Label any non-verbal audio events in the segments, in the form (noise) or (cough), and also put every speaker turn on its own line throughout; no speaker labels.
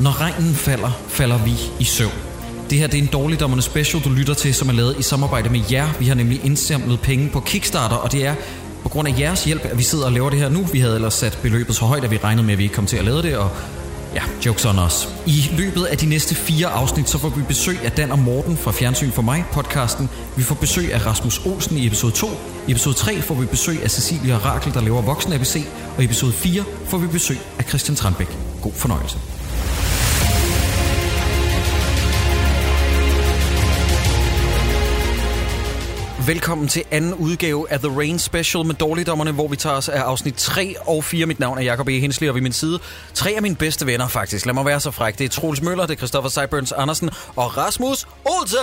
Når regnen falder, falder vi i søvn. Det her det er en dårligdommerne special, du lytter til, som er lavet i samarbejde med jer. Vi har nemlig indsamlet penge på Kickstarter, og det er på grund af jeres hjælp, at vi sidder og laver det her nu. Vi havde ellers sat beløbet så højt, at vi regnede med, at vi ikke kom til at lave det, og Ja, jokes on os. I løbet af de næste fire afsnit, så får vi besøg af Dan og Morten fra Fjernsyn for mig, podcasten. Vi får besøg af Rasmus Olsen i episode 2. I episode 3 får vi besøg af Cecilia Rakel, der laver Voksen ABC. Og i episode 4 får vi besøg af Christian Tranbæk. God fornøjelse. Velkommen til anden udgave af The Rain Special med Dårligdommerne, hvor vi tager os af afsnit 3 og 4. Mit navn er Jacob E. Hensley, og ved min side tre af mine bedste venner faktisk. Lad mig være så fræk. Det er Troels Møller, det er Christoffer Seiburns Andersen og Rasmus Olsen.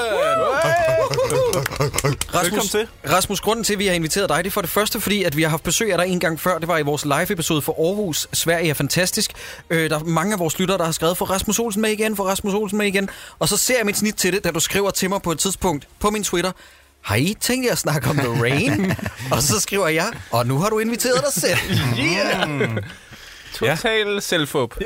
Rasmus,
til.
Rasmus, grunden til, at vi har inviteret dig, det er for det første, fordi at vi har haft besøg af dig en gang før. Det var i vores live-episode for Aarhus. Sverige er fantastisk. Øh, der er mange af vores lyttere, der har skrevet for Rasmus Olsen med igen, for Rasmus Olsen med igen. Og så ser jeg mit snit til det, da du skriver til mig på et tidspunkt på min Twitter. Har I tænkt jer at snakke om The Rain? og så skriver jeg, og nu har du inviteret dig selv.
Total ja. selvfup.
(laughs)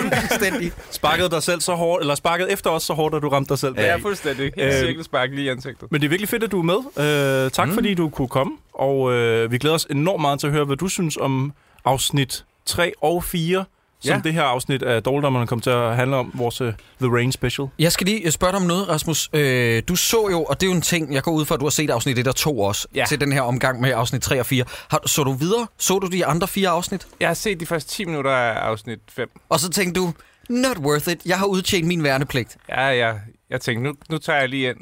Fuldstændig.
sparkede dig selv så hårdt, eller sparkede efter os så hårdt, at du ramte dig selv.
Ja,
bagi.
fuldstændig.
Øh,
Øh, Cirkelspark lige i ansigtet.
Men det er virkelig fedt, at du er med. Øh, tak mm. fordi du kunne komme, og øh, vi glæder os enormt meget til at høre, hvad du synes om afsnit 3 og 4, som
Ja.
det her afsnit af Dårligdommerne kommer til at handle om, vores uh, The Rain special.
Jeg skal lige øh, spørge dig om noget, Rasmus. Øh, du så jo, og det er jo en ting, jeg går ud fra, at du har set afsnit 1 og 2 også, ja.
Ja.
til den her omgang med afsnit 3 og 4. Har, så du videre? Så du de andre fire afsnit?
Jeg har set de første 10 minutter af afsnit 5.
Og så tænkte du, not worth it, jeg har udtjent min værnepligt.
Ja, ja. Jeg tænkte, nu, nu tager jeg lige ind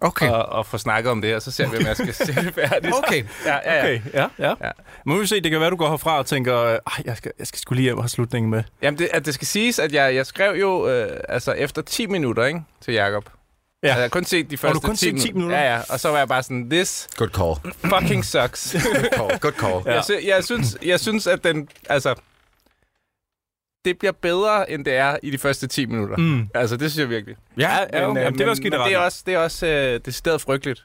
Okay.
og, og får snakket om det, og så ser vi, om (laughs) jeg skal se det færdigt.
Okay.
Ja, ja, ja. Okay.
ja, ja.
Ja.
Må vi se, det kan være, du går herfra og tænker, øh, "Ej, jeg skal, jeg skal skulle lige hjem og have slutningen med.
Jamen, det, at det skal siges, at jeg, jeg skrev jo øh, altså efter 10 minutter ikke, til Jakob. Ja. Jeg havde kun set de
har
første
kun
10,
set 10 minutter?
Ja, ja. Og så var jeg bare sådan, this
Good call.
fucking sucks.
(laughs) Good call. Good call.
Ja.
Ja. Jeg, sy- jeg, synes, jeg synes, at den... Altså, det bliver bedre, end det er i de første 10 minutter.
Mm.
Altså, det synes jeg virkelig.
Ja, ja,
men,
okay.
øh,
Jamen, det er også
men,
skidt
men det er
ret.
også, det er også øh, decideret frygteligt.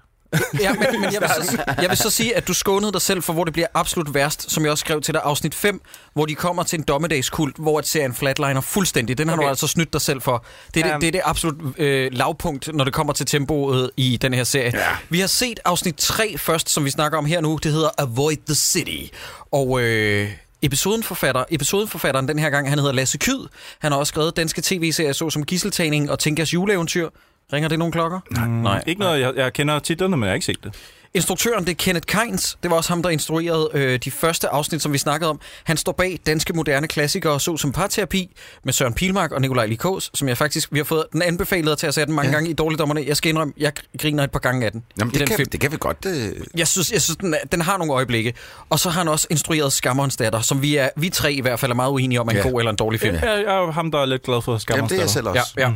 Ja, men, men jeg, vil så, jeg vil så sige, at du skånede dig selv for, hvor det bliver absolut værst, som jeg også skrev til dig, afsnit 5, hvor de kommer til en dommedagskult, hvor at serien flatliner fuldstændig. Den har okay. Øhm. du
Okay.
altså snydt dig selv for. Det er, det,
Jamen.
det, er det absolut øh, lavpunkt, når det kommer til tempoet i den her serie. Ja. Vi har set afsnit 3 først, som vi snakker om her nu. Det hedder Avoid the City. Og... Øh, Episoden forfatter, episodeforfatteren den her gang, han hedder Lasse Kyd. Han har også skrevet danske tv-serier, såsom Gisseltagning og Tinkas juleeventyr. Ringer det nogle klokker? Nej. Nej.
Mm. Ikke noget, jeg, jeg kender titlerne, men jeg har ikke set det.
Instruktøren, det er Kenneth Kainz. Det var også ham, der instruerede øh, de første afsnit, som vi snakkede om. Han står bag danske moderne klassikere, såsom parterapi med Søren Pilmark og Nikolaj Likås, som jeg faktisk, vi har fået den anbefalet til at sætte den mange ja. gange i dårligdommerne. Jeg skal indrømme, jeg griner et par gange af den. i
Jamen, det
den
kan,
film.
det kan vi godt. øh, Det...
Jeg synes, jeg synes den, er- den har nogle øjeblikke. Og så har han også instrueret Skammerens datter, som vi, er, vi tre i hvert fald er meget uenige om, er en
Ja.
god eller en dårlig film.
Jeg, jeg er jo ham, der er lidt glad for skammer.
Jamen, det er jeg selv Mm. også.
Ja, ja.
Mm.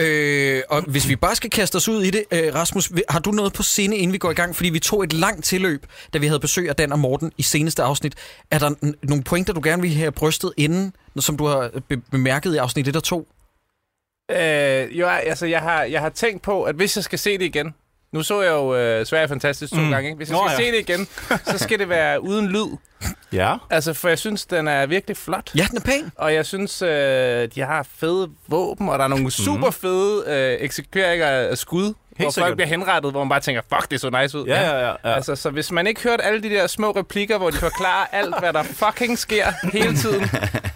Øh, og hvis vi bare skal kaste os ud i det, øh, Rasmus, vi- har du noget på sinde, inden vi går i gang? Fordi vi tog et langt tilløb, da vi havde besøg af Dan og Morten i seneste afsnit. Er der n- nogle pointer, du gerne vil have brystet inden, som du har øh, be- bemærket i afsnit 1 og 2?
Øh, jo, altså, jeg har, jeg har tænkt på, at hvis jeg skal se det igen... Nu så jeg jo øh, Sverige er Fantastisk to mm. gange, ikke? Hvis jeg
Nå,
skal
ja.
se det igen, så skal det være uden lyd.
Ja.
Altså, for jeg synes, den er virkelig flot.
Ja, den er pæn.
Og jeg synes, øh, de har fede våben, og der er
Mhm.
nogle super fede øh, eksekveringer af skud, Helt hvor
sikkert.
folk bliver henrettet, hvor man bare tænker, fuck, det så nice ud.
Ja, ja, ja. ja.
Altså, så hvis man ikke hørte alle de der små replikker, hvor de
(laughs)
forklarer alt, hvad der fucking sker hele tiden,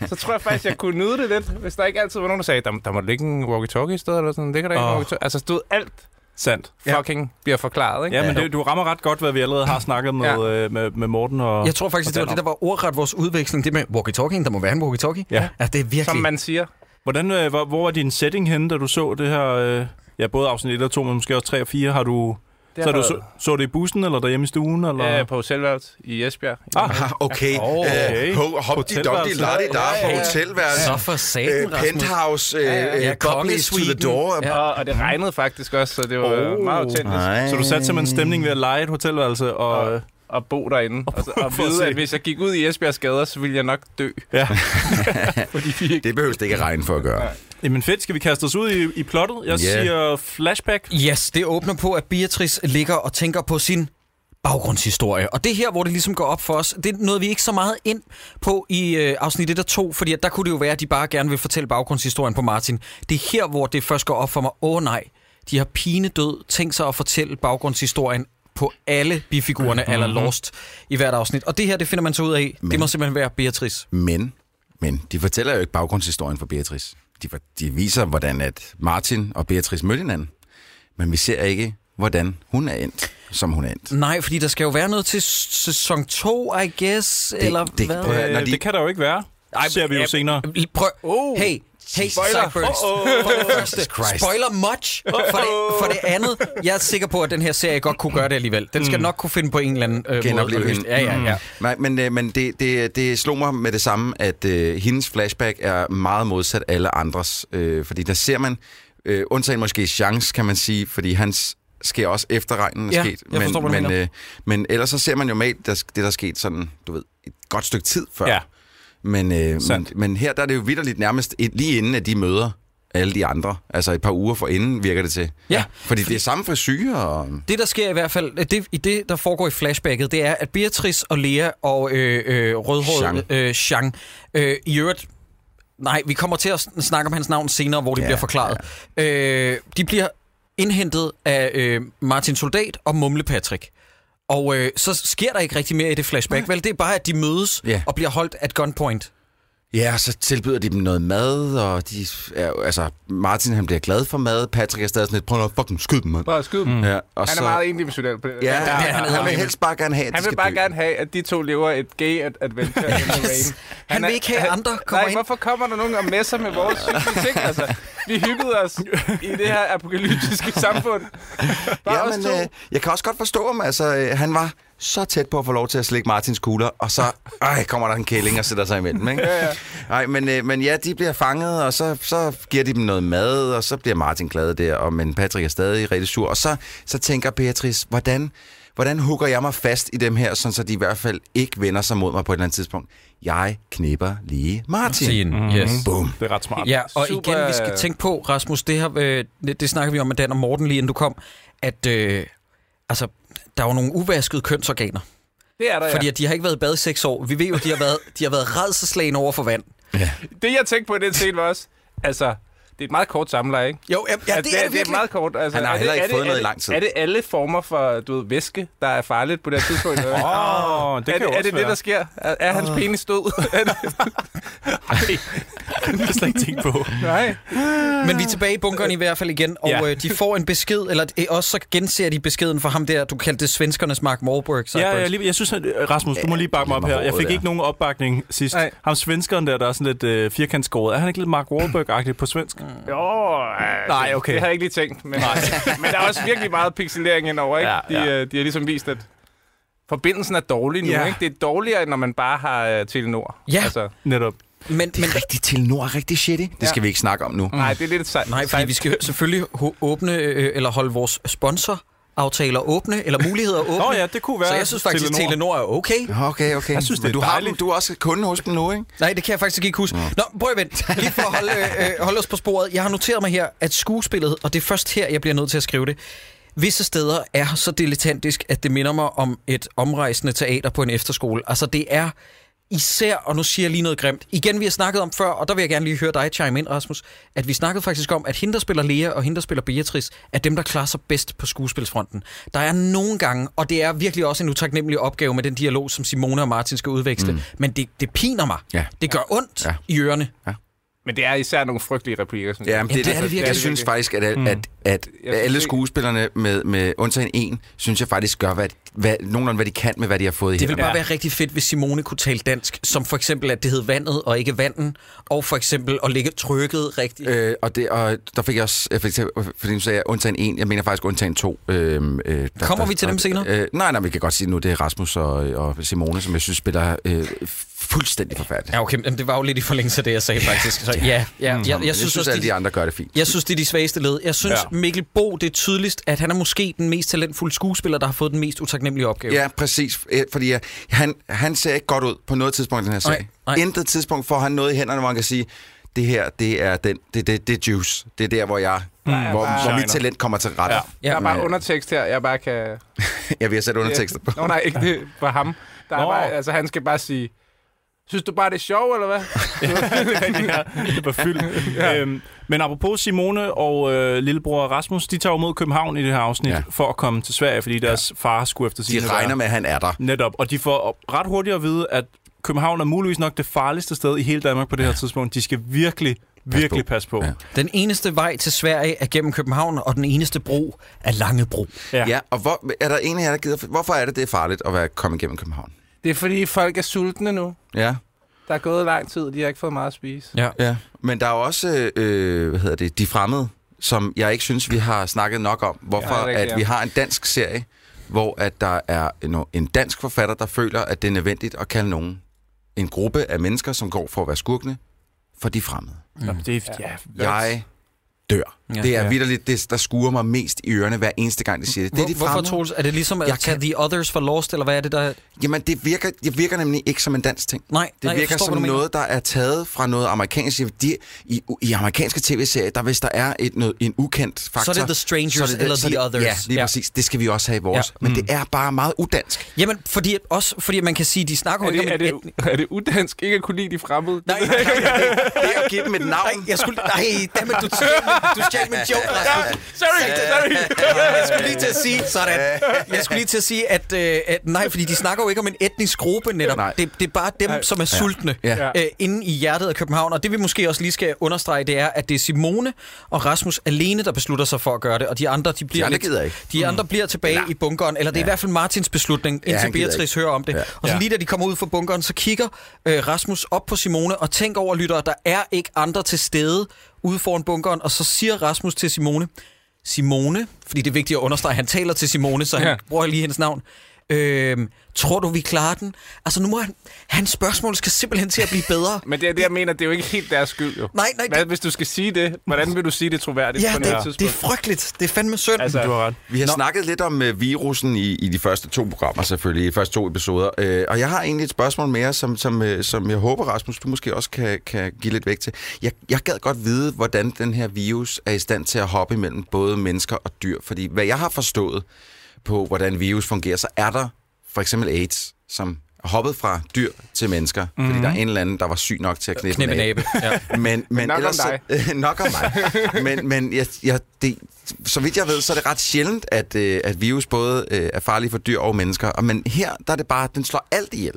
så tror jeg faktisk, jeg kunne nyde det lidt, hvis der ikke altid var nogen, der sagde, der, der må ligge en walkie-talkie i stedet, eller sådan, ligger der ikke
Åh.
en walkie-talkie? Altså, stod alt
Sandt.
fucking ja. bliver forklaret, ikke?
Ja, men det, du rammer ret godt, hvad vi allerede har snakket med,
Ja.
ja. øh, med, med Morten og...
Jeg tror faktisk,
og
det var det,
Dan
der var ordret vores udveksling. Det med walkie-talkie'en, der må være en walkie-talkie.
Ja.
Altså, det er virkelig...
Som man siger.
Hvordan, øh, hvor, hvor var din setting henne, da du så det her... Øh, ja, både afsnit 1 og 2, men måske også 3 og 4. Har du...
Det
så
har
har du
været-
så, så det i bussen, eller derhjemme i stuen, eller...
Øh, på hotelværelset i Esbjerg.
Ah,
Ah, okay.
Åh, okay.
Øh, ho- Hopti Dopti
Hotelværelse.
Ladi Da
Ja, ja,
på
ja.
hotelværelse.
Så for
Øh,
satan, Rasmus.
penthouse, øh,
ja,
ja,
kongen i
to the
suiten.
door.
Ja.
Ja.
Og, og det regnede faktisk også, så det var oh,
Åh.
meget autentisk.
Så du satte simpelthen stemning ved at lege et hotelværelse, og... Øh,
at bo derinde. Og, så, og
(laughs) for at
vide,
se.
at hvis jeg gik ud i Esbjergs gader, så ville jeg nok dø.
ja.
Fordi vi ikke...
Det behøves det ikke at regne for at gøre.
Jamen fedt, skal vi kaste os ud i, i plottet? Jeg
Ja.
siger flashback.
Yes, det åbner på, at Beatrice ligger og tænker på sin baggrundshistorie. Og det er her, hvor det ligesom går op for os. Det nåede vi ikke så meget ind på i øh, afsnit 1 og 2, fordi at der kunne det jo være, at de bare gerne vil fortælle baggrundshistorien på Martin. Det er her, hvor det først går op for mig. Åh nej, de har pinedød tænkt sig at fortælle baggrundshistorien på alle bifigurerne mm-hmm. eller Lost i hvert afsnit. Og det her, det finder man så ud af. Men. Det
Men-
må simpelthen være Beatrice.
Men, men de fortæller jo ikke baggrundshistorien for Beatrice. De, for- de viser, hvordan at Martin og Beatrice mødte hinanden. Men vi ser ikke, hvordan hun er endt, som hun er endt.
Nej, fordi der skal jo være noget til s- sæson 2, I guess, det, eller
det-
hvad?
prøv at høre, når
Øh,
de-
Det kan der jo ikke være.
Ej,
Det ser vi jo
ja,
senere.
L- Prøv. Oh. Hey, hey, Cyburst. Oh, oh. For det første,
Jesus Christ.
spoiler much. For det, for det andet, jeg er sikker på, at den her serie godt kunne gøre det alligevel. Den skal nok kunne finde på en eller anden øh, måde. at
Mm. Genopleve
løse
hende.
det. Ja, ja, ja.
Nej, men, øh, men det, det, det slog mig med det samme, at øh, hendes flashback er meget modsat alle andres. Øh, fordi der ser man, øh, undtagen måske chance, kan man sige, fordi hans sker også efter regnen er
Ja,
sket.
jeg
men,
forstår, hvad du
men,
mener.
øh, men ellers så ser man jo med der, det, der er sket sådan, du ved, et godt stykke tid før.
Ja.
Men, øh, men,
Sandt.
men her der er det jo vidderligt nærmest et, lige inden, at de møder alle de andre. Altså et par uger forinden virker det til.
Ja.
Fordi det er samme frisyrer og...
Det, der sker i hvert fald, det, i det, der foregår i flashbacket, det er, at Beatrice og Lea og øh, øh, rødhåret
Jean.
øh, Jean, øh, i øvrigt, nej, vi kommer til at sn- snakke om hans navn senere, hvor det ja,
Ja,
bliver forklaret. Ja. Øh, de bliver indhentet af øh, Martin Soldat og Mumle Patrick. Og øh, så sker der ikke rigtig mere i det flashback, vel? Det er bare, at de mødes ja.
Ja.
og bliver holdt at gunpoint.
Ja, og så tilbyder de dem noget mad, og de er, altså, Martin han bliver glad for mad, Patrick er stadig sådan lidt, prøv nu at fucking skyd dem, mand.
Bare skyd dem. Mm.
Ja, og
Han er meget indivisionel på det.
Ja,
Han-
ja,
han
han,
er
han vil helst bare gerne have, at
Han
de
vil
skal
bare
dø.
gerne have, at de to lever et gay ad- adventure. in the rain.
Han vil
er-
ikke have, at andre kommer
Nej,
ind.
hvorfor kommer der nogen og messer med vores psykisk Altså, vi hyggede os i det her apokalyptiske samfund. Bare ja,
Ja,
os
men
to.
øh, jeg kan også godt forstå ham, altså, øh, han var så tæt på at få lov til at slikke Martins kugler, og
(laughs)
så øh, kommer der en kælling og sætter sig imellem, ikke? ja, ja. Ej, men, øh, men ja, de bliver fanget, og så, så giver de dem noget mad, og så bliver Martin glad der, og, men Patrick er stadig rigtig sur, og så, så tænker Beatrice, hvordan, hvordan hugger jeg mig fast i dem her, sådan så de i hvert fald ikke vender sig mod mig på et eller andet tidspunkt? Jeg knipper lige Martin.
Mm-hmm. Yes.
Bum.
Det er ret smart.
Ja, og Super...
Super-
igen, vi skal
øh,
tænke på, Rasmus, det her, øh, det, det snakker vi om med Dan og Morten lige inden du kom, at øh, altså, der er jo nogle uvaskede kønsorganer,
Det er der,
ja. fordi at de har ikke været i bad i seks år. Vi ved jo, de har været, de har været redselslagen over for vand.
ja. Det, jeg tænkte på i den scene, var også... Altså, det er et meget kort samler, ikke?
Jo, ja, ja det,
Altså,
er det
det er
virkelig.
meget kort. Altså,
Han har
er det-
heller ikke
er det-
fået
er
noget i
det-
lang tid.
Er det alle former for, du ved, væske, der er farligt på det her tidspunkt? (laughs) Åh,
Åh, oh, det
er det,
kan jo
er
også
det det, der sker? Er, er hans penis (laughs) død? Er det-
være. det har jeg slet ikke tænkt på.
Nej.
Men vi er tilbage i bunkeren i hvert fald igen, og
Ja.
øh, de får en besked, eller øh, også så genser de beskeden fra ham der, du kaldte det svenskernes Mark Morberg.
Ja, ja,
Zuckerberg.
lige, jeg synes, at øh, Rasmus, du må lige bakke mig op
lige
her.
med
Jeg fik
håret
ikke
der.
nogen opbakning sidst.
Nej.
Ham svenskeren der, der er sådan lidt øh, firkantskåret. Er han ikke lidt Mark Wahlberg-agtig på svensk?
Jo, altså,
Nej, okay.
det har jeg ikke lige tænkt. Men, (laughs) men der er også virkelig meget pixelering indover, ikke?
Ja,
Ja,
ja.
ja. De, øh, de har ligesom vist, at forbindelsen er dårlig nu,
Ja.
ja. Mm. ikke? Det er dårligere, end når man bare har uh, Telenor. Altså,
Ja.
Netop.
men, men,
Rigtig Telenor er rigtig shitty. Det skal
Ja.
vi ikke snakke om nu.
nej, det er lidt sejt.
Nej, fordi vi skal selvfølgelig ho- åbne, øh, eller holde vores sponsoraftaler åbne, eller muligheder åbne.
Nå ja, det kunne være
Så jeg synes faktisk, at
(laughs) Telenor.
Telenor er okay.
Okay, okay.
Jeg synes, det
Men
er
du har
dejligt.
dem, du er også kunde hos dem nu, ikke?
Nej, det kan jeg faktisk ikke huske. Nå, prøv at (laughs) vente. Lige for at holde, øh, øh, holde os på sporet. Jeg har noteret mig her, at skuespillet, og det er først her, jeg bliver nødt til at skrive det, visse steder er så dilettantisk, at det minder mig om et omrejsende teater på en efterskole. Altså, det er især, og nu siger jeg lige noget grimt, igen vi har snakket om før, og der vil jeg gerne lige høre dig chime ind, Rasmus, at vi snakkede faktisk om, at hende, der spiller Lea og hende, der spiller Beatrice, er dem, der klarer sig bedst på skuespilsfronten. Der er nogle gange, og det er virkelig også en utaknemmelig opgave med den dialog, som Simone og Martin skal udveksle, mm. men det, det piner mig.
Ja.
Det gør ondt ja.
Ja.
i ørerne.
Men det er især nogle frygtelige replikker, synes
Ja,
jeg.
men det, det, er det virkelig. Jeg synes faktisk, at, al- at, at,
Jeg
at
synes
alle
ikke-
skuespillerne, med, med undtagen en, synes jeg faktisk gør, hvad, hvad, nogenlunde hvad de kan med, hvad de har fået i
Det ville
hænderne.
bare være rigtig fedt, hvis Simone kunne tale dansk, som for eksempel, at det hed vandet og ikke vanden, og for eksempel at ligge trykket rigtigt.
Øh, og, det, og der fik jeg også, jeg fik, til- fordi nu sagde jeg undtagen en, jeg mener faktisk undtagen to. Øhm, øh, der,
Kommer
der,
vi til
der,
dem senere?
Øh, nej, nej, vi kan godt sige nu, det er Rasmus og, og Simone, som jeg synes spiller øh, fuldstændig forfærdeligt.
Ja, okay, men det var jo lidt i forlængelse af det, jeg sagde faktisk. Så, ja, ja, jeg, jeg,
Mm. jeg
synes,
synes
også,
alle
de,
de andre gør det fint.
jeg synes, det er de svageste led. Jeg synes, ja.
Ja.
Mikkel Bo, det er tydeligst, at han er måske den mest talentfulde skuespiller, der har fået den mest utaknemmelige opgave.
Ja, præcis. Øh, Fordi øh, han, han ser ikke godt ud på noget tidspunkt i den her
Nej,
sag.
nej.
Intet tidspunkt får han noget i hænderne, hvor han kan sige, det her, det er, den, det, det, det er juice. Det er der, hvor jeg hvor, hvor mit
Mm. shiner.
talent kommer til rette.
Ja.
Der er bare
Men, øh,
undertekst her, jeg bare kan...
Jeg vil have sat undertekster på.
Nå nej, ikke det for ham. Der er
Nå.
bare, altså, han skal bare sige, synes du bare, det er sjovt, eller hvad?
det var fyldt. ja. øhm, men apropos Simone og øh, lillebror Rasmus, de tager jo mod København i det her afsnit
Ja.
ja. for at komme til Sverige, fordi deres ja. far skulle efter
De
sine
regner med, at han er der.
Netop, og de får ret hurtigt at vide, at København er muligvis nok det farligste sted i hele Danmark på det her tidspunkt. De skal virkelig, virkelig
på.
passe på.
Ja.
Ja.
Den eneste vej til Sverige er gennem København, og den eneste bro er Langebro.
Ja.
Ja, og hvor, er der en af jer, der gider... Hvorfor er det, det er farligt at være kommet igennem København?
Det er fordi, folk er sultne nu.
Ja,
Der er gået lang tid, de har ikke fået meget at spise.
Ja.
ja. Men der er jo også, øh, hvad hedder det, De Fremmede, som jeg ikke synes, vi har snakket nok om. Hvorfor
Ja, det er
ja,
rigtigt,
at vi
ja.
har en dansk serie, hvor at der er en, en dansk forfatter, der føler, at det er nødvendigt at kalde nogen. En gruppe af mennesker, som går for at være skurkene, for De Fremmede.
Jamen, det er, ja.
Jeg dør.
Ja.
Ja, det er ja. vidderligt det, der skuer mig mest i ørerne hver eneste gang, de siger det. Det er
Hvor,
de
hvorfor,
fremmede.
Troels? Er det ligesom at
Jeg
tage
kan-
The Others for Lost, eller hvad er det, der...
Jamen, det virker, det virker nemlig ikke som en dansk ting.
Nej,
Det
nej, jeg
virker
forstår,
som
hvad du
noget, der er taget fra noget amerikansk. De, i, I amerikanske tv-serier, der hvis der er et, noget, en ukendt faktor...
The Strangers
så er det-
eller
så er
The
det-
Others.
Ja, lige
Ja.
ja. præcis. Det skal vi også have i vores.
Ja. Mm.
Ja. Men det er bare meget udansk.
mener. Jamen, fordi, også fordi man kan sige, de snakker
Er
jo
det,
ikke
er,
om...
det, er det udansk ikke at kunne lide de fremmede?
Nej, nej, nej, nej,
Det er at give dem et navn.
nej, jeg skulle... Nej, dammit, du stjal min- du stjal min joke, Rasmus.
Sorry, sorry.
Jeg skulle lige til at sige, sådan. Jeg skulle lige til at sige, at, øh, at nej, fordi de snakker jo ikke om en etnisk gruppe netop.
Nej.
Det, det er bare dem, som er sultne
Ja.
øh, inde i hjertet af København. Og det vi måske også lige skal understrege, det er, at det er Simone og Rasmus alene, der beslutter sig for at gøre det. Og de andre, de bliver,
andre
lidt-
gider ikke. Mm.
De andre bliver tilbage i bunkeren. Eller det er i hvert fald Martins beslutning, indtil
han gider
Beatrice
ikke.
hører om det.
Ja.
Og så
Ja.
lige da de kommer ud fra bunkeren, så kigger øh, Rasmus op på Simone og tænker over, lytter, der er ikke andre til stede ude foran bunkeren. Og så siger Rasmus til Simone, Simone, fordi det er vigtigt at understrege, han taler til Simone, så han ja.
Ja.
bruger lige hendes navn. Øhm, tror du, vi klarer den? Altså, nu må han... Hans spørgsmål skal simpelthen til at blive bedre.
Men det er det, jeg mener, det er jo ikke helt deres skyld, jo.
Nej, nej,
Hvad,
det-
hvis du skal sige det, hvordan vil du sige det
(laughs)
troværdigt
ja,
på noget
det, det er
tidspunkt?
frygteligt. Det er fandme synd. Altså,
Altså,
Du har ret.
Vi har Nå. snakket lidt om uh, virusen i, i de første to programmer selvfølgelig, i de første to episoder. Uh, og jeg har egentlig et spørgsmål mere, som, som, uh, som jeg håber, Rasmus, du måske også kan, kan give lidt væk til. Jeg, jeg gad godt vide, hvordan den her virus er i stand til at hoppe imellem både mennesker og dyr. Fordi hvad jeg har forstået på, hvordan virus fungerer, så er der for eksempel AIDS, som er hoppet fra dyr til mennesker, mm-hmm. fordi der er en eller anden, der var syg nok til at knæppe,
Knip en
en abe.
abe. Ja.
Men, men
nok om
ellers, dig. (laughs) nok om mig. Men, men jeg, jeg, det, så vidt jeg ved, så er det ret sjældent, at, øh, at virus både øh, er farlige for dyr og mennesker. Og, men her, der er det bare, at den slår alt ihjel.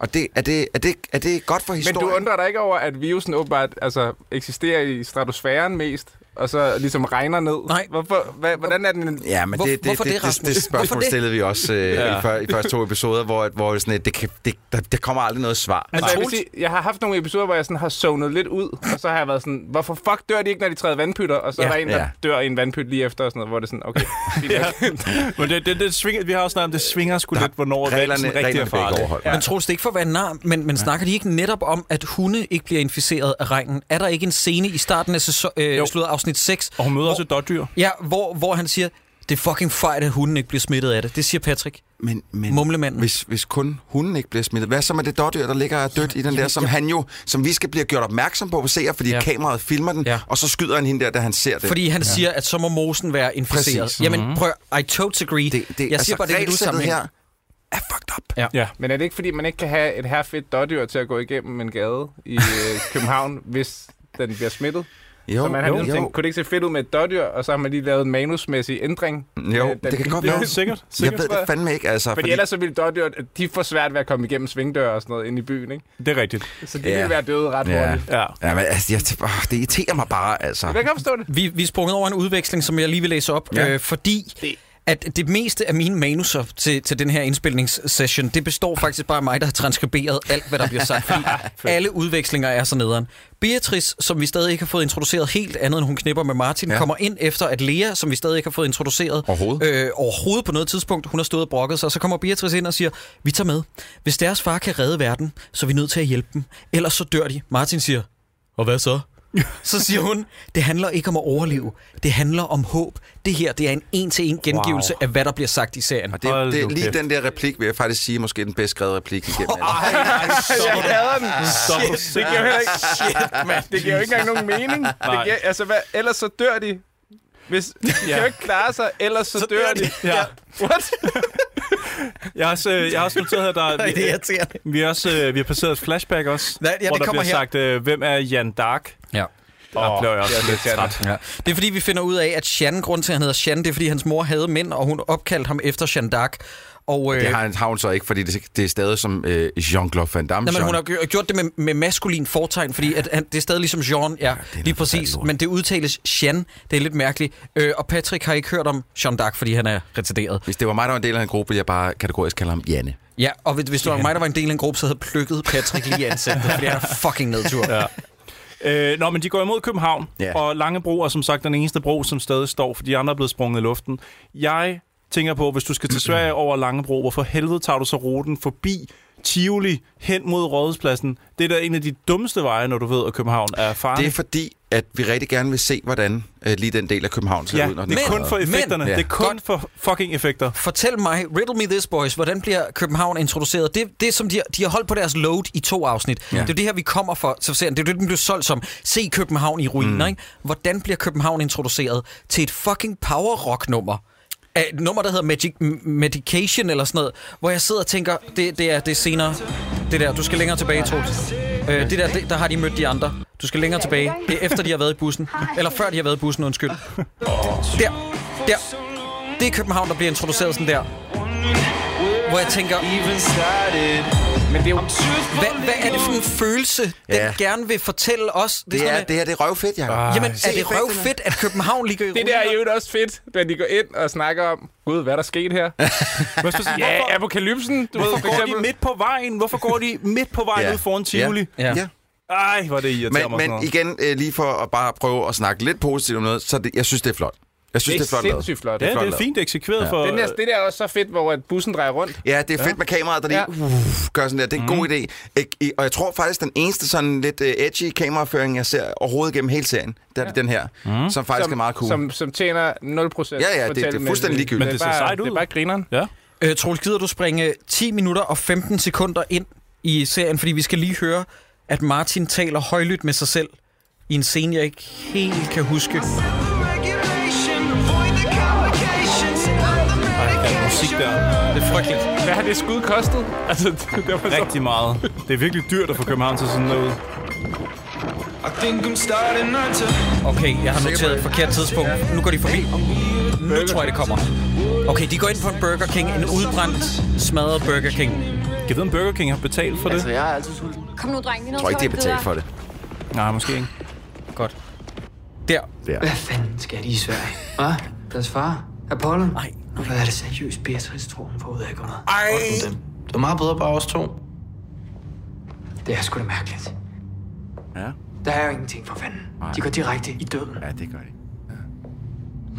Og det, er, det, er, det, er det godt for
men
historien?
du undrer dig ikke over, at virusen åbenbart altså, eksisterer i stratosfæren mest, og så ligesom regner ned?
Nej.
Hvorfor, hvad, hvordan er den...
Ja, men
Hvor-
det, det,
hvorfor det,
det, det,
Rasmus?
det
Hvorfor
spørgsmål
det?
stillede vi også øh, ja. i, før, i første to episoder, hvor, hvor sådan, et, det kan, det, der, der kommer aldrig noget svar.
Altså, jeg, vil
Troels-
sige, jeg har haft nogle episoder, hvor jeg sådan har zonet lidt ud, og så har jeg været sådan, hvorfor fuck dør de ikke, når de træder vandpytter? Og så
Ja,
er der en, der
ja.
dør i en vandpyt lige efter, og sådan noget, hvor det er sådan, okay, fint nok.
Men det, det, det svinger, vi har også snakket om, det svinger sgu lidt, hvornår reglerne,
Reglerne,
sådan rigtig er
reglerne bliver ikke
farlige.
overholdt.
Men Troels, det er ikke for at være nar, men, men ja. snakker de ikke netop om, at hunde ikke bliver inficeret af regnen? Er der ikke en scene i starten af sæson, øh, slutter afsnit 6,
Og hun møder
hvor,
også et dårdyr.
ja, hvor, hvor han siger, det er fucking fejl, at hunden ikke bliver smittet af det. Det siger Patrick.
Men, men
Mumlemanden.
Hvis, hvis kun hunden ikke bliver smittet, hvad så med det dårdyr, der ligger og er dødt i den der, som
jamen.
han jo, som vi skal blive gjort opmærksom på, på seer, fordi
Ja.
ja. kameraet filmer den,
Ja.
ja. og så skyder han hende der, da han ser det.
Fordi han ja. siger, at så må mosen være inficeret. Præcis.
Præcis. Mhm.
Jamen prøv, I totally agree.
det, det,
jeg siger
altså,
bare, det er lidt
regelsættet
usammenhængende.
her er fucked up.
Ja.
Ja.
Men er det ikke, fordi man ikke kan have et her fedt dårdyr til at gå igennem en gade i øh, København, hvis den bliver smittet?
Jo,
Så man har
jo,
ligesom tænkt, kunne det ikke se fedt ud med et dårdyr, og så har man lige lavet en manusmæssig ændring?
jo,
Øh, den-
det kan godt
Ja,
være.
sikkert.
Jeg
sikkert.
ved det fandme ikke, altså.
Fordi, fordi ellers så ville dårdyr, de får svært ved at komme igennem svingdøre og sådan noget ind i byen, ikke?
Det er rigtigt.
Så de
Ja.
yeah. ville være døde ret
Ja.
hurtigt.
Ja.
Ja, men, altså, jeg, åh, det irriterer mig bare, altså.
Jeg kan godt forstå det.
Vi, vi er sprunget over en udveksling, som jeg lige vil læse op, ja.
Ja.
øh, fordi
Det-
at det meste af mine manuser til, til den her indspilningssession, det består faktisk bare af mig, der har transkriberet alt, hvad der bliver sagt. (laughs) Fordi alle udvekslinger er så nederen. Beatrice, som vi stadig ikke har fået introduceret helt andet, end hun knipper med Martin, ja.
Ja.
kommer ind efter, at Lea, som vi stadig ikke har fået introduceret
Overhovedet.
øh, overhovedet på noget tidspunkt, hun har stået og brokket sig, og så kommer Beatrice ind og siger, vi tager med. Hvis deres far kan redde verden, så er vi nødt til at hjælpe dem. Ellers så dør de. Martin siger, og hvad så? Så siger hun, det handler ikke om at overleve, det handler om håb. Det her, det er en en-til-en gengivelse wow. af, hvad der bliver sagt i serien.
Og det,
Hold
det,
nu
lige
kæft.
den der replik, vil jeg faktisk sige, måske den bedst skrevet replik igennem.
(laughs)
alle.
Jeg hader den.
Så
Det giver jo heller ikke,
Shit, mand.
det giver jo ikke engang nogen mening. Det
Nej.
giver, altså, hvad, ellers så dør de. Hvis de kan jo ikke klare sig, ellers så, så dør de.
Ja.
What?
Jeg har også, øh, jeg har også noteret her, der er,
Det er irriterende.
vi, er også, øh, vi har passeret et flashback også,
Nej, ja, det
hvor der
kommer
bliver
her.
sagt, øh, hvem er Jan Dark?
Ja.
Der oh, blev jeg også
det er
lidt
irriterende.
træt.
Ja. Det er fordi, vi finder ud af, at Shan, grund til, at han hedder Shan, det er fordi, hans mor havde mænd, og hun opkaldte ham efter Jeanne d'Arc. Og, øh,
Det har, han- har hun så ikke, fordi det, det er stadig som øh, Jean-Claude Van Damme.
Nej, men
Jean.
hun har gj- gjort det med, med maskulin fortegn, fordi at han, det er stadig ligesom Jean, ja, lige præcis. Men det udtales Jean, det er lidt mærkeligt. Øh, og Patrick har ikke hørt om Jean Dark, fordi han er retarderet.
Hvis det var mig, der var en del af en gruppe, ville jeg bare kategorisk kalde ham Janne.
Ja, og hvis, hvis det var mig, der var en del af en gruppe, så havde jeg plukket Patrick lige i ansigtet, fordi han er fucking nedtur. Ja.
Øh, nå, men de går imod København,
Ja.
yeah. og Langebro er som sagt den eneste bro, som stadig står, for de andre er blevet sprunget i luften. Jeg tænker på, hvis du skal til Sverige over Langebro, hvorfor helvede tager du så ruten forbi Tivoli hen mod Rådhuspladsen? Det er da en af de dummeste veje, når du ved, at København er farlig.
Det er fordi, at vi rigtig gerne vil se, hvordan øh, lige den del af København ser
ja,
ud. Når den
det
er
er kun
fred.
for
men-
effekterne.
Ja.
Det er kun for fucking effekter.
Fortæl mig, riddle me this boys, hvordan bliver København introduceret? Det, det som de, har- de har holdt på deres load i to afsnit. Ja. Det er det her, vi kommer for. Så serien. det er det, den blev solgt som. Se København i ruiner, mm. ikke? Hvordan bliver København introduceret til et fucking power rock nummer? Af Et nummer, der hedder Magic, M- Medication eller sådan noget, hvor jeg sidder og tænker, det, det, er, det er senere. Det der, du skal længere tilbage, Troels. Øh, det der, det, der har de mødt de andre. Du skal længere tilbage. Det er efter, de har været i bussen. (laughs) Eller før, de har været i bussen, undskyld. Der. Der. Det er København, der bliver introduceret sådan der. Hvor jeg tænker,
Men det er jo...
hvad, hvad er det for en følelse, ja.
Ja.
den gerne vil fortælle os? Det er
Det
sådan
er,
lidt-
det her, det er røvfedt, Jacob. Ah.
Jamen,
se
er det
effekterne.
røvfedt, at København ligger i
Det der er jo også fedt, da de går ind og snakker om, gud, hvad er der sket
(laughs)
her?
Hvorfor,
Ja,
hvorfor,
apokalypsen, du ved, for
hvorfor går de
eksempel.
midt på vejen? Hvorfor går de midt på vejen
Ja.
ja. ud foran Tivoli? Ja.
Ja.
Ja.
Ej, hvor er det irriterer
Men,
mig. sådan noget.
men igen, øh, lige for at bare prøve at snakke lidt positivt om noget, så det, jeg synes, det er flot. Jeg synes, det er, flot lavet.
sindssygt flot.
Ja,
flot
det er
lavet.
fint eksekveret ja. for...
Den der, det der er også så fedt, hvor at bussen drejer rundt.
Ja, det er fedt med kameraet, der lige
Ja.
ja. uff, gør sådan der. Det er en god idé. Ik- i- Og jeg tror faktisk, den eneste sådan lidt øh, edgy kameraføring, jeg ser overhovedet gennem hele serien, der er ja. den her, mm. som faktisk som, er meget cool.
Som,
Som,
som tjener 0% Ja,
Ja, ja, det- det er fuldstændig ligegyldigt.
Men det ser
bare,
sejt ud.
Det er bare grineren.
Ja.
Øh, Troels, gider du springe 10 minutter og 15 sekunder ind i serien? Fordi vi skal lige høre, at Martin taler højlydt med sig selv i en scene, jeg ikke helt kan huske.
Ej, den musik der.
Det er frygteligt.
Hvad har det skud kostet? Altså, det, det var så...
Rigtig meget. Det er virkelig dyrt at få København til sådan noget.
Okay, jeg har noteret et forkert tidspunkt. Nu går de forbi. Nu tror jeg, det kommer. Okay, de går ind på en Burger King. En udbrændt, smadret Burger King.
Kan jeg vide, om Burger King har betalt for det?
Altså, jeg er altid sulten.
Kom nu, dreng.
jeg tror ikke, det er betalt for det.
Nej, måske ikke.
Godt. Der.
Hvad fanden skal de i Sverige? Hvad? Deres far? Apollo?
Nej.
Nu er det seriøst Beatrice Troen for ud af noget.
Ej.
Det var meget bedre bare os to.
Det er sgu da mærkeligt.
Ja.
Der er jo ingenting for fanden. De går direkte i døden.
Ja, det gør det.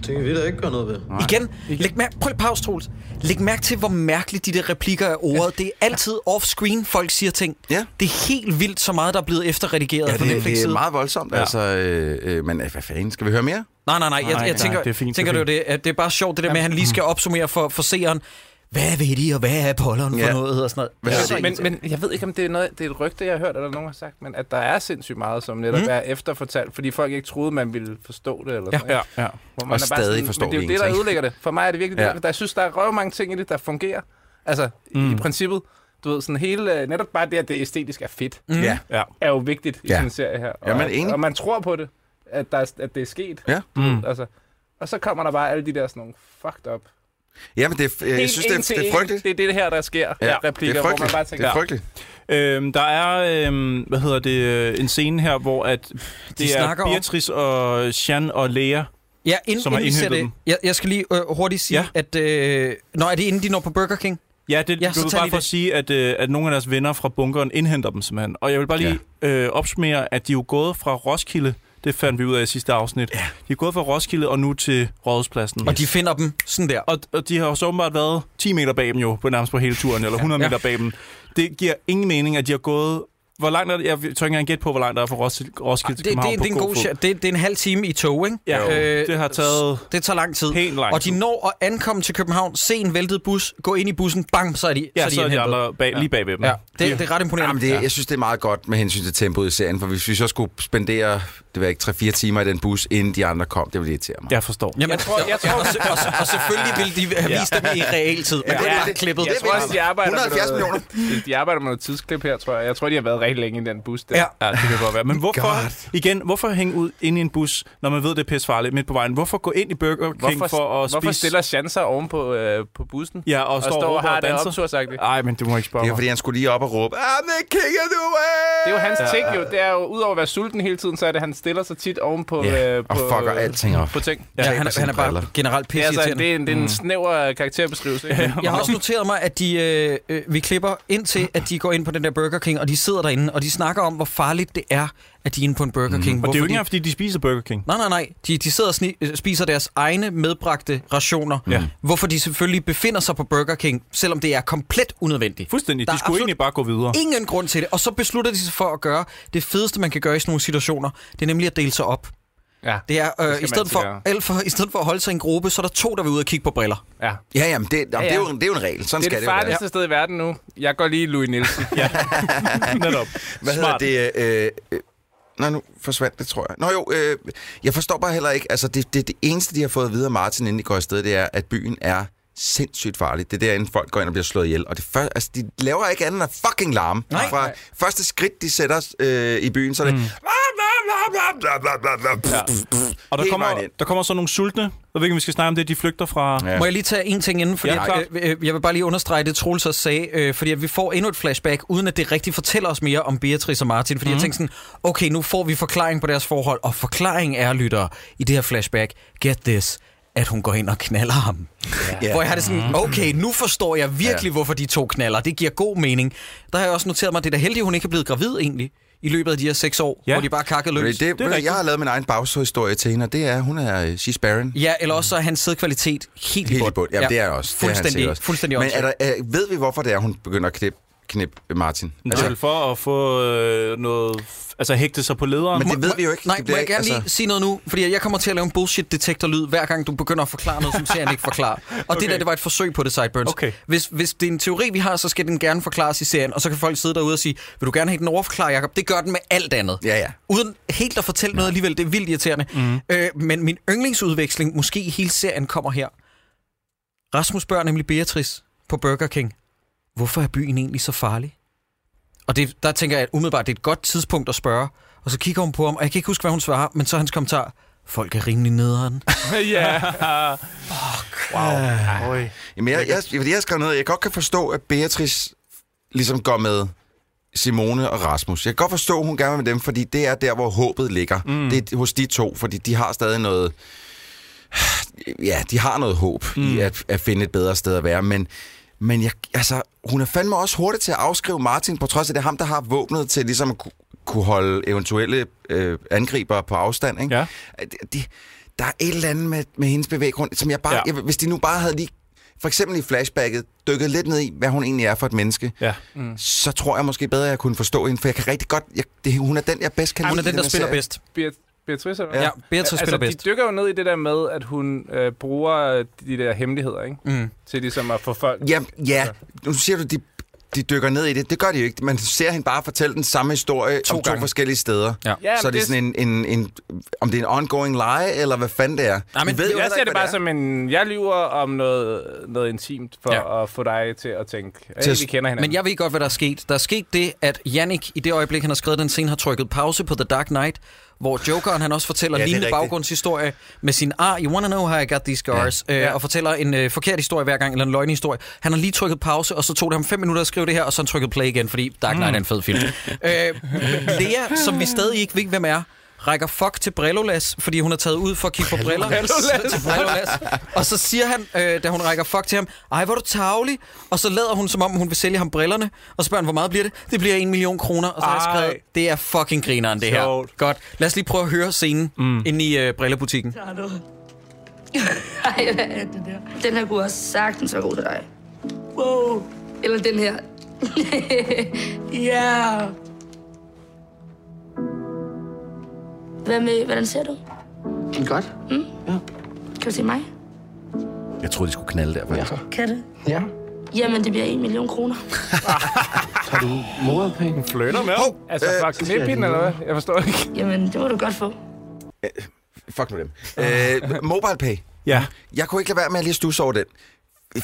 Det kan vi da ikke gøre noget ved.
Igen. Læg mær- Prøv lige pause, Troels. Læg mærke til, hvor mærkeligt de der replikker er ordet. Det er altid off-screen, folk siger ting.
Ja.
Det er helt vildt så meget, der er blevet efterredigeret
Ja,
på
det,
Netflix
det er
side.
meget voldsomt, ja. altså. Øh, øh, men øh, hvad fanden, skal vi høre mere?
Nej, nej, nej. Jeg,
Nej,
jeg
nej,
tænker,
det er fint,
tænker
det
det,
er
er det, at det er bare sjovt, det der med, at han lige skal opsummere for, for seeren. Hvad ved de, og hvad er Apollon for
Ja.
noget, og sådan noget.
Hvad ja.
Men, men jeg ved ikke, om det er, noget, det er et rygte, jeg har hørt, eller nogen har sagt, men at der er sindssygt meget, som netop mm. er efterfortalt, fordi folk ikke troede, man ville forstå det. Eller
Ja.
sådan, ikke?
ja.
Hvor man
Og
er bare
stadig
sådan,
forstår
men det er
vi
jo det, der
ingenting.
ødelægger det. For mig er det virkelig
Ja.
ja. det. Der, jeg synes, der er røv mange ting i det, der fungerer. Altså, mm. i princippet, du ved, sådan hele, øh, netop bare det, at det æstetisk er fedt, mm.
Ja.
ja.
er jo vigtigt i
Ja.
sådan en serie her. Og,
Jamen,
at-
enig.
og man tror på det, at, der, er- at det er sket.
Ja.
Mm. Altså, og så kommer der bare alle de der sådan nogle fucked up.
Jamen, det, er- øh, jeg
Helt
synes,
en
det, er-
til
det er
en.
frygteligt.
Det er det her, der sker. Ja, replikker,
det er
hvor man
frygteligt.
bare
det
tænker,
er frygteligt.
Øhm, der er, øhm, hvad hedder det, øh, en scene her, hvor at det er
snakker om-
Beatrice og Jean og Lea.
Ja, inden,
Som har
inden vi ser
indhentet
det, jeg, jeg skal lige øh, hurtigt sige, ja.
Ja.
at... Øh, nå, er det inden de når på Burger King?
Ja, det
Ja,
ja,
så
var
tager
bare
de
for
det.
at sige, at, øh, at nogle af deres venner fra bunkeren indhenter dem simpelthen. Og jeg vil bare lige ja. øh, opsummere, at de er jo gået fra Roskilde, det fandt vi ud af i sidste afsnit. Ja. De er gået fra Roskilde og nu til Rådhuspladsen.
Og de finder dem sådan der.
og, og de har jo så åbenbart været 10 meter bag dem jo, på nærmest på hele turen, eller 100
Ja.
meter bag dem. Det giver ingen mening, at de har gået... Hvor langt er det? Jeg tør ikke engang gætte på, hvor langt der er fra Roskilde, Roskilde
Ah, det,
til
det,
København
det,
på
det, er en god,
fod.
shot. det, det er en halv time i tog, ikke?
Ja, øh, det har taget
Det tager lang tid.
Helt lang
og de
tid.
når at ankomme til København, se en væltet bus, gå ind i bussen, bang, så er de,
Ja, så er de
indhentet.
andre bag, lige bag ved dem.
Ja, det, det er ret imponerende.
Jamen, det, jeg synes, det er meget godt med hensyn til tempoet i serien, for hvis vi så skulle spendere det var ikke 3-4 timer i den bus, inden de andre kom. Det ville irritere mig.
Jeg forstår.
Jamen, jeg
tror- jeg
(laughs)
tror-
og, se- og, se- og selvfølgelig ville de have vist dem i realtid, men det er bare klippet.
Jeg tror også, de arbejder
170
med
millioner.
noget, millioner. De arbejder med noget tidsklip her, tror jeg. Jeg tror, de har været rigtig længe i den bus der.
Ja, ja det kan godt være. Men hvorfor, igen, hvorfor hænge ud inde i en bus, når man ved, det er pissefarligt midt på vejen? Hvorfor gå ind i Burger King
Hvorfor,
for at
hvorfor
spise...
stiller chancer oven på, øh, på bussen?
Ja, og,
og
står,
står og
råber
har det
danser?
optursagtigt?
Nej, men det må jeg ikke spørge
Det er
mig.
fordi, han skulle lige op og råbe, I'm the king of the world!
Det er jo hans ja, ting, jo. Det er jo, udover at være sulten hele tiden, så er det, han stiller sig tit oven på...
Ja,
øh,
og
på,
fucker alting op.
På ting.
Ja, han,
taber
han
sine
er bare
briller.
generelt
Det er, altså, det
pisseirriterende.
er en, det
Mm.
er en snæver karakterbeskrivelse.
(laughs)
Ikke?
Jeg har også noteret mig, at de, øh, øh, vi klipper ind til, at de går ind på den der Burger King, og de sidder derinde, og de snakker om, hvor farligt det er, at de er inde på en Burger King.
Mhm. Og det er jo ikke
de...
engang, fordi de spiser Burger King.
Nej, nej, nej. De, de sidder og sni, øh, spiser deres egne medbragte rationer.
Ja.
Hvorfor de selvfølgelig befinder sig på Burger King, selvom det er komplet unødvendigt.
Fuldstændig.
Der
De
er
skulle
absolut
egentlig bare gå videre.
Ingen grund til det. Og så beslutter de sig for at gøre det fedeste, man kan gøre i sådan nogle situationer. Det er nemlig at dele sig op.
Ja.
Det er, øh,
skal
i, stedet
man
for,
gøre.
alt for, i stedet for at holde sig i en gruppe, så er der to, der vil ud og kigge på briller.
ja.
Ja, jamen, det, jamen, ja, ja. det, er jo, det er jo en regel. Sådan
Det er
skal
det
det jo være.
farligste sted i verden nu. Jeg går lige Louis Nielsen.
(laughs) Netop.
Hvad
Smart.
hedder det? Øh, øh, nej, nu forsvandt det, tror jeg. Nå jo, øh, jeg forstår bare heller ikke. Altså, det, det, det eneste, de har fået at vide af Martin, inden de går afsted, det er, at byen er sindssygt farlig. Det er derinde, folk går ind og bliver slået ihjel. Og det før, altså, de laver ikke andet end fucking larm.
Nej.
Fra første skridt, de sætter øh, i byen, så
Mm.
er det...
Og der
Helt
kommer,
vejen ind.
der kommer så nogle sultne. Jeg ved ikke, om vi skal snakke om det. De flygter fra...
Ja.
Må jeg lige tage en ting inden? Fordi
Ja,
ja,
klart.
øh, øh, jeg vil bare lige understrege det, Troels også sagde, øh, fordi at vi får endnu et flashback, uden at det rigtig fortæller os mere om Beatrice og Martin.
Mhm.
Fordi mm. jeg tænkte sådan, okay, nu får vi forklaring på deres forhold, og forklaring er, lyttere, i det her flashback, get this, at hun går ind og knaller ham. Yeah. Hvor jeg har det
Mhm.
sådan, okay, nu forstår jeg virkelig, hvorfor de to knaller. Det giver god mening. Der har jeg også noteret mig, at det er da heldigt, hun ikke er blevet gravid egentlig, i løbet af de her seks år,
Ja.
hvor de bare kakkede
Det,
løs.
det, det, det,
rigtigt.
jeg har lavet min egen baghistorie til hende, og det er, hun er øh, She's Baron.
Ja, eller også så er hans sædkvalitet helt,
Helt i bund. Jamen, ja. det er jeg også. Det er han
Fuldstændig,
sikkert
også. fuldstændig
Men er
åndssvagt.
der, er, ved vi, hvorfor det er, hun begynder at knippe knip Martin?
Altså, det er for at få øh, noget... Altså, hægte sig på lederen.
Men det ved vi jo ikke.
Nej,
Det
må
bliver
jeg gerne
ikke-
lige
altså-
sige noget nu? Fordi jeg kommer til at lave en bullshit-detektor-lyd, hver gang du begynder at forklare noget, som serien ikke
(laughs)
forklarer. Og okay. det der, det var et forsøg på det, Sideburns.
Okay.
Hvis, hvis det er en teori, vi har, så skal den gerne forklares i serien, og så kan folk sidde derude og sige, vil du gerne have den overforklaret, Jacob? Det gør den med alt andet.
Ja, ja.
Uden helt at fortælle noget alligevel, det er vildt irriterende.
Mhm.
Mm. Øh, men min yndlingsudveksling, måske i hele serien, kommer her. Rasmus spørger nemlig Beatrice på Burger King, hvorfor er byen egentlig så farlig? Og det, der tænker jeg, at umiddelbart det er et godt tidspunkt at spørge. Og så kigger hun på ham, og jeg kan ikke huske, hvad hun svarer, men så er hans kommentar, folk er rimelig
(laughs)
nederen.
ja. Wow. Oj.
Jamen, jeg, jeg, jeg, jeg skrev noget, jeg godt kan forstå, at Beatrice ligesom går med Simone og Rasmus. Jeg kan godt forstå, at hun gerne vil med dem, fordi det er der, hvor håbet ligger. Mm. Det er hos de to, fordi de har stadig noget... Ja, de har noget håb mm. i at, at finde et bedre sted at være, men, men jeg, altså, hun er fandme også hurtig til at afskrive Martin, på trods af, det er ham, der har våbnet til ligesom at ku- kunne holde eventuelle øh, angriber på afstand. Ikke?
Ja.
At De, der er et eller andet med, med hendes bevæggrund, som jeg bare...
Ja.
Ja. Jeg, hvis de nu bare havde lige for eksempel i flashbacket, dykket lidt ned i, hvad hun egentlig er for et menneske,
(laughs) Ja.
så tror jeg måske bedre, at jeg kunne forstå hende, for jeg kan rigtig godt... Jeg, det, hun er den, jeg bedst kan
Hun er
lide i
den, der
her
spiller
serie.
bedst.
Beat- Beatrice, eller hvad?
Ja, ja Beatrice altså, spiller bedst.
de dykker jo ned i det der med, at hun øh, bruger øh, de der hemmeligheder, ikke?
Mm.
Til ligesom at få folk...
Ja, ja.
Altså.
Nu siger du, de, de dykker ned i det. Det gør de jo ikke. Man ser hende bare fortælle den samme
To
historie to om
gange.
to forskellige steder.
Ja.
Ja,
så er det,
det-
sådan en, en, en... Om det er en ongoing lie, eller hvad fanden det er.
Nej, men
Vi ved jo
Jeg
heller
ser
ikke,
det
hvad
bare som en... Jeg lyver om noget, noget intimt for
Ja.
ja. at få dig til at tænke,
Til
hey,
at-
vi kender hinanden.
Men jeg ved godt, hvad der er sket. Der er sket det, at Jannik i det øjeblik, han har skrevet den scene, har trykket pause på The Dark Knight, hvor Jokeren han også fortæller
Ja,
ja,
det er
lignende
rigtigt.
baggrundshistorie med sin ah, you wanna know how I got these scars, ja. Øh, ja. og fortæller en øh, forkert historie hver gang, eller en løgnhistorie. Han har lige trykket pause, og så tog det ham fem minutter at skrive det her, og så har han trykket play igen, fordi Dark Knight er en fed film. øh, Lea, som vi stadig ikke ved, hvem er, rækker fuck til Brillolas, fordi hun er taget ud for at kigge på briller. Til Brillolas. Og så siger han, øh, da hun rækker fuck til ham, ej, hvor er du tavlig. Og så lader hun, som om hun vil sælge ham brillerne. Og så spørger han, hvor meget bliver det? Det bliver en million kroner. Og så har jeg
Ej.
skrevet, det er fucking grineren, det her.
Sjovt.
Godt. Lad os lige prøve at høre scenen mm. inde i øh, brillebutikken.
Har du? Ej, hvad er det der? Den her kunne også sagtens være god til dig. Wow. Eller den her. (laughs) Ja. yeah. Hvad med, hvordan ser du? Mm?
Godt.
Kan du se mig?
det er. Jeg troede, de skulle knalde derfor.
Kan det?
Ja.
Jamen, det bliver en million kroner.
Har du moderpenge?
Fløner med?
Hov,
Altså,
øh,
fuck, øh, eller hvad? Jeg forstår ikke.
Jamen, det må du godt få.
Fuck nu dem. Øh, MobilePay.
Ja.
Jeg kunne ikke lade være med at lige stusse over den.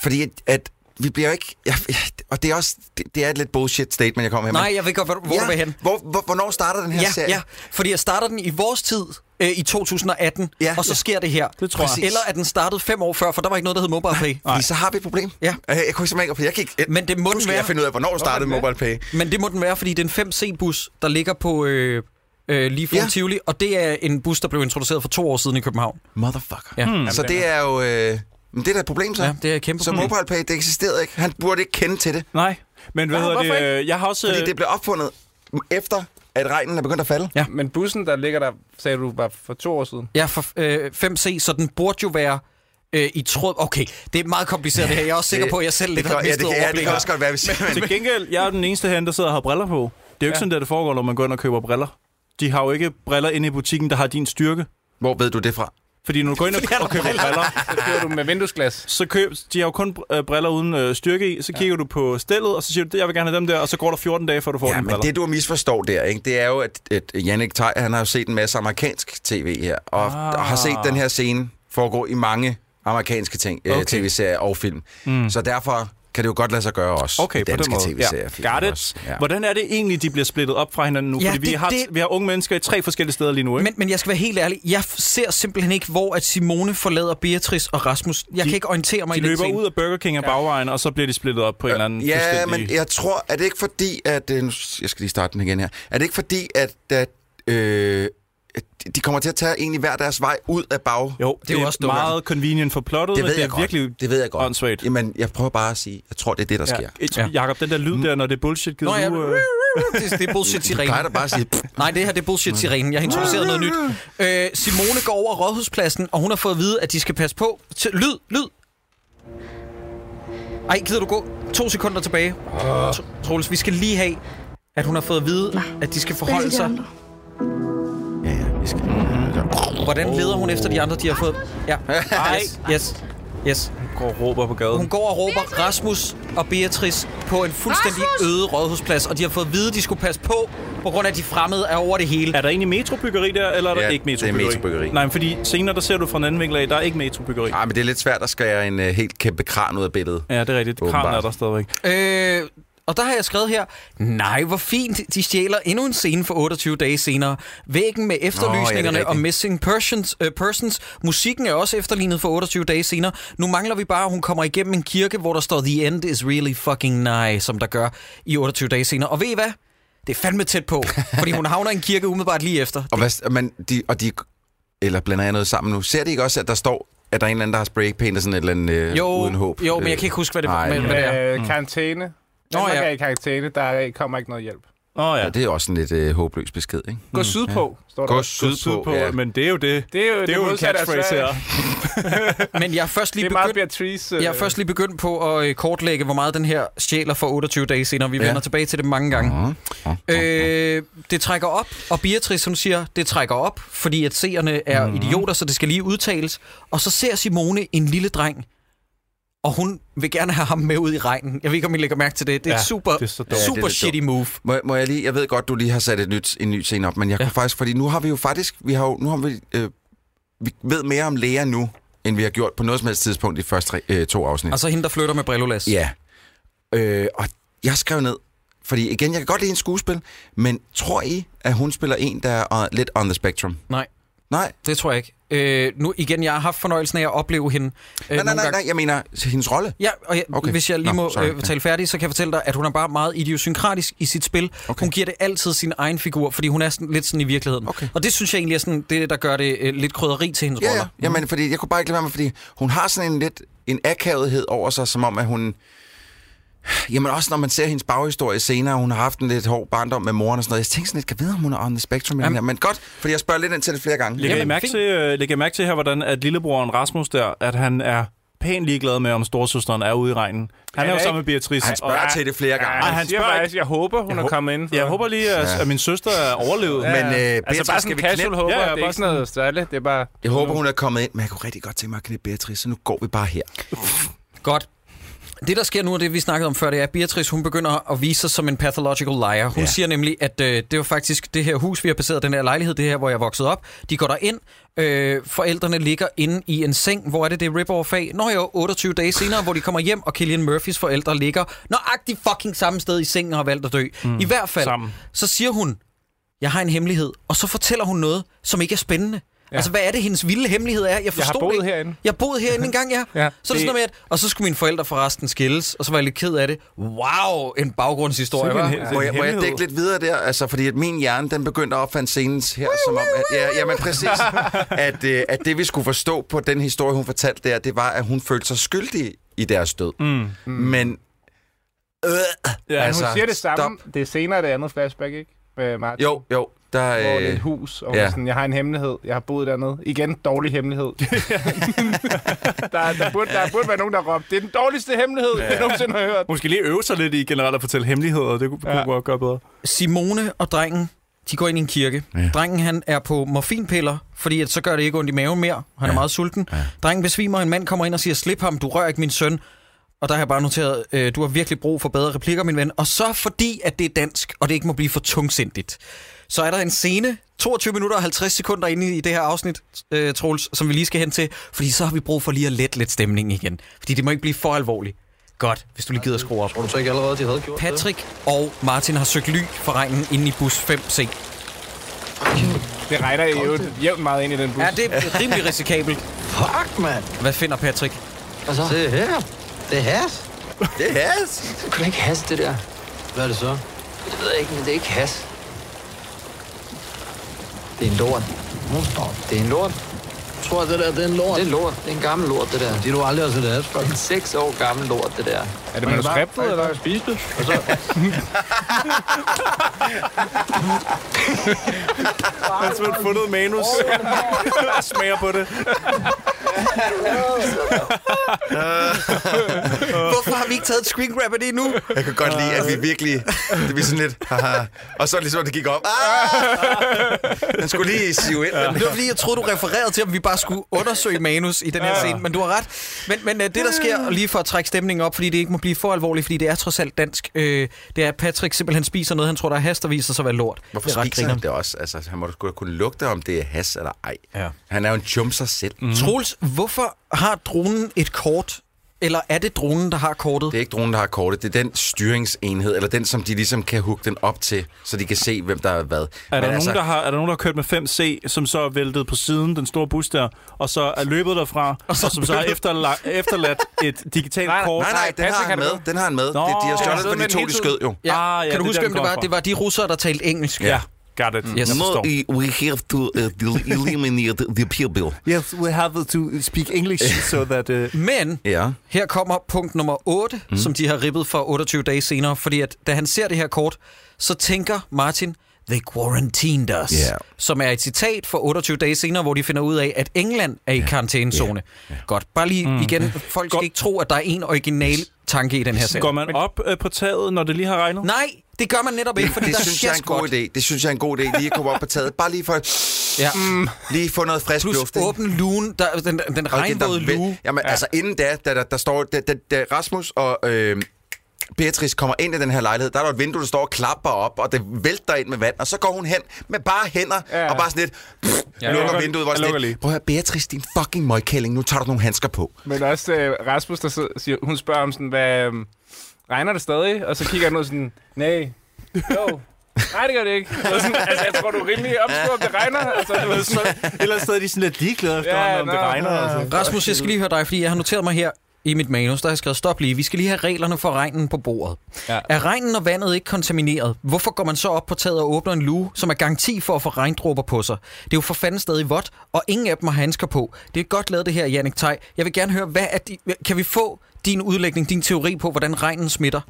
Fordi at, at vi bliver jo ikke... Jeg, jeg, og det er også... Det, det er et lidt bullshit statement, jeg kommer her med.
Nej, jeg ved godt, hvor, hvor
ja,
du vil hen.
Hvor, hvor, hvornår starter den her
Ja,
serie?
ja, fordi jeg starter den i vores tid øh, i 2018,
Ja.
ja, og så
Ja.
sker det her.
Det tror jeg.
Eller at den startede fem år før, for der var ikke noget, der hed MobilePay.
Fordi så har vi et problem.
Ja.
Øh, Jeg kunne simpelthen ikke... for Jeg kan ikke
Men det må
nu
den
skal jeg
være.
finde ud af, hvornår startede MobilePay.
Men det må den være, fordi det er en 5C-bus, der ligger på øh, øh, lige foran
Ja.
ja. Tivoli, og det er en bus, der blev introduceret for to år siden i København.
Motherfucker.
Ja.
Så det er jo... Øh, men det er da et problem, så.
Ja, det er et kæmpe
Så
problem.
MobilePay, det eksisterede ikke. Han burde ikke kende til det.
Nej. Men hvad
Nå,
hedder
hvorfor
det? øh, Jeg har også...
Fordi
øh,
det blev opfundet efter, at regnen er begyndt at falde.
Men bussen, der ligger der, sagde du, var for to år siden.
Ja, for, øh, 5C, så den burde jo være øh, i tråd... Okay, det er meget kompliceret det her. Jeg er også sikker på, at jeg selv
det
lidt
kan,
har
ja,
mistet
det, kan, ja, det kan
overblikket.
også godt være, hvis man...
Til gengæld, jeg er den eneste herinde, der sidder og har briller på. Det er jo ikke ja. sådan, der det foregår, når man går ind og køber briller. De har jo ikke briller inde i butikken, der har din styrke.
Hvor ved du det fra?
Fordi når du går ind og, og køber briller,
Så kører du med (laughs) vinduesglas.
så køb, de har jo kun br- øh, briller uden øh, styrke i. Så kigger du på stillet, og så siger du, "Det- jeg vil gerne have dem der, og så går der 14 dage, før du får
Ja,
dine
men
briller.
det, du misforstår der, ikke, det er jo, at, at Jannik Tej, han har jo set en masse amerikansk tv her, og, ah. og har set den her scene foregå i mange amerikanske ting, okay.
Okay.
tv-serier og film. Mm. Så derfor kan det jo godt lade sig gøre også
Okay,
i
på den
danske
måde.
tv-serier. og film
Got
også.
it. Ja. Hvordan er det egentlig, de bliver splittet op fra hinanden nu?
Ja,
Fordi vi,
det-
har,
det-
vi har unge mennesker i tre forskellige steder lige nu, ikke?
Men, men jeg skal være helt ærlig, jeg f- ser simpelthen ikke, hvor at Simone forlader Beatrice og Rasmus. Jeg de, kan ikke orientere mig
de
i den
løber
scene.
ud af Burger King af bagvejen, og så bliver de splittet op på en eller anden
Ja,
fuldstændig-
men jeg tror, er det ikke fordi, at... øh, nu s- Jeg skal lige starte den igen her. Er det ikke fordi, at, at øh, at de kommer til at tage egentlig hver deres vej ud af bag...
Jo, det,
jo
det er
også
også
dumt.
meget convenient for plottet,
Det
men
ved
det
jeg
er
godt.
virkelig
det ved jeg godt.
åndssvagt.
Jamen, jeg prøver bare at sige, jeg tror, det er det, der sker.
Ja. Jakob, den der lyd der, når det er bullshit, gider
Nå, ja,
du... Øh...
det, det er bullshit
Du plejer
sirene.
da bare at sige... "Pff,
Nej, det her det er bullshit sirenen. Jeg har introduceret noget nyt. Øh, Simone går over rådhuspladsen, og hun har fået at vide, at de skal passe på. Til, lyd, lyd. Ej, gider du gå? To sekunder tilbage. Tro- Troels, vi skal lige have, at hun har fået at vide, at de skal
Hvad
forholde
er de
sig.
andre?
Ja, ja, vi skal...
Hvordan leder hun efter de andre, de har fået? Ja. Yes. Yes. yes.
går og råber på
Hun
gaden.
går og råber Rasmus og Beatrice på en fuldstændig øde rådhusplads, og de har fået at vide, at de skulle passe på, på grund af, at de fremmede er over det hele.
Er der egentlig metrobyggeri der, eller er der
Ja,
ikke
det er
metrobyggeri?
metrobyggeri. Ah,
Nej, men fordi senere der ser du fra en anden vinkel af, der er ikke metrobyggeri.
Ej, men det er lidt svært at skære en uh, helt kæmpe kran ud af billedet.
Ja, det er rigtigt. Kran
Åbenbart.
er der stadigvæk.
Øh, og der har jeg skrevet her, nej, hvor fint, de stjæler endnu en scene for 28 dage senere. Væggen med efterlysningerne
Nå, ja, det er
oh,
rigtigt.
og Missing persons, øh, persons. Musikken er også efterlignet for 28 dage senere. Nu mangler vi bare, at hun kommer igennem en kirke, hvor der står The end is really fucking nice, som der gør i 28 dage senere. Og ved I hvad? Det er fandme tæt
(laughs)
på, fordi hun havner i en kirke umiddelbart lige efter.
Og, hvad, men de, og de... Eller blander jeg noget sammen nu? Ser de ikke også, at der står, at der er en eller anden, der har spraypaintet sådan et eller andet øh,
Jo,
uden håb?
jo, men jeg
Øh,
kan ikke huske, hvad det
nej,
var. Men,
ja.
hvad det er.
Øh, karantæne.
Nå,
Danmark
ja.
er i karantæne, der er- kommer ikke noget hjælp. Mm.
Åh oh, ja.
Ja, det er også en lidt øh, håbløs besked, ikke?
Gå sydpå, står der.
Gå
Gå
sydpå,
sydpå,
ja.
men det er jo det.
Det er jo,
Det er jo en
modsatte af
catchphrase her.
Sverige.
men jeg er først
Det
lige
er meget
begyndt...
Beatrice.
Øh.
øh,
Jeg er først lige begyndt på at øh, kortlægge, hvor meget den her stjæler for 28 dage senere. Vi
Ja.
ja. vender tilbage til det mange gange.
Uh-huh.
Øh, det trækker op, og Beatrice, som siger, det trækker op, fordi at seerne er
Mm-hmm.
idioter, så det skal lige udtales. Og så ser Simone en lille dreng, og hun vil gerne have ham med ud i regnen. Jeg ved ikke, om I lægger mærke til det. Det er
Ja,
ja, et super,
det er
det
så
super
dumt.
Ja, det er lidt
shitty move.
Må, må jeg lige, jeg ved godt, du lige har sat et nyt, en ny scene op, men jeg ja. kunne faktisk, fordi nu har vi jo faktisk, vi har jo, nu har vi, øh, vi ved mere om læger nu, end vi har gjort på noget som helst tidspunkt i de første tre- øh, to afsnit.
Altså hende, der flytter med Brillolas.
Ja. Øh, og jeg skrev ned, fordi igen, jeg kan godt lide en skuespil, men tror I, at hun spiller en, der er øh, lidt on the spectrum?
Nej,
Nej,
det tror jeg ikke. Øh, nu igen, jeg har haft fornøjelsen af at opleve hende. Øh,
nej, nej,
nogle
nej,
gange.
nej jeg mener hendes rolle.
Ja, og jeg,
Okay.
okay. hvis jeg lige
Nå,
Nå, må
sorry.
øh, tale færdig, så kan jeg fortælle dig, at hun er bare meget idiosynkratisk i sit spil.
Okay.
Okay. Hun giver det altid sin egen figur, fordi hun er sådan, lidt sådan i virkeligheden.
Okay.
Og det synes jeg egentlig er sådan, det, der gør det øh, lidt krydderi til hendes
Ja,
roller.
ja. Jamen, fordi jeg kunne bare ikke lade være med, fordi hun har sådan en lidt en akavethed over sig, som om, at hun... Jamen også når man ser hendes baghistorie senere, hun har haft en lidt hård barndom med moren og sådan noget. Jeg tænkte sådan lidt, kan jeg vide, om hun er on the spectrum? Jamen. Her? Men godt, fordi jeg spørger lidt ind til det flere gange.
Lægger, I
Jamen,
mærke
fint.
til, øh, lægger I mærke til her, hvordan at lillebroren Rasmus der, at han er pænt ligeglad med, om storsøsteren er ude i regnen. Han er jo
er
sammen med Beatrice.
Han spørger
og-
til det flere gange.
Ej,
han
han siger
spørger ikke.
faktisk, jeg håber, hun er
hå-
kommet ind.
Ja, Jeg håber lige, at, at min søster er overlevet.
Men øh, Beatrice,
Altså bare
skal
sådan
vi
casual
knæppe?
håber,
Ja, ja,
det er
bare
ikke sådan noget særligt. Det er bare...
Jeg håber, hun er kommet ind, men jeg kunne rigtig godt tænke mig at knippe Beatrice, så nu går vi bare her.
Godt. Det, der sker nu, og det vi snakkede om før, det er, at Beatrice hun begynder at vise sig som en pathological liar. Hun ja.
Ja.
siger nemlig, at øh, det var faktisk det her hus, vi har baseret den her lejlighed, det her, hvor jeg voksede op. De går derind, øh, forældrene ligger inde i en seng. Hvor er det, det er rip-off af? Nå jo, 28 dage senere, hvor de kommer hjem, og Killian Murphys forældre ligger nøjagtigt fucking samme sted i sengen og har valgt at dø. Mm, I hvert fald, sammen.
sammen.
så siger hun, jeg har en hemmelighed, og så fortæller hun noget, som ikke er spændende. Ja. Altså, hvad er det, hendes vilde hemmelighed er? Jeg
Jeg har
forstår det
boet
ikke.
herinde.
Jeg boede (laughs) herinde engang, ja. ja.
Ja.
Så er det sådan noget med, at, og så skulle mine forældre forresten skilles, og så var jeg lidt ked af det. Wow, en baggrundshistorie,
Sikke en
hva'?
hel-
Må jeg, må jeg
hemmelighed.
dække lidt videre der? Altså, fordi at min hjerne, den begyndte at opfande scenen her, som om... At, ja, jamen præcis. At, øh, at det, vi skulle forstå på den historie, hun fortalte der, det var, at hun følte sig skyldig i deres død. Mm. Men... Øh, ja,
Altså-
Men hun siger det samme. Stop. Det er senere det andet flashback, ikke? Med Martin.
Jo, jo. Der,
Hvor det er
øh,
et hus, og hun
ja.
er sådan, jeg har en hemmelighed, jeg har boet dernede. Igen, dårlig
(laughs)
hemmelighed. der, der, burde, der burde være nogen, der råbte, det er den dårligste hemmelighed, jeg nogensinde har hørt.
Måske lige øve sig lidt i generelt at fortælle hemmeligheder. Det kunne, ja. kunne godt gøre bedre.
Simone og drengen, de går ind i en kirke. Ja. Drengen, han er på morfinpiller, fordi at så gør det ikke ondt i maven mere. Han ja. er meget sulten. Ja. Drengen besvimer, en mand kommer ind og siger, slip ham, du rører ikke min søn. Og der har jeg bare noteret, øh, du har virkelig brug for bedre replikker, min ven. Og så fordi, at det er dansk, og det ikke må blive for tungsindigt, så er der en scene, 22 minutter og 50 sekunder inde i det her afsnit, øh, Troels, som vi lige skal hen til, fordi så har vi brug for lige at lette lidt stemningen igen. Fordi det må ikke blive for alvorligt. Godt, hvis du lige gider at skrue op.
Tror du så ikke allerede, de havde gjort det?
Patrick og Martin har søgt ly for regnen inde i bus 5C.
Det regner i øvrigt jævnt meget ind i den bus.
Ja, det (laughs) er rimelig risikabelt.
Fuck, mand!
Hvad finder Patrick?
Hvad så?
Se her. Det er has.
det er has.
Du kan da ikke haste det der.
Hvad er det så?
Det ved jeg ikke, men det er ikke has. Det er en lort. Det er en lort.
Jeg tror, det der det er en lort.
Det
Det
er en lort. Det er en gammel lort, det der.
er du aldrig har set has, fuck.
Det er en seks år gammel lort, det der.
er det manuskriptet, eller?
spise det,
(laughs)
og så...
Jeg har simpelthen fundet manus. Jeg (laughs) smager på det.
Hvorfor har vi ikke taget et screen grab af det endnu?
Jeg kan godt lide, at vi virkelig... Det bliver sådan lidt... Haha. Og så ligesom, det gik op. Ah! Den skulle lige sive ind.
Det var fordi, jeg troede, du refererede til, om vi bare skulle undersøge manus i den her scene, men du har ret. Men, men øh, det, der sker, og lige for at trække stemningen op, fordi det ikke må blive for alvorligt, fordi det er trods alt dansk, øh, det er, at Patrick simpelthen spiser noget, han tror, der er hast, og viser sig at være lort.
Hvorfor
det er
spiser han det også? Altså, han må da sgu da kunne lugte, om det er has eller ej.
Ja.
Han er jo en chumser selv. Mm.
Troels, hvorfor har dronen et kort? Eller er det dronen, der har kortet?
Det er ikke dronen, der har kortet. Det er den styringsenhed, eller den, som de ligesom kan hugge den op til, så de kan se, hvem der er hvad. altså-
Er der, nogen, der har, er der nogen, der har kørt med 5C, som så er væltet på siden, den store bus der, og så er løbet derfra, (laughs) og,
så
så og som så har efterla- efterladt et digitalt
Nej, nej,
kort?
Nej, nej, den har
Patrick
han
har
med.
det
Den har han med. Det, de har
den
har
stjålet
siddet
for de
med den
to,
hele
de
tiden.
skød jo.
Ja,
Ah, ja,
kan du
det er
huske,
der,
hvem
den
det var?
kom fra.
Det var de russere, der talte engelsk.
Ja, got it.
Yes.
Yes.
Nå,
Forstår.
we have to (laughs) uh, eliminate the people.
Yes, we have to speak (laughs) English, so that... Uh...
Men
Ja.
her kommer punkt nummer 8, mm. som de har rippet for 28 dage senere, fordi at da han ser det her kort, så tænker Martin, they quarantined us,
Ja.
som er et citat for 28 dage senere, hvor de finder ud af, at England er i karantænezone. Godt, bare lige mm. igen, folk skal
Godt.
ikke tro, at der er en original tanke i den her serie.
Går man op øh, på taget, når det lige har regnet?
Nej, det gør man netop ikke, fordi
Det
der
synes jeg er en god
godt.
idé. Det synes jeg er en god idé. Lige at komme op på taget. Bare lige for
Ja.
Mm. lige få noget frisk
Plus
luft. ikke?
åben lugen, der, den, den
Og det, der
regnvåde
væl-
lue.
Jamen, ja. altså inden da, da, der, der står, da, da, da Rasmus og øh, Beatrice kommer ind i den her lejlighed, der er der et vindue, der står og klapper op, og det vælter ind med vand, og så går hun hen med bare hænder, ja.
Ja.
og bare sådan lidt, pff, ja, lukker
lukker-
vinduet, hvor
jeg
sådan
lukker
lidt,
lige.
prøv at høre, Beatrice, din fucking møgkælling, nu tager du nogle handsker på.
Men også øh, Rasmus, der sidder- siger, hun spørger om sådan, hvad... øhm, Regner det stadig? Og så kigger han ud sådan, nej, jo, nej, det gør det ikke. Og sådan, altså, jeg tror, du er rimelig opskudt, om det regner. Altså, du ved, så,
Et eller andet sted er de sådan lidt ligeglade efterhånden, om det
nå,
regner.
nå.
Altså.
Rasmus, jeg skal lige høre dig, fordi jeg har noteret mig her i mit manus, der har jeg skrevet, stop lige, vi skal lige have reglerne for regnen på bordet. Ja.
Ja.
Er regnen og vandet ikke kontamineret? Hvorfor går man så op på taget og åbner en luge, som er garanti for at få regndråber på sig? Det er jo for fanden stadig vådt, og ingen af dem har handsker på. Det er godt lavet det her, Jannik Tej. Jeg vil gerne høre, hvad er de, kan vi få din udlægning, din teori på, hvordan regnen smitter?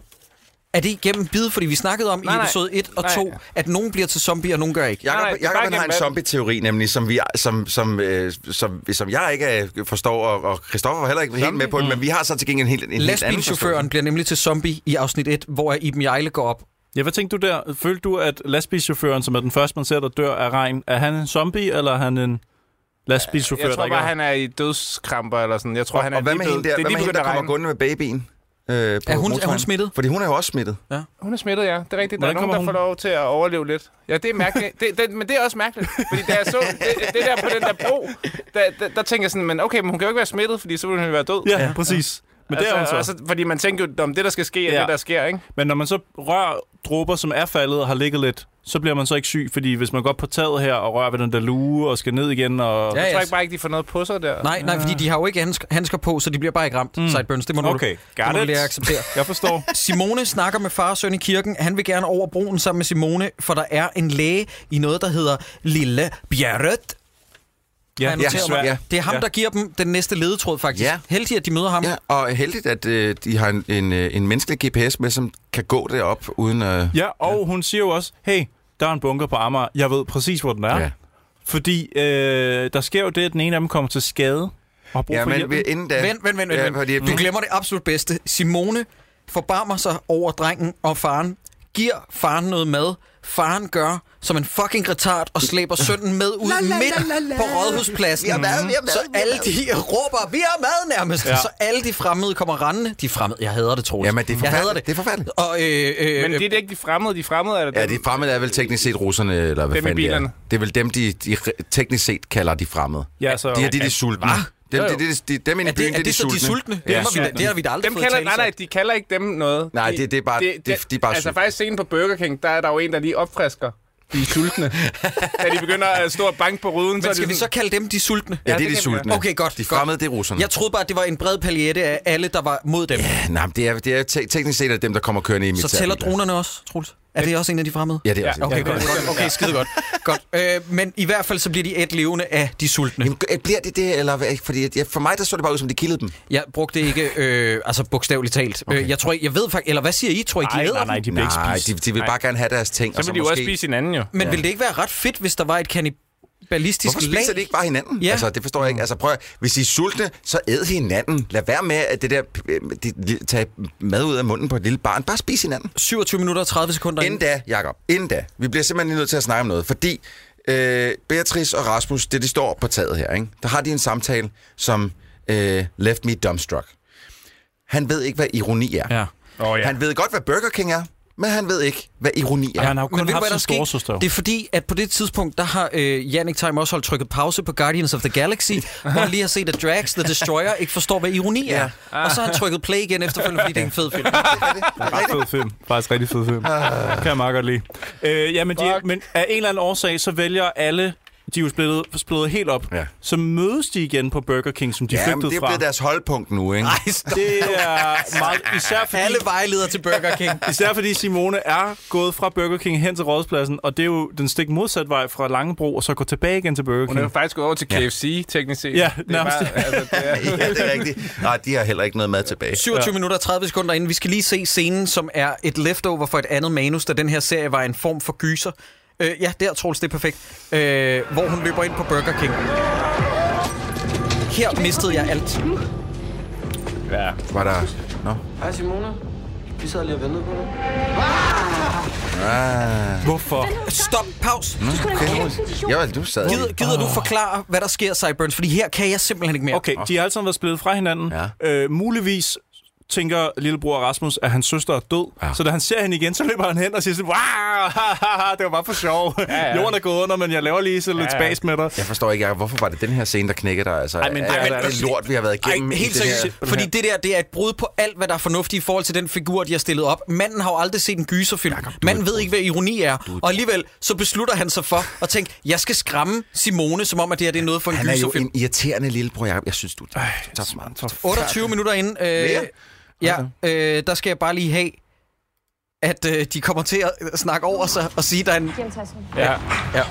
Er det igennem bid? Fordi vi snakkede om
Nej,
i
nej.
episode 1 og
Nej.
2, at nogen bliver til zombie, og nogen gør ikke.
Jakob,
Nej, nej,
nej,
det er bare
Jacob han har en
gennem vand.
zombie-teori nemlig, som, vi, som, som, øh, som, som jeg ikke øh, forstår, og, og Christoffer var heller ikke helt med på det, men vi har så til gengæld en helt, en helt anden
Lastbilchaufføren bliver nemlig til zombie i afsnit 1, hvor Iben Jejle går op
Ja, hvad tænkte du der? Følte du, at lastbilchaufføren, som er den første, man ser, der dør af regn, er han en zombie, eller er han en lastbilchauffør,
jeg tror
der ikke
bare,
er?
han er i dødskramper eller sådan. Jeg tror, han er
Og hvad
lige
med hende
blevet- det
der,
er
hvad
lige
med hende,
begyndt
der
at
kommer
regne.
gående med babyen? Øh, på
Er hun- er
motorvejen.
hun smittet?
Fordi hun er jo også smittet.
Hun er smittet, ja. Det er rigtigt. Der
Hvordan
er nogen,
kommer
der får
hun?
lov til at overleve lidt. Ja, det er mærkeligt. Det, det, men det er også mærkeligt. Fordi da jeg så det, det der på den der bro, der, der, der tænker jeg sådan, men okay, men hun kan jo ikke være smittet, fordi så ville hun jo være død.
Ja, ja, præcis. Men det er hun så.
Altså, fordi man tænker jo, om det, der skal ske, er
Ja.
det, der sker, ikke?
Men når man så rører dråber, som er faldet og har ligget lidt, så bliver man så ikke syg, fordi hvis man går op på taget her og rører ved den der luge og skal ned igen,
Jeg
og
Ja,
tror
ja.
ikke bare ikke, de får noget på sig der.
Nej, nej, fordi de har jo ikke handsk- handsker på, så de bliver bare ikke ramt. Mm. Sideburns, det må du,
Okay,
det
got
må du
it.
lige acceptere.
jeg forstår.
Simone snakker med far og søn i kirken. Han vil gerne over broen sammen med Simone, for der er en læge i noget, der hedder Lille Bjerret. Har jeg
ja,
noteret
ja,
mig?
ja.
Det er ham,
Ja.
der giver dem den næste ledetråd, faktisk.
Ja.
Heldig, at de møder ham.
Ja, og heldigt, at øh, de har en, en, øh, en menneskelig GPS med, som kan gå derop uden... Øh,
ja, og hun siger jo også, hey, der er en bunker på Amager, jeg ved præcis, hvor den er. Ja. Fordi øh, der sker jo det, at den ene af dem kommer til skade og har brug
ja
for
men
hjælp.
vi- inden da...
Vent, vent, vent. vent.
Ja,
vent.
fordi-
Du glemmer det absolut bedste. Simone forbarmer sig over drengen og faren, giver faren noget mad, faren gør som en fucking retard og slæber sønnen med ud midt på rådhuspladsen. Så alle de råber, vi har mad nærmest. Ja. Så alle de fremmede kommer rendende. De fremmede, jeg hader det, Troels.
Jamen, det er
jeg hader
forfærdeligt.
det.
Det er forfærdeligt.
Og, øh, øh,
Men det er da ikke de fremmede. De fremmede er det
Ja,
dem.
de fremmede er vel teknisk set russerne, eller hvad
Dem i
fanden det er.
bilerne.
Det er vel dem, de, de re- teknisk set kalder de fremmede.
Ja, så-
de her, de, de er sultne. Dem, de, de, de, dem inde
er
i byen,
det, er
det,
det så de sultne? Det,
Ja.
har vi, da- det har vi da aldrig
Dem
fået
kalder,
talt
nej, nej, de kalder ikke dem noget.
Nej, det- det er bare- det- de er bare
Altså
sultne.
faktisk scenen på Burger King, der er der jo en, der lige opfrisker. De er
(laughs)
sultne. da de begynder at stå og banke på ruden, så
Men
er de
skal vi så
sådan,
kalde dem de sultne?
Ja, det
det
er
kan
de
vi
sultne.
gøre. Okay, godt,
De
godt.
fremmede, det er russerne.
Jeg troede bare, at det var en bred paljette af alle, der var mod dem.
Ja, nej, men det er, det er te- teknisk set er det dem, der kommer kørende i mit
Så tæller dronerne også, Troels? Er det også en af de fremmede?
Ja, det er også
Okay,
okay.
godt, godt. okay skide godt. godt. Øh, men i hvert fald så bliver de et levende af de sultne.
Jamen, g- bliver det det, eller hvad? Fordi at- ja, for mig, der så det bare ud, som de killede dem.
Jeg brugte ikke, øh, altså bogstaveligt talt. Okay. Øh, jeg tror, ikke- jeg ved faktisk, eller hvad siger I? Tror I, de
Nej,
æder
nej, nej,
dem?
de bliver ikke
Nej,
spist.
de, de vil bare gerne have deres ting. og
så vil de jo også
måske-
spise hinanden jo.
Men ville det ikke være ret fedt, hvis der var et kannibalistisk
Hvorfor spiser de ikke bare hinanden?
Ja.
Ja. Altså, det forstår jeg ikke. Altså, prøv at, hvis I er sultne, så æd hinanden. Lad være med, at det der, øh, de, de, tage mad ud af munden på et lille barn. Bare spis hinanden.
27 minutter og 30 sekunder
Inden da, Jacob, inden da. Vi bliver simpelthen lige nødt til at snakke om noget, fordi øh, Beatrice og Rasmus, det de står på taget her, ikke? der har de en samtale, som øh, left me dumbstruck. Han ved ikke, hvad ironi er.
Ja.
Åh, ja.
Han ved godt, hvad Burger King er, men han ved ikke, hvad ironi er.
Ja, han har jo kun
ved du,
haft
hvad der
sin
skete?
store søster.
Det er fordi, at på det tidspunkt, der har øh, Yannick Time også holdt trykket pause på Guardians of the
(laughs)
Galaxy, hvor han lige har set, at Drax the Destroyer ikke forstår, hvad ironi er. Og så har han trykket play igen efterfølgende, fordi det er en fed film.
Ret fed film. Faktisk rigtig fed film. kan jeg meget godt lide. Øh, ja, men, de, men af en eller anden årsag, så vælger alle... De er jo splittet, splittet helt op.
Ja.
Så mødes de igen på Burger King, som de
Ja, men
flygtede
det er
fra.
blevet deres holdpunkt nu, ikke?
Ej, stop.
Det er meget... Især fordi,
Alle vejleder til Burger
(laughs)
King.
især fordi Simone er gået fra Burger King hen til Rådspladsen, og det er jo den stik modsatte vej fra Langebro, og så går tilbage igen til Burger
Hun er jo
King.
faktisk gået over til KFC, teknisk set.
Ja,
det er
nærmest.
bare, altså, det er,
(laughs) Ja, det er rigtigt. Nej, de har heller ikke noget mad tilbage.
27 ja. minutter og 30 sekunder inden. Vi skal lige se scenen, som er et leftover for et andet manus, da den her serie var en form for gyser. Øh, ja, der, Troels, det er perfekt. Øh, hvor hun løber ind på Burger King. Her mistede jeg alt.
Var der... Nå.
Hej Simone. Vi sad lige og ventede på dig.
Hvorfor?
Stop, paus.
Okay. Ja, vel, du sad.
Gider, gider du forklare, hvad der sker, Cyburns? Fordi her kan jeg simpelthen ikke mere.
Ah. Okay, de har alle sammen været splittet fra hinanden.
Ja.
Øh, muligvis tænker lillebror Rasmus, at hans søster er død. Ja. Så da han ser hende igen, så løber han hen og siger sådan, "Wow, ha, ha, ha, det var bare for sjov. Ja, ja.
ja.
Jorden er gået under, men jeg laver lige så lidt ja, ja. spas med dig.
Jeg forstår ikke, Jacob, hvorfor var det den her scene, der knækkede dig? Altså, Ej,
men
men,
det
det,
er-
er, det lort, vi har været igennem.
Ej,
i
helt
det her-
seriøst. Fordi det der, det er et brud på alt, hvad der er fornuftigt i forhold til den figur, de har stillet op. Manden har jo aldrig set en gyserfilm. Manden ved ikke, hvad ironi er. Og alligevel, så beslutter han sig for at tænke, jeg skal skræmme Simone, som om, at det her det er noget for en
Han er jo
gyserfilm.
en irriterende lillebror, Jacob. Jeg synes, du er så smart.
28 minutter inden. Øh,
Mere?
ja, øh, der skal jeg bare lige have, at øh, de kommer til at snakke over sig og sige, der er en...
Giv ham tasken.
ja.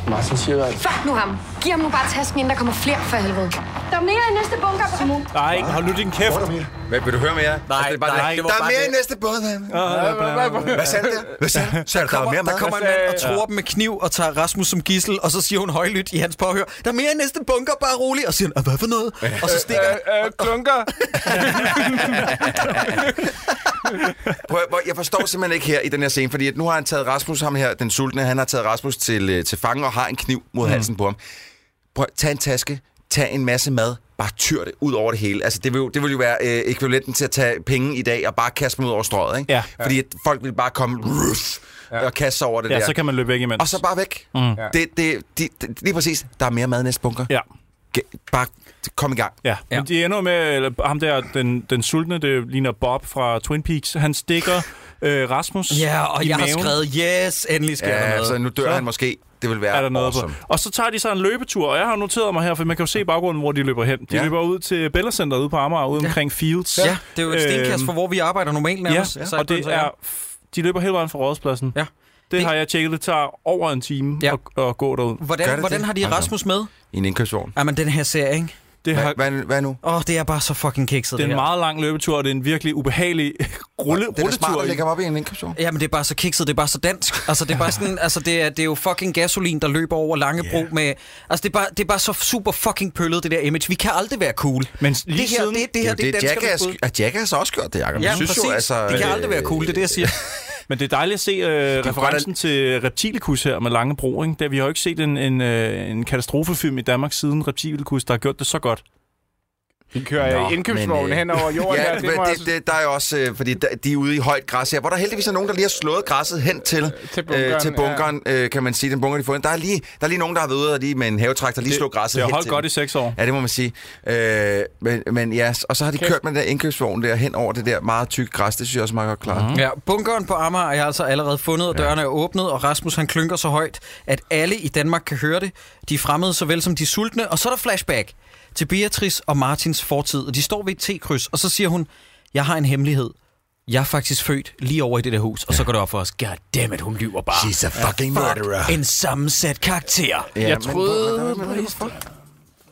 Martin siger, at
Fuck nu ham. Giv ham nu bare tasken, inden der kommer flere for helvede. Der er mere i næste bunker. Simon.
Nej, hold nu din kæft.
Hvad, vil du høre mere? Nej, altså, det er bare,
nej,
nej,
det var
der er
bare
mere
det.
i næste båd. mand. Hvad sagde du der? Hvad sagde du? Så er der, der mere
Der
mad.
kommer en mand og tror dem med kniv og tager Rasmus som gissel, og så siger hun højlydt i hans påhør, der er mere i næste bunker, bare rolig. Og siger han, "Ah, hvad for noget? Og så stikker han.
Øh, øh, klunker.
Prøv, at- hvor- jeg forstår simpelthen ikke her i den her scene, fordi at nu har han taget Rasmus, ham her, den sultne, han har taget Rasmus
Mm.
til, øh, til fange og har en kniv mod halsen på ham. Prøv, at- tag en taske, tag en masse mad, bare tyr det ud over det hele. Altså, det vil jo, det vil jo være øh, ekvivalenten til at tage penge i dag og bare kaste dem ud over strøget, ikke?
Ja.
Fordi at folk vil bare komme ruff, ja. og kaste sig over det
Ja,
der.
så kan man løbe væk imens.
Og så bare væk. Mm. Det, det, de, de, lige præcis. Der er mere mad i næste bunker.
Ja.
Ge- Bare kom i gang.
Ja, ja. Men de ender jo med, eller ham der, den, den sultne, det ligner Bob fra Twin Peaks, han stikker øh, Rasmus
Ja, og
i
jeg har
maven.
skrevet, yes, endelig sker der
Ja,
noget.
så nu dør
Så-
så. han måske. Det vil være
er der noget
awesome.
på. Og så tager de så en løbetur, og jeg har noteret mig her, for man kan jo se i baggrunden, hvor de løber hen. De ja.
Ja.
løber ud til Bella Center ude på Amager, ude ja. omkring Fields.
Ja, det er jo et stenkast for, hvor vi arbejder normalt
Ja,
nærmest.
ja.
Sagt
og det
på en
er...
sag.
f- De løber hele vejen fra rådspladsen.
Ja.
Det,
Det-
har jeg tjekket. Det tager over en time
Ja.
ja. at, at gå derud.
Hvordan,
Gør det
hvordan
det?
har de
Hold da op.
Rasmus med?
I en indkøbsvogn.
Jamen, den her serie, ikke?
Det, har,
Hvad, hvad, hvad nu?
Åh, oh, det er bare så fucking kikset,
det er en
her.
meget lang løbetur, og det er en virkelig ubehagelig (laughs) rulle,
Det er da smart
rulletur.
at
i.
lægge ham op i en indkøbsvogn.
Jamen, det er bare så kikset, det er bare så dansk. Altså, det er, bare sådan, altså, det er, det er jo fucking gasolin, der løber over Langebro yeah. med... Altså, det er, bare, det er bare så super fucking pøllet, det der image. Vi kan aldrig være cool.
Men lige
det her,
siden-
det, det
Det
her,
er jo
det,
det,
det er danskernes
Jackass,
bud.
at Jackass har også gjort det, Jacob.
Ja,
Jeg synes
præcis.
jo, altså...
det kan aldrig være cool, det er det, jeg siger.
(laughs) Men det er dejligt at se øh, referencen til Reptilikus her med Langebro. Ikke? Der, vi har jo ikke set en, en, øh, en katastrofefilm i Danmark siden Reptilikus, der har gjort det så godt.
Altså,
De kører
Nå,
Nå, indkøbsvognen
men, øh,
hen over jorden.
Ja,
ja,
men
det, må
det, det, der er jo også, øh, fordi der, de er ude i højt græs her, hvor der heldigvis er nogen, der lige har slået græsset hen til,
til bunkeren,
til bunkeren øh, kan man sige, den bunker, de får ind. Der er lige, der er lige nogen, der har været ude og lige med en havetraktor lige slå græsset
det har
hen
holdt
til
godt
dem.
i seks år.
Ja, det må man sige. Øh, men, men ja, og så har de kørt med den der indkøbsvogn der hen over det der meget tykke græs. Det synes jeg også er meget godt klart. Mm.
Ja, bunkeren på Amager er altså allerede fundet, og dørene er åbnet, og Rasmus han klynker så højt, at alle i Danmark kan høre det. De er fremmede såvel som de er sultne, og så er der flashback til Beatrice og Martins fortid, og de står ved et T-kryds, og så siger hun, jeg har en hemmelighed. Jeg er faktisk født lige over i det der hus, og så går det op for os. God damn it, hun lyver bare.
She's a fucking murderer.
En sammensat karakter.
Ja, jeg troede...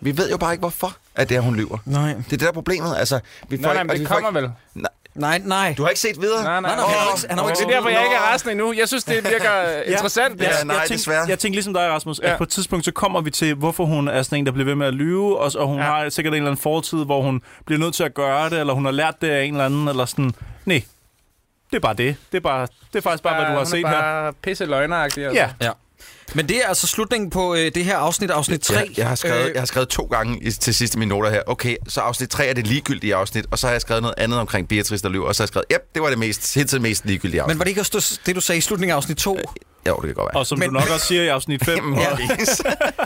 Vi ved jo bare ikke, hvorfor at det er, hun lyver.
Nej.
Det er det, der er problemet. Altså, vi får
nej,
ikke,
men det
vi får
kommer
ikke...
vel?
Nej,
Nej, nej.
du har ikke set videre?
Nej, nej.
nej, han har ikke- han har
Nå,
ikke
det
set
er derfor, jeg
den.
ikke er resten endnu. Jeg synes, det virker øh, interessant.
Ja,
Ja.
nej,
jeg tænkte,
desværre.
Jeg tænkte ligesom dig, Rasmus, at
Ja.
på et tidspunkt, så kommer vi til, hvorfor hun er sådan en, der bliver ved med at lyve, og, og hun ja. har sikkert en eller anden fortid, hvor hun bliver nødt til at gøre det, eller hun har lært det af en eller anden, eller sådan. Nej, det er bare det. Det er, bare, det er faktisk bare, hvad du har set her.
bare pisse løgneragtig. Altså.
Ja,
Ja. Men det er altså slutningen på øh, det her afsnit, afsnit 3.
Jeg, jeg, har skrevet, øh, jeg har skrevet to gange i, til sidste mine noter her. Okay, så afsnit 3 er det ligegyldige afsnit, og så har jeg skrevet noget andet omkring Beatrice, der lyver, og så har jeg skrevet, yep, det var det mest, hidtil mest
Men
ligegyldige afsnit.
var det ikke også du- det, du sagde i slutningen af afsnit 2?
Øh, Jo, det kan godt være.
og som
Men-
du nok også siger i afsnit 5.
(laughs) Ja.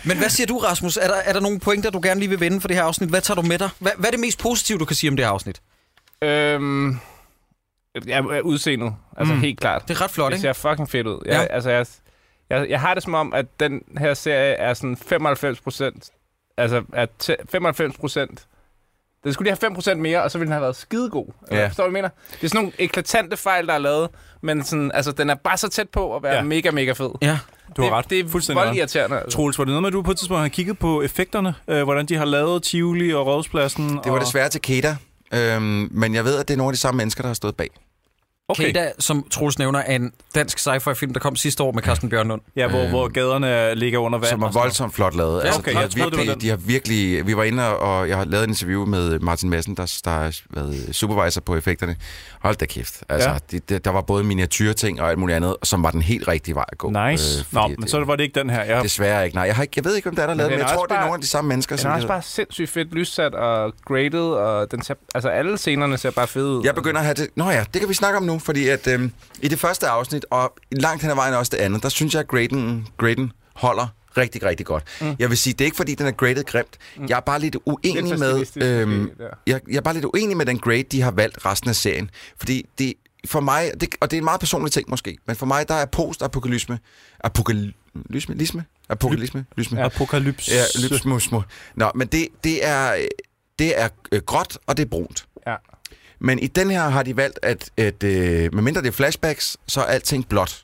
Men hvad siger du, Rasmus? Er der, er der nogle pointer, du gerne lige vil vende for det her afsnit? Hvad tager du med dig? Hvad, hvad er det mest positive, du kan sige om det her afsnit?
Øhm, ja, udseendet. Altså, mm. helt klart.
Det er ret flot,
Det
ikke?
ser fucking fedt ud. Jeg,
Ja.
ja. altså, jeg, jeg, jeg har det som om, at den her serie er sådan 95 procent. Altså, at tæ- 95 procent. Den skulle lige have 5 procent mere, og så ville den have været skidegod.
Ja.
Ja. Forstår du, hvad jeg mener? Det er sådan nogle eklatante fejl, der er lavet, men sådan, altså, den er bare så tæt på at være
Ja.
ja. mega, mega fed.
Ja.
Du har
det,
ret.
Det er
Fuldstændig ret.
voldt irriterende. Altså.
Troels, var det noget med, at du på et tidspunkt har kigget på effekterne? Øh, hvordan de har lavet Tivoli og Rådspladsen?
Det var desværre til Keda, øhm, men jeg ved, at det er nogle af de samme mennesker, der har stået bag.
Okay. Keda, som Troels nævner, er en dansk sci-fi-film, der kom sidste år med Carsten Bjørnlund.
Ja, hvor, hvor gaderne ligger under vand.
som er
og sådan noget.
voldsomt flot lavet. Ja,
okay,
de, har
jeg troede, det var
virkelig,
den.
de har virkelig... Vi var inde, og jeg har lavet en interview med Martin Madsen, der, der har været supervisor på effekterne. Hold da kæft. Altså,
Ja.
ja. de, de, der var både miniatyrting og alt muligt andet, som var den helt rigtige vej at gå.
Nice. Øh, Nå,
fordi
men
det-
så var det ikke den her. Jeg,
Desværre ikke. Nej, jeg, har ikke, jeg ved ikke, hvem der er, der har lavet
den
den, men
er
jeg tror,
også
det er
bare-
nogle af de samme mennesker.
Den
Som
Altså, er også
de har-
bare sindssygt fedt lyssat og graded, og den ser, altså alle scenerne ser bare fede ud.
Jeg begynder at have det... Nå ja, det kan vi snakke om nu, fordi at øhm, i det første afsnit, og langt hen ad vejen også det andet, der synes jeg, at graden, graden holder rigtig, rigtig godt. Mm. Jeg vil sige, det er ikke fordi, den er graded grimt. Mm. Jeg er bare lidt uenig
Lidt
med...
fascistisk
Øhm,
måske, ja.
jeg, jeg er bare lidt uenig med den grade, de har valgt resten af serien. Fordi det, for mig, det, og det er en meget personlig ting måske, men for mig, der er post-apokalypse... Apokalypse? Lisme? Apokalypse? Lysme?
Apokalypse.
Ja, lysmusmo. Nå, men det, det er, det er øh, gråt, og det er brunt.
Ja.
Men i den her har de valgt, at, at øh, medmindre det er flashbacks, så er alting blåt.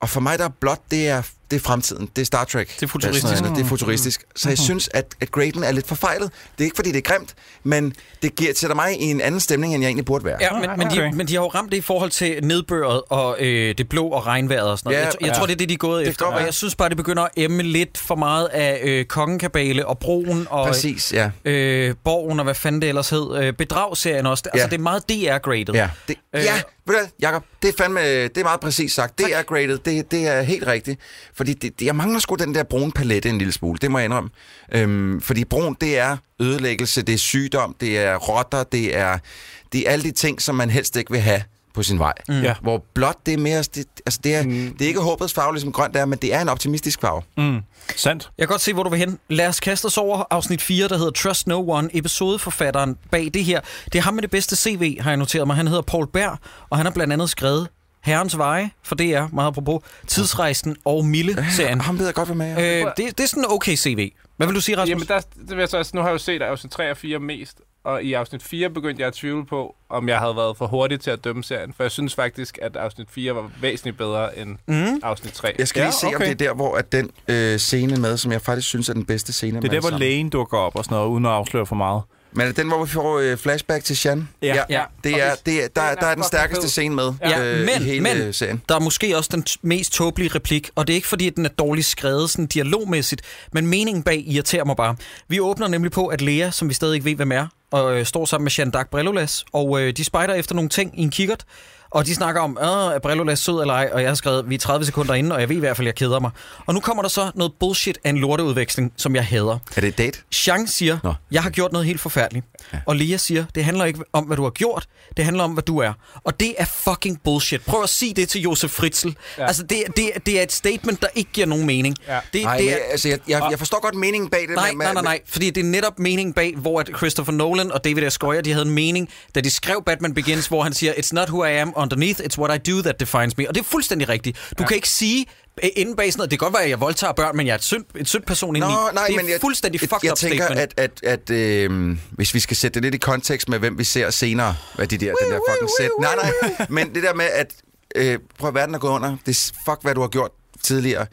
Og for mig, der er blåt, det er, det er fremtiden. Det er Star Trek.
Det er futuristisk. Mm. Mm-hmm.
Sådan noget. Det er futuristisk. Så jeg synes, at, at graden er lidt forfejlet. Det er ikke, fordi det er grimt, men det giver, sætter mig i en anden stemning, end jeg egentlig burde være.
Ja, men, men, de,
okay.
men de har jo ramt det i forhold til nedbøret og øh, det blå og regnvejret og sådan noget.
Ja,
jeg, tr- jeg
ja.
tror, det er det, de er gået
kan
efter.
godt
Og
være.
jeg synes bare, det begynder at emme lidt for meget af øh, kongenkabale og broen og
Præcis, ja.
øh, borgen og hvad fanden det ellers hed. Øh, bedragserien også. Altså,
Ja.
det er meget DR-graded.
Ja, det,
Øh,
øh, ja ved du hvad, Jacob, det er fandme, det er meget præcis sagt. Det er graded, det, det er helt rigtigt. Fordi det, det, jeg mangler sgu den der brune palette en lille smule, det må jeg indrømme. Øhm, fordi brun, det er ødelæggelse, det er sygdom, det er rotter, det er, det er alle de ting, som man helst ikke vil have på sin vej. Mm.
Ja.
Hvor blåt, det er mere... Det, altså det, er, mm. det er ikke håbets farve, ligesom grønt er, men det er en optimistisk farve.
Mm.
Mm. Sandt.
Jeg kan godt se, hvor du vil hen. Lad os kaste os over afsnit 4, der hedder Trust No One. Episodeforfatteren bag det her. Det er ham med det bedste CV, har jeg noteret mig. Han hedder Paul Berg, og han har blandt andet skrevet Herrens Veje, for det er meget apropos, Tidsrejsen og Mille-serien.
Og Ah, ham ved jeg godt, hvad med er.
Øh, det, det er sådan en okay CV. Hvad vil du sige, Rasmus?
Jamen, der, det vil jeg så, altså, nu har jeg jo set afsnit 3 og 4 mest, og i afsnit 4 begyndte jeg at tvivle på, om jeg havde været for hurtig til at dømme serien, for jeg synes faktisk, at afsnit 4 var væsentligt bedre end mm. afsnit 3.
Jeg skal lige
Ja,
se, okay. om
okay.
det er der, hvor at den øh, scene med, som jeg faktisk synes er den bedste scene.
Det er der, hvor lægen dukker op og sådan noget, uden at afsløre for meget.
Men er det den, hvor vi får øh, flashback til Shan?
Ja.
Ja.
Det er, det er,
Den er
der, der er den
fucking
stærkeste
fed.
scene med
Ja,
øh,
men,
i hele
men
øh, serien.
der er måske også den t- mest tåbelige replik, og det er ikke fordi, at den er dårligt skrevet sådan dialogmæssigt, men meningen bag irriterer mig bare. Vi åbner nemlig på, at Lea, som vi stadig ikke ved, hvem er, og øh, står sammen med Jean d'Arc Brillolas, og øh, de spejder efter nogle ting i en kikkert, og de snakker om, "Åh, er Brillolas sød eller ej, og jeg har skrevet, vi er 30 sekunder inde, og jeg ved i hvert fald, jeg keder mig. Og nu kommer der så noget bullshit af en lorteudveksling, som jeg hader.
Er det et date?
Jean siger, Nå.
Nå.
jeg har gjort noget helt forfærdeligt. Ja. Og Lea siger, det handler ikke om, hvad du har gjort, det handler om, hvad du er. Og det er fucking bullshit. Prøv at sige det til Josef Fritzl. Ja. Altså, det, det, det er et statement, der ikke giver nogen mening. Ja. Det,
Nej,
det
men,
er,
altså, jeg, jeg, jeg forstår godt meningen bag det.
nej,
men,
nej, nej, nej, fordi det er netop meningen bag, hvor at Christopher Nolan og David S. Goyer, de havde en mening, da de skrev Batman Begins, hvor han siger, it's not who I am underneath, it's what I do that defines me. Og det er fuldstændig rigtigt. Du ja. kan ikke sige øh, inden bag sådan noget, det kan godt være, at jeg voldtager børn, men jeg er et synd, et synd person indeni.
Nå, nej,
det er
men jeg,
fuldstændig
jeg-
fucked
Jeg
up
tænker,
statement.
at, at, at øh, hvis vi skal sætte det lidt i kontekst med, hvem vi ser senere, hvad de der, den der fucking sæt. Nej, nej, (laughs) men det der med, at øh, prøv at verden er gået under. Det er s- fuck, hvad du har gjort tidligere.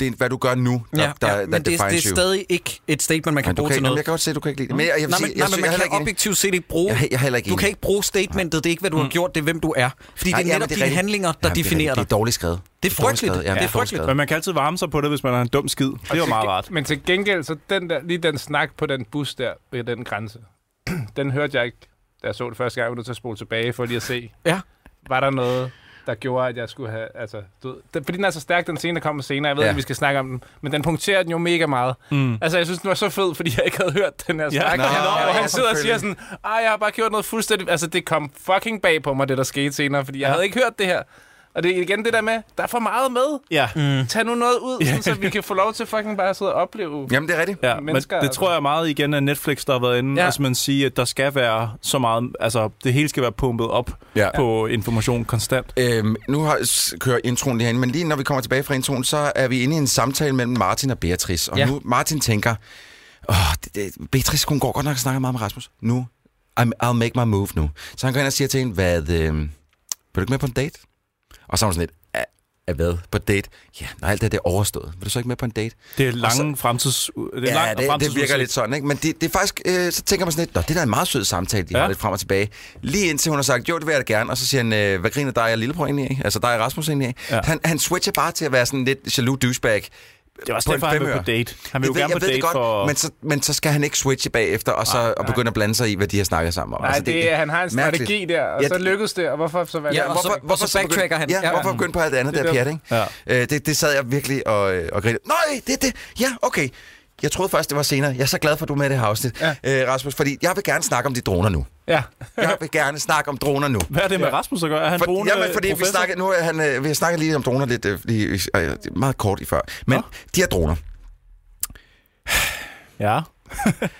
Det er, hvad du gør nu, der, ja, der, ja, der,
men det, er-
defines
det er
you.
stadig ikke et statement, man kan
men du
bruge
kan,
til
ikke, jamen,
noget.
jeg kan godt se, at du kan ikke lide det. Men jeg, jeg vil
Nej, men,
sige, jeg,
nej,
synes-
men man
jeg er heller
kan
ikke enig.
objektivt set ikke bruge...
Jeg er- jeg er heller ikke
du
enig. Mm.
kan ikke bruge statementet, det er ikke, hvad du har gjort, det er, hvem du er. Fordi det er
jamen,
netop
det er
dine
rigtigt.
handlinger, der
Jamen,
definerer
det er, rigtigt.
dig.
det er dårligt skrevet.
Det er
dårligt
frygteligt.
skrevet.
Det
Ja,
er
dårligt
frygteligt.
skrevet.
Men man kan altid varme sig på det, hvis man er en dum skid. Altså, Det er jo meget rart.
Men til gengæld, så den der, lige den snak på den bus der ved den grænse, (clears throat) den hørte jeg ikke, da jeg så det første gang. Jeg var nødt til at spole tilbage for lige at se,
Ja.
var der noget, der gjorde, at jeg skulle have... Altså, du, ved, den, fordi den er så stærk, den scene, der kommer senere. Jeg ved
Ja.
ikke, om vi skal snakke om den, men den punkterer den jo mega meget. Mm. Altså, jeg synes, den var så fed, fordi jeg ikke havde hørt den her snak.
nå,
og han, og
ja,
han sidder og siger sådan,
selvfølgelig.
Ej, jeg har bare gjort noget fuldstændig... Altså, det kom fucking bag på mig, det der skete senere, fordi jeg havde ikke hørt det her. Og det er igen det der med, der er for meget med.
Ja.
Tag nu noget ud, sådan, så vi kan få lov til fucking bare at sidde og opleve.
Jamen, det er rigtigt.
Ja, men det
mennesker, altså.
tror jeg meget igen er Netflix, der har været inde,
Ja.
ja. altså man siger, at der skal være så meget, altså det hele skal være pumpet op
Ja.
ja. på information konstant.
Øhm, nu har, s- kører introen lige herinde, men lige når vi kommer tilbage fra introen, så er vi inde i en samtale mellem Martin og Beatrice. Og
Ja.
ja. nu Martin tænker, åh, det, det, Beatrice, hun går godt nok og snakker meget med Rasmus. Nu, I'm, I'll make my move nu. Så han går ind og siger til hende, hvad, øh, vil du ikke med på en date? Og så er hun sådan lidt, "Ah, ah, hvad? På date? Ja, når alt det her, det er overstået, vil du så ikke med på en date?
Det er lange fremtids... Det er
ja,
lang
det, det virker
fremtidsudsigt.
lidt sådan, ikke? Men det, det er faktisk, øh, så tænker man sådan lidt, Nå, det der er en meget sød samtale, de ja.
Ja.
har lidt frem og tilbage. Lige indtil hun har sagt, jo, det vil jeg da gerne, og så siger han, øh, hvad griner dig og lillebror egentlig af? Altså dig og Rasmus egentlig af? Ja.
Ja.
Han, han switcher bare til at være sådan lidt jaloux douchebag.
Det var også
på
derfor,
en
han vil
femøre.
på date. Han vil
Jeg
jo gerne
jeg
på date
det godt,
for...
men, så, men så skal han ikke switche bagefter, og så og begynde at blande sig i, hvad de har snakket sammen om.
Nej, altså, det, det, er- han har en
mærkeligt.
strategi der, og
Ja,
så
det-
lykkedes det, og hvorfor så var det?
Ja, og så-
Hvorfor, hvorfor
og så backtracker
begyndte-
han.
Ja,
Ja.
hvorfor begynde på alt det andet der, Pjat, ikke?
Ja.
Øh, det, det sad jeg virkelig og, øh, og grinede. Nej, det er det. Ja, okay. Jeg troede først, det var senere. Jeg er så glad for, at du er med i det her afsnit, ja. øh, Rasmus, fordi jeg vil gerne snakke om de droner nu.
Ja.
Jeg vil gerne snakke om droner nu.
Hvad er det med Rasmus at gøre? Er han
For,
drone
jamen, fordi vi
professor?
snakkede, nu, er han, øh, vi har snakket lige om droner lidt, øh, lige, øh, det er meget kort i før. Men de her droner,
Ja.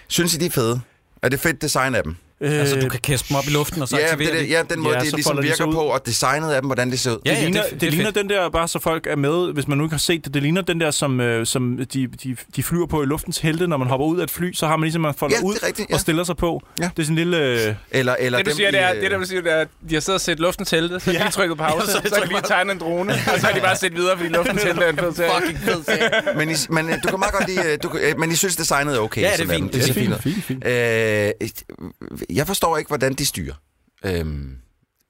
synes I, de er fede? Er det fedt design af dem?
Øh,
Altså, du kan kaste dem op i luften, og så
Ja,
aktivere
det, det, ja, den måde,
Ja,
ja, det
så
ligesom
folder de sig
virker
ud.
på, og designet af dem, hvordan det ser ud.
Ja,
Det, ja, ligner,
det er-
det,
det
det,
er
det ligner
fedt.
den der, bare så folk er med, hvis man nu ikke har set det, det ligner den der, som, øh, som de, de, de flyver på i luftens helte, når man hopper ud af et fly, så har man ligesom, at man folder
Ja, det er
ud
rigtigt, ja.
og stiller sig på.
Ja.
Ja. Det er sådan en lille... Øh,
Eller, eller
Det du,
dem
siger, det, er,
i, øh,
det, der, du siger, det er, at de har siddet og set luften til det, så har de lige trykket pause,
Ja, så
så,
har de
så har de
trykket
lige tegnet en drone, og så har de bare set videre, fordi luften til det er en fed serie.
Fucking fed serie.
Men, I, men øh, du kan meget godt lide, øh, du, kan- øh, men I synes, designet er okay.
Ja, det er
sådan dem.
fint.
Det
Det
ser
er
fint, ud. Øh, et- jeg forstår ikke, hvordan de styrer. Øhm,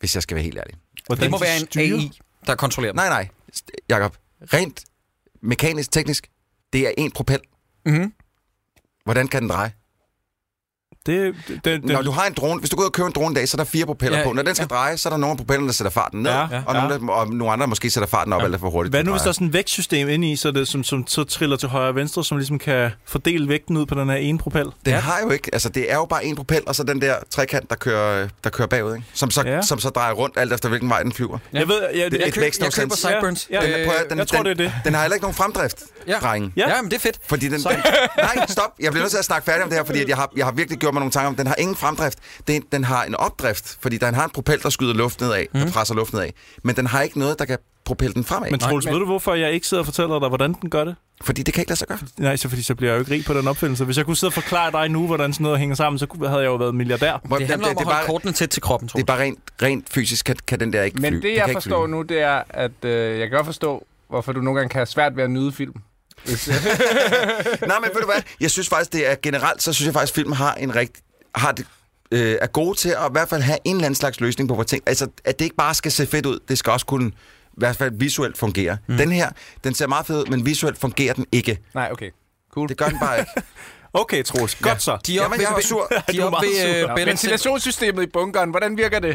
hvis jeg skal være helt ærlig.
hvordan
Det må
de
være en
styrer.
AI, der kontrollerer dem.
Nej, nej, St- Jakob. Rent mekanisk, teknisk, det er en propel.
Mhm.
Hvordan kan den dreje?
Det, det, det,
Når du har en drone, hvis du går ud og køber en drone i dag, så er der fire propeller
Ja,
ja, på. Når den skal ja. dreje, så er der nogle af propellerne, der sætter farten ned,
Ja,
ja,
ja.
ja, og, nogle, der, og nogle andre måske sætter farten op, ja. alt er for hurtigt.
Hvad
den
nu, hvis der
drejer.
er sådan et vægtsystem inde i, så det, som, som så triller til højre og venstre, som ligesom kan fordele vægten ud på den her ene propel?
Den har jo ikke, altså det er jo bare en propel, og så den der trekant, der kører, der kører bagud, ikke? Som, så,
Ja.
ja. som så drejer rundt, alt efter hvilken vej den flyver.
Ja. Jeg ved, jeg,
Det-
jeg,
det
kø-
makes no
jeg køber
sense.
sideburns.
Ja, ja.
Øh,
Den, prøv, at- den,
jeg tror,
den,
det er det.
Den har heller ikke nogen fremdrift,
Ja.
ja. drengen.
Ja.
Ja.
men det er fedt.
Fordi den,
Så-
den, (laughs) nej, stop. Jeg bliver nødt til at snakke færdig om det her, fordi at jeg, har, jeg har virkelig gjort mig nogle tanker om, den har ingen fremdrift. Den, den har en opdrift, fordi den har en propel, der skyder luft nedad, mm.
Mhm.
der presser luft nedad. Men den har ikke noget, der kan propelle den fremad.
Men
Men,
Troels, ved du, hvorfor jeg ikke sidder og fortæller dig, hvordan den gør det?
fordi det kan ikke lade sig gøre.
Nej, så fordi så bliver jeg jo ikke rig på den opfindelse. Hvis jeg kunne sidde og forklare dig nu, hvordan sådan noget hænger sammen, så kunne- havde jeg jo været milliardær.
Hvor-
Det handler om
det,
at
er
holde
bare,
kortene tæt til kroppen, tror
det er
jeg.
bare rent, rent fysisk, kan, kan den der ikke flyve.
Men det,
Den
jeg
kan ikke
forstår
flyve.
nu, det er, at øh, jeg kan godt forstå, hvorfor du nogle gange kan have svært ved at nyde film. Hvis,
Nej, men ved du hvad? Jeg synes faktisk, det er generelt, så synes jeg faktisk, at filmen har en rigtig... Har det, øh, er gode til at i hvert fald have en eller anden slags løsning på vores ting. Altså, at det ikke bare skal se fedt ud, det skal også kunne i hvert fald visuelt fungere. Mm. Den her, den ser meget fed ud, men visuelt fungerer den ikke.
nej, okay.
Det gør den bare ikke.
Okay, Troels, godt ja. så.
De er oppe
Jamen, jeg var sur.
ved, de er
Du er
oppe
meget
ved
sur.
øh,
Nå,
Bennett Center.
ventilationssystemet i bunkeren, hvordan virker det?
Ja,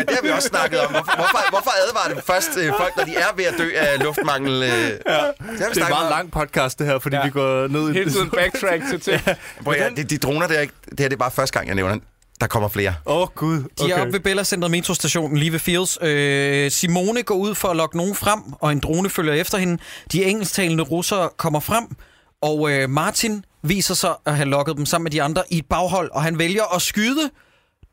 det har vi også snakket om. Hvorfor, hvorfor, hvorfor advarer det først øh, folk, når de er ved at dø af luftmangel? Øh? Ja. Det, har vi
Det er en
snakket om.
meget lang podcast, det her, fordi
Ja.
vi går ned i
Hele tiden backtrack til ting.
Prøv, ja, de, de droner der, ikke- det her det er bare første gang, jeg nævner den. Der kommer flere.
Åh, oh, Gud.
De er
Okay.
oppe ved Bella Center metrostationen lige ved Fields. Øh, Simone går ud for at lokke nogen frem, og en drone følger efter hende. De engelsktalende russere kommer frem, og øh, Martin viser sig at have lokket dem sammen med de andre i et baghold, og han vælger at skyde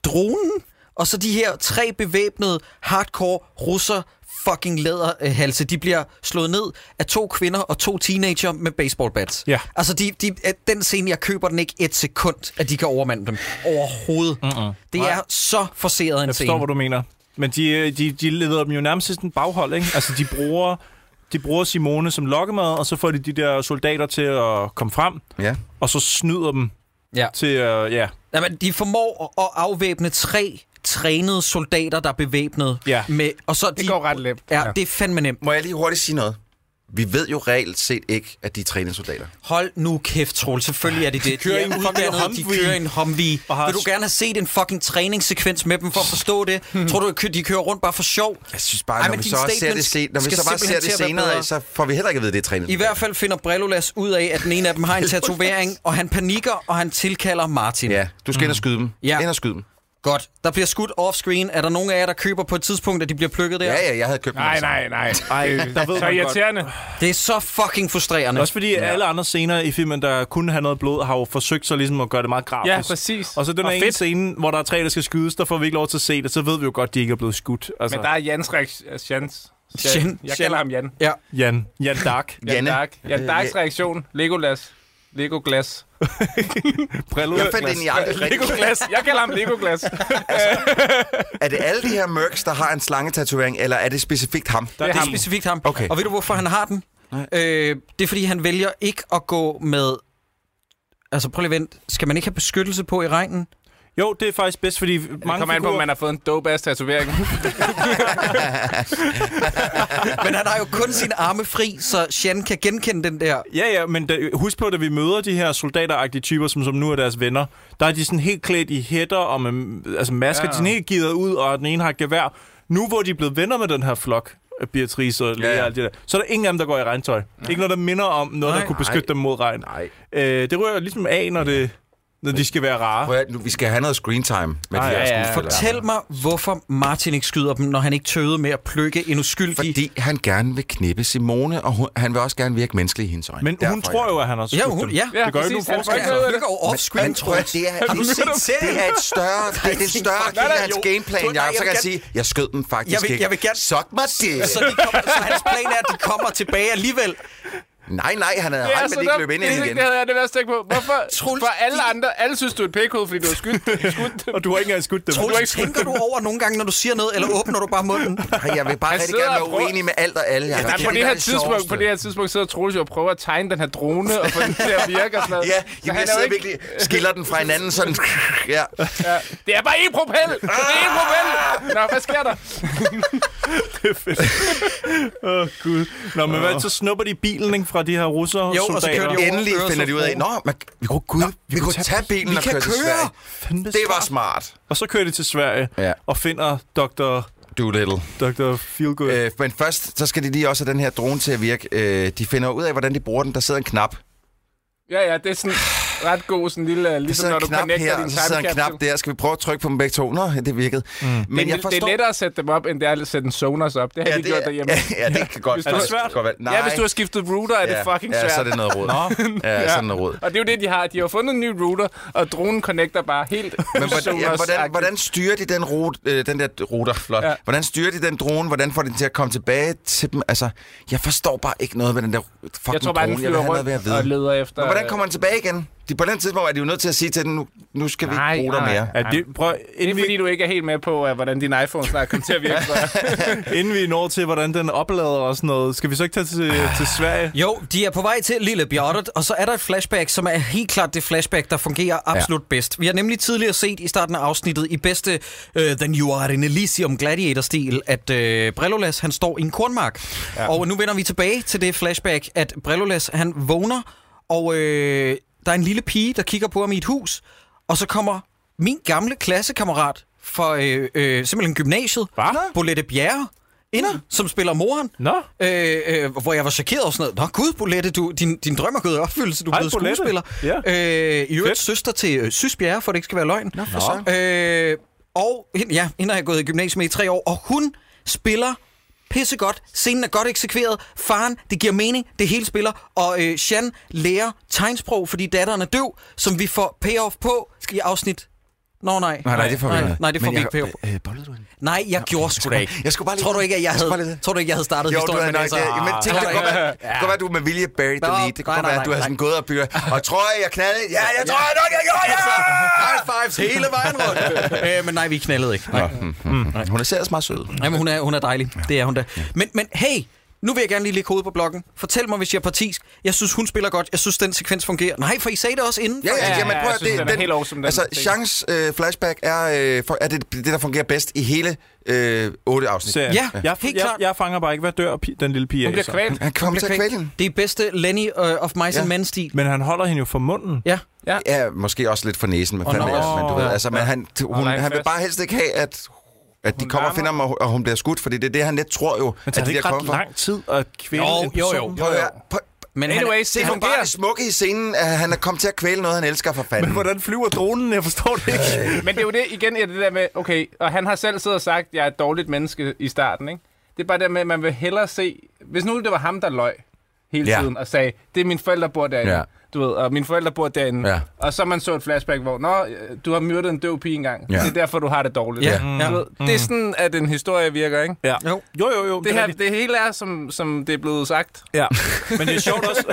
dronen, og så de her tre bevæbnede hardcore russer fucking læderhalse. De bliver slået ned af to kvinder og to teenager med baseballbats.
Ja.
Altså, de, de, at den scene, jeg køber den ikke et sekund, at de kan overmande dem. Overhovedet.
Mm.
Mm-mm. Det er så forceret en
Jeg forstår,
scene.
hvad du mener. Men de, øh, de, de leder dem jo nærmest til sådan en baghold, ikke? Altså, de bruger, de bruger Simone som lokkemad, og så får de de der soldater til at komme frem,
Ja.
og så snyder dem
Ja.
til, uh, ja,
Jamen, de formår at afvæbne tre trænede soldater, der er bevæbnet.
Ja.
Med, og så de,
Det går ret let.
Ja, det er fandme nemt.
Må jeg lige hurtigt sige noget? Vi ved jo reelt set ikke, at de er træningssoldater.
Hold nu kæft, Troel. Selvfølgelig er det det. De
kører
er
i en fucking
uddannede, de
Humvee.
kører i en Humvee.
Og har
Vil
s-
du gerne have set en fucking træningssekvens med dem for at forstå det?
Mhm.
Tror du, at kø- de kører rundt bare for sjov?
Jeg synes bare,
Ej,
Ej, når
men
vi
din
så også ser
statement
det, sen- når vi
skal
så bare ser
simpelthen
det
til at være bedre.
senere, så får vi heller ikke at vide, at det er trænet.
I hvert fald finder Brellolas ud af, at den ene af dem har
(laughs)
en tatovering, og han panikker, og han tilkalder Martin.
Ja, du skal ind og skyde dem.
Mm. Ja.
Ind og skyde dem.
Godt. Der bliver skudt off-screen. Er der nogen af jer, der køber på et tidspunkt, at de bliver plukket der?
Ja, ja, jeg havde købt dem altså.
Nej,
alle sammen.
nej, nej.
Ej, der ved
Så
man godt.
irriterende.
Det er så fucking frustrerende.
Også fordi ja. alle andre scener i filmen, der kunne have noget blod, har jo forsøgt så ligesom at gøre det meget grafisk.
Ja, præcis.
Og så den
Og
her ene
fedt.
scene, hvor der er tre, der skal skydes, der får vi ikke lov til at se det, så ved vi jo godt, at de ikke er blevet skudt. Altså,
Men der er Jans reaktion. Jans.
Jan.
Jeg kalder ham Jan.
Ja.
Jan, Jan Dark,
Jan
Janne.
Dark.
Øh,
Jan Darks reaktion. Legolas. Legoglas.
Brillo.
Jeg fandt egentlig aldrig rigtigt.
Legoglas. Jeg kalder ham Legoglas.
Er det alle de her mørks, der har en slangetatovering, eller er det specifikt ham?
Det er
ham.
specifikt ham.
Okay.
Og ved du, hvorfor han har den? Øh, det er, fordi han vælger ikke at gå med... Altså, prøv lige at vent. Skal man ikke have beskyttelse på i regnen?
Jo, det er faktisk bedst, fordi
Det
mange
kommer an på, om man har fået en dope-ass tatovering.
(laughs)
Men han har jo kun sine arme fri, så Shan kan genkende den der...
Ja, ja, men da, husk på, da vi møder de her soldateragtige typer, som, som nu er deres venner, der er de sådan helt klædt i hætter og med altså masker.
Ja.
Ja. De er sådan helt givet ud, og den ene har et gevær. Nu hvor de er blevet venner med den her flok, af Beatrice og Lea ja, ja.
Ja, ja.
og alt det der, så er der ingen af dem, der går i regntøj. Nej. Ikke noget, der minder om noget, der
Nej.
kunne beskytte dem mod regn.
Nej.
Øh, det rører ligesom af, når, det, når de skal være rare.
Prøv at, nu, vi skal have noget screen time med
Ej,
de her
ja, ja.
skuespillere.
Fortæl mig, hvorfor Martin ikke skyder dem, når han ikke tøvede med at plukke en uskyldig...
Fordi han gerne vil knippe Simone, og hun, han vil også gerne virke menneskelig i hendes øjne.
Men hun tror jo, at han har skudt
Ja, hun,
dem.
ja.
Ja,
Det gør ikke
præcis.
nogen
Han får
forskel.
ikke noget af det.
Plukker over
Men,
off-screen,
men tror jeg,
Troels.
det er, det, er, det er et større, det, det er en større del af hans
Tror-
gameplan,
nej,
Jacob.
jeg
Så kan
vil
jeg sige, jeg skød dem faktisk
Jeg vil-
ikke.
jeg vil gerne-
Suck mig det.
Så, de kommer, så hans plan er, at de kommer tilbage alligevel.
Nej, nej, han havde
Det er
regnet med,
så
at de ikke
dumt.
løb ind i
Det er
hende
ikke-
igen.
Det havde jeg det værste tænkt på. Hvorfor?
Troels,
For alle
de-
andre, alle synes, du er et pækhoved, fordi du har
(laughs)
skudt, skudt dem.
Og du har ikke engang skudt dem.
har ikke
Troels,
skudt
tænker du over nogle gange, når du siger noget, eller åbner du bare munden?
Nej, jeg vil bare
Han
rigtig
sidder
gerne
og
være
prøver-
uenig med alt og alle. Jacob.
Ja,
er
Altså, på, det
der
her
er
tidspunkt,
sjoveste.
på det her tidspunkt sidder Troels jo og prøver at tegne den her drone og få den til at virke og sådan noget.
Ja,
Så
jamen,
han
jeg
er jo
sidder
ikke-
virkelig skiller den fra hinanden sådan. Ja. Ah!
Ja. Det er bare én propel! Det er én propel! Nå, hvad sker der?
Åh, oh, gud. Nå, men hvad, så snupper de bilen ikke, fra de her russere
Jo, og så kører de over
Endelig finder de ud af, nå, man, vi, kunne, Gud, vi, vi kunne tage bilen
Vi
og
kan
køre til
køre!
Sverige.
Fandme
Det var smart,
Og så kører de til Sverige
Ja.
og finder Dr.
Doolittle.
Dr. Feelgood.
Øh, men først, så skal de lige også have den her drone til at virke. Øh, de finder ud af, hvordan de bruger den. Der sidder en knap.
Ja, ja, det er sådan ret god sådan lille...
Der
Ligesom
sidder
når
en
du
knap
connecter
her,
din
og så sidder en knap
timecapsule.
der. Skal vi prøve at trykke på dem begge to? Nå, det virkede. Mm. Men
det,
jeg
er-
forstår...
det er lettere at sætte dem op, end det er at sætte en Sonos op. Det har
Ja,
ja, de
det,
gjort
(laughs)
derhjemme.
er, ja, det kan godt
Hvis du har-
det kan godt være. Nej,
Ja, hvis du har skiftet router, er det
ja,
fucking
ja,
svært.
så er det noget råd.
(laughs)
Ja, sådan noget råd.
Og det er jo det, de har. De har fundet en ny router, og dronen connecter bare helt
(laughs) Men hvordan, ja, hvordan, hvordan styrer de den, rute, øh, den der ruter? Flot. Ja.
Ja.
Hvordan styrer de den drone? Hvordan får de den til at komme tilbage til dem? Altså, jeg forstår bare ikke noget med den der fucking
Jeg tror bare,
drone.
den
jeg vil
flyver
have noget ved at
rundt og
vide.
leder efter... øh,
Men hvordan kommer den tilbage igen? De, på den tidspunkt er de jo nødt til at sige til den, nu, nu skal vi
Nej,
ikke bruge dig
nej.
mere.
Ja, det, prøv,
Det er
inden,
fordi,
vi,
du ikke er helt med på, øh, hvordan din iPhone snart kommer til at virke. (laughs) så.
inden vi når til, hvordan den oplader og sådan noget, skal vi så ikke tage til, til Sverige?
Jo, de er på vej til Lille Bjørnet, og så er der et flashback, som er helt klart det flashback, der fungerer absolut ja. bedst. Vi har nemlig tidligere set i starten af afsnittet i bedste uh, Then You Are in Elysium Gladiator-stil, at uh, Brillolas, han står i en kornmark. Ja. Og nu vender vi tilbage til det flashback, at Brillolas, han vågner, og øh, der er en lille pige, der kigger på ham i et hus, og så kommer min gamle klassekammerat fra øh, øh, simpelthen gymnasiet, Bolette Bjerre, ind, som spiller moren.
Nå.
Øh, øh, hvor jeg var chokeret over sådan noget. Nå gud, Bolette, du, din, din drøm er gået i opfyldelse. Du er
Hej,
blevet
Bolette.
skuespiller. Øh, I øvrigt søster til øh, Sys Bjerre, for det ikke skal være løgn. Nå, for øh, og hende, ja, hende har jeg gået i gymnasiet med i tre år, og hun spiller pissegodt. Scenen er godt eksekveret. Faren, det giver mening. Det hele spiller. Og øh, Shan lærer tegnsprog, fordi datteren er døv, som vi får payoff på i afsnit... Nå nej.
Nej, nej, det får vi
nej,
ikke.
nej, det får
Men
vi ikke
jeg-
payoff på.
øh, øh, bollede du hende?
Nej, jeg gjorde sgu da ikke.
Jeg skulle bare lige...
Tror du ikke, at jeg
skulle bare
havde,
lige-
tror du ikke, jeg havde startet
Jo, du
historien altså- ah.
havde
med
nok
det?
det. Men tænk, det kunne godt være, det kunne godt være, du med vilje buried the
Nå,
lead. Det kunne
nej,
godt være,
nej,
at du havde
nej.
sådan gået og byret. Og tror jeg, jeg knaldede? Ja, jeg tror jeg nok, jeg gjorde, ja! High (laughs) fives hele vejen
rundt. (laughs) øh, men nej, vi knaldede ikke. Nej. Mm.
rundt. Mm-hmm. Hun er seriøst meget sød.
Jamen, hun, er, hun er dejlig. Det er hun da. Men, men hey, nu vil jeg gerne lige lægge hovedet på blokken. Fortæl mig, hvis jeg er partisk. Jeg synes, hun spiller godt. Jeg synes, den sekvens fungerer. Nej, for I sagde det også inden.
Ja, ja, ja,
Ja,
jamen,
ja,
prøv
jeg
at,
synes,
det,
den er helt awesome, den
altså,
scene.
Changs øh, flashback er, øh, for, er det, det, der fungerer bedst i hele øh, otte afsnit.
Sverige.
Ja,
jeg,
helt
jeg,
klart.
jeg fanger bare ikke, hvad dør pi- den lille pige
Hun
af.
bliver
så.
kvalt.
Han kommer til at kvæle hende.
Det er bedste Lenny uh, of Mice
Ja.
ja. and Men-stil.
Men han holder hende jo for munden.
Ja.
Ja, måske også lidt for næsen, men,
Og
fandme,
nå.
også, men du ved, altså, men han, t- hun,
nej,
han vil
fast.
bare helst ikke have, at, at de
Hun
kommer
larmer.
og finder ham, og, og hun bliver skudt, fordi det er det, han lidt tror jo,
Men
at
tager
de
det ikke
der
ret
kommer fra.
lang tid at kvæle
Jo,
en
jo,
person?
jo.
Prøv at høre, prøv-
Men
Anyways,
han,
det
Det er bare
fungerer.
det smukke i scenen, at han er kommet til at kvæle noget, han elsker for fanden.
Men hvordan flyver dronen? Jeg forstår det ikke.
Men det er jo det, igen, er det der med, okay, og han har selv siddet og sagt, at jeg er et dårligt menneske i starten, ikke? Det er bare det med, at man vil hellere se, hvis nu det var ham, der løj hele
Ja.
ja. tiden og sagde, det er mine forældre, der bor derinde.
Ja.
Ja. Du ved, og mine forældre bor derinde.
Ja.
Og så man så et flashback, hvor, nå, øh, du har myrdet en døv pige engang.
Ja. Mm.
Ja. Det er derfor, du har det dårligt.
Ja.
Du
Ja.
ved, Det er sådan, at en historie virker, ikke?
Ja.
Jo.
Jo, jo, jo.
Det, her,
er rigtigt.
det hele er, som, som det er blevet sagt.
Ja. Men det er sjovt også.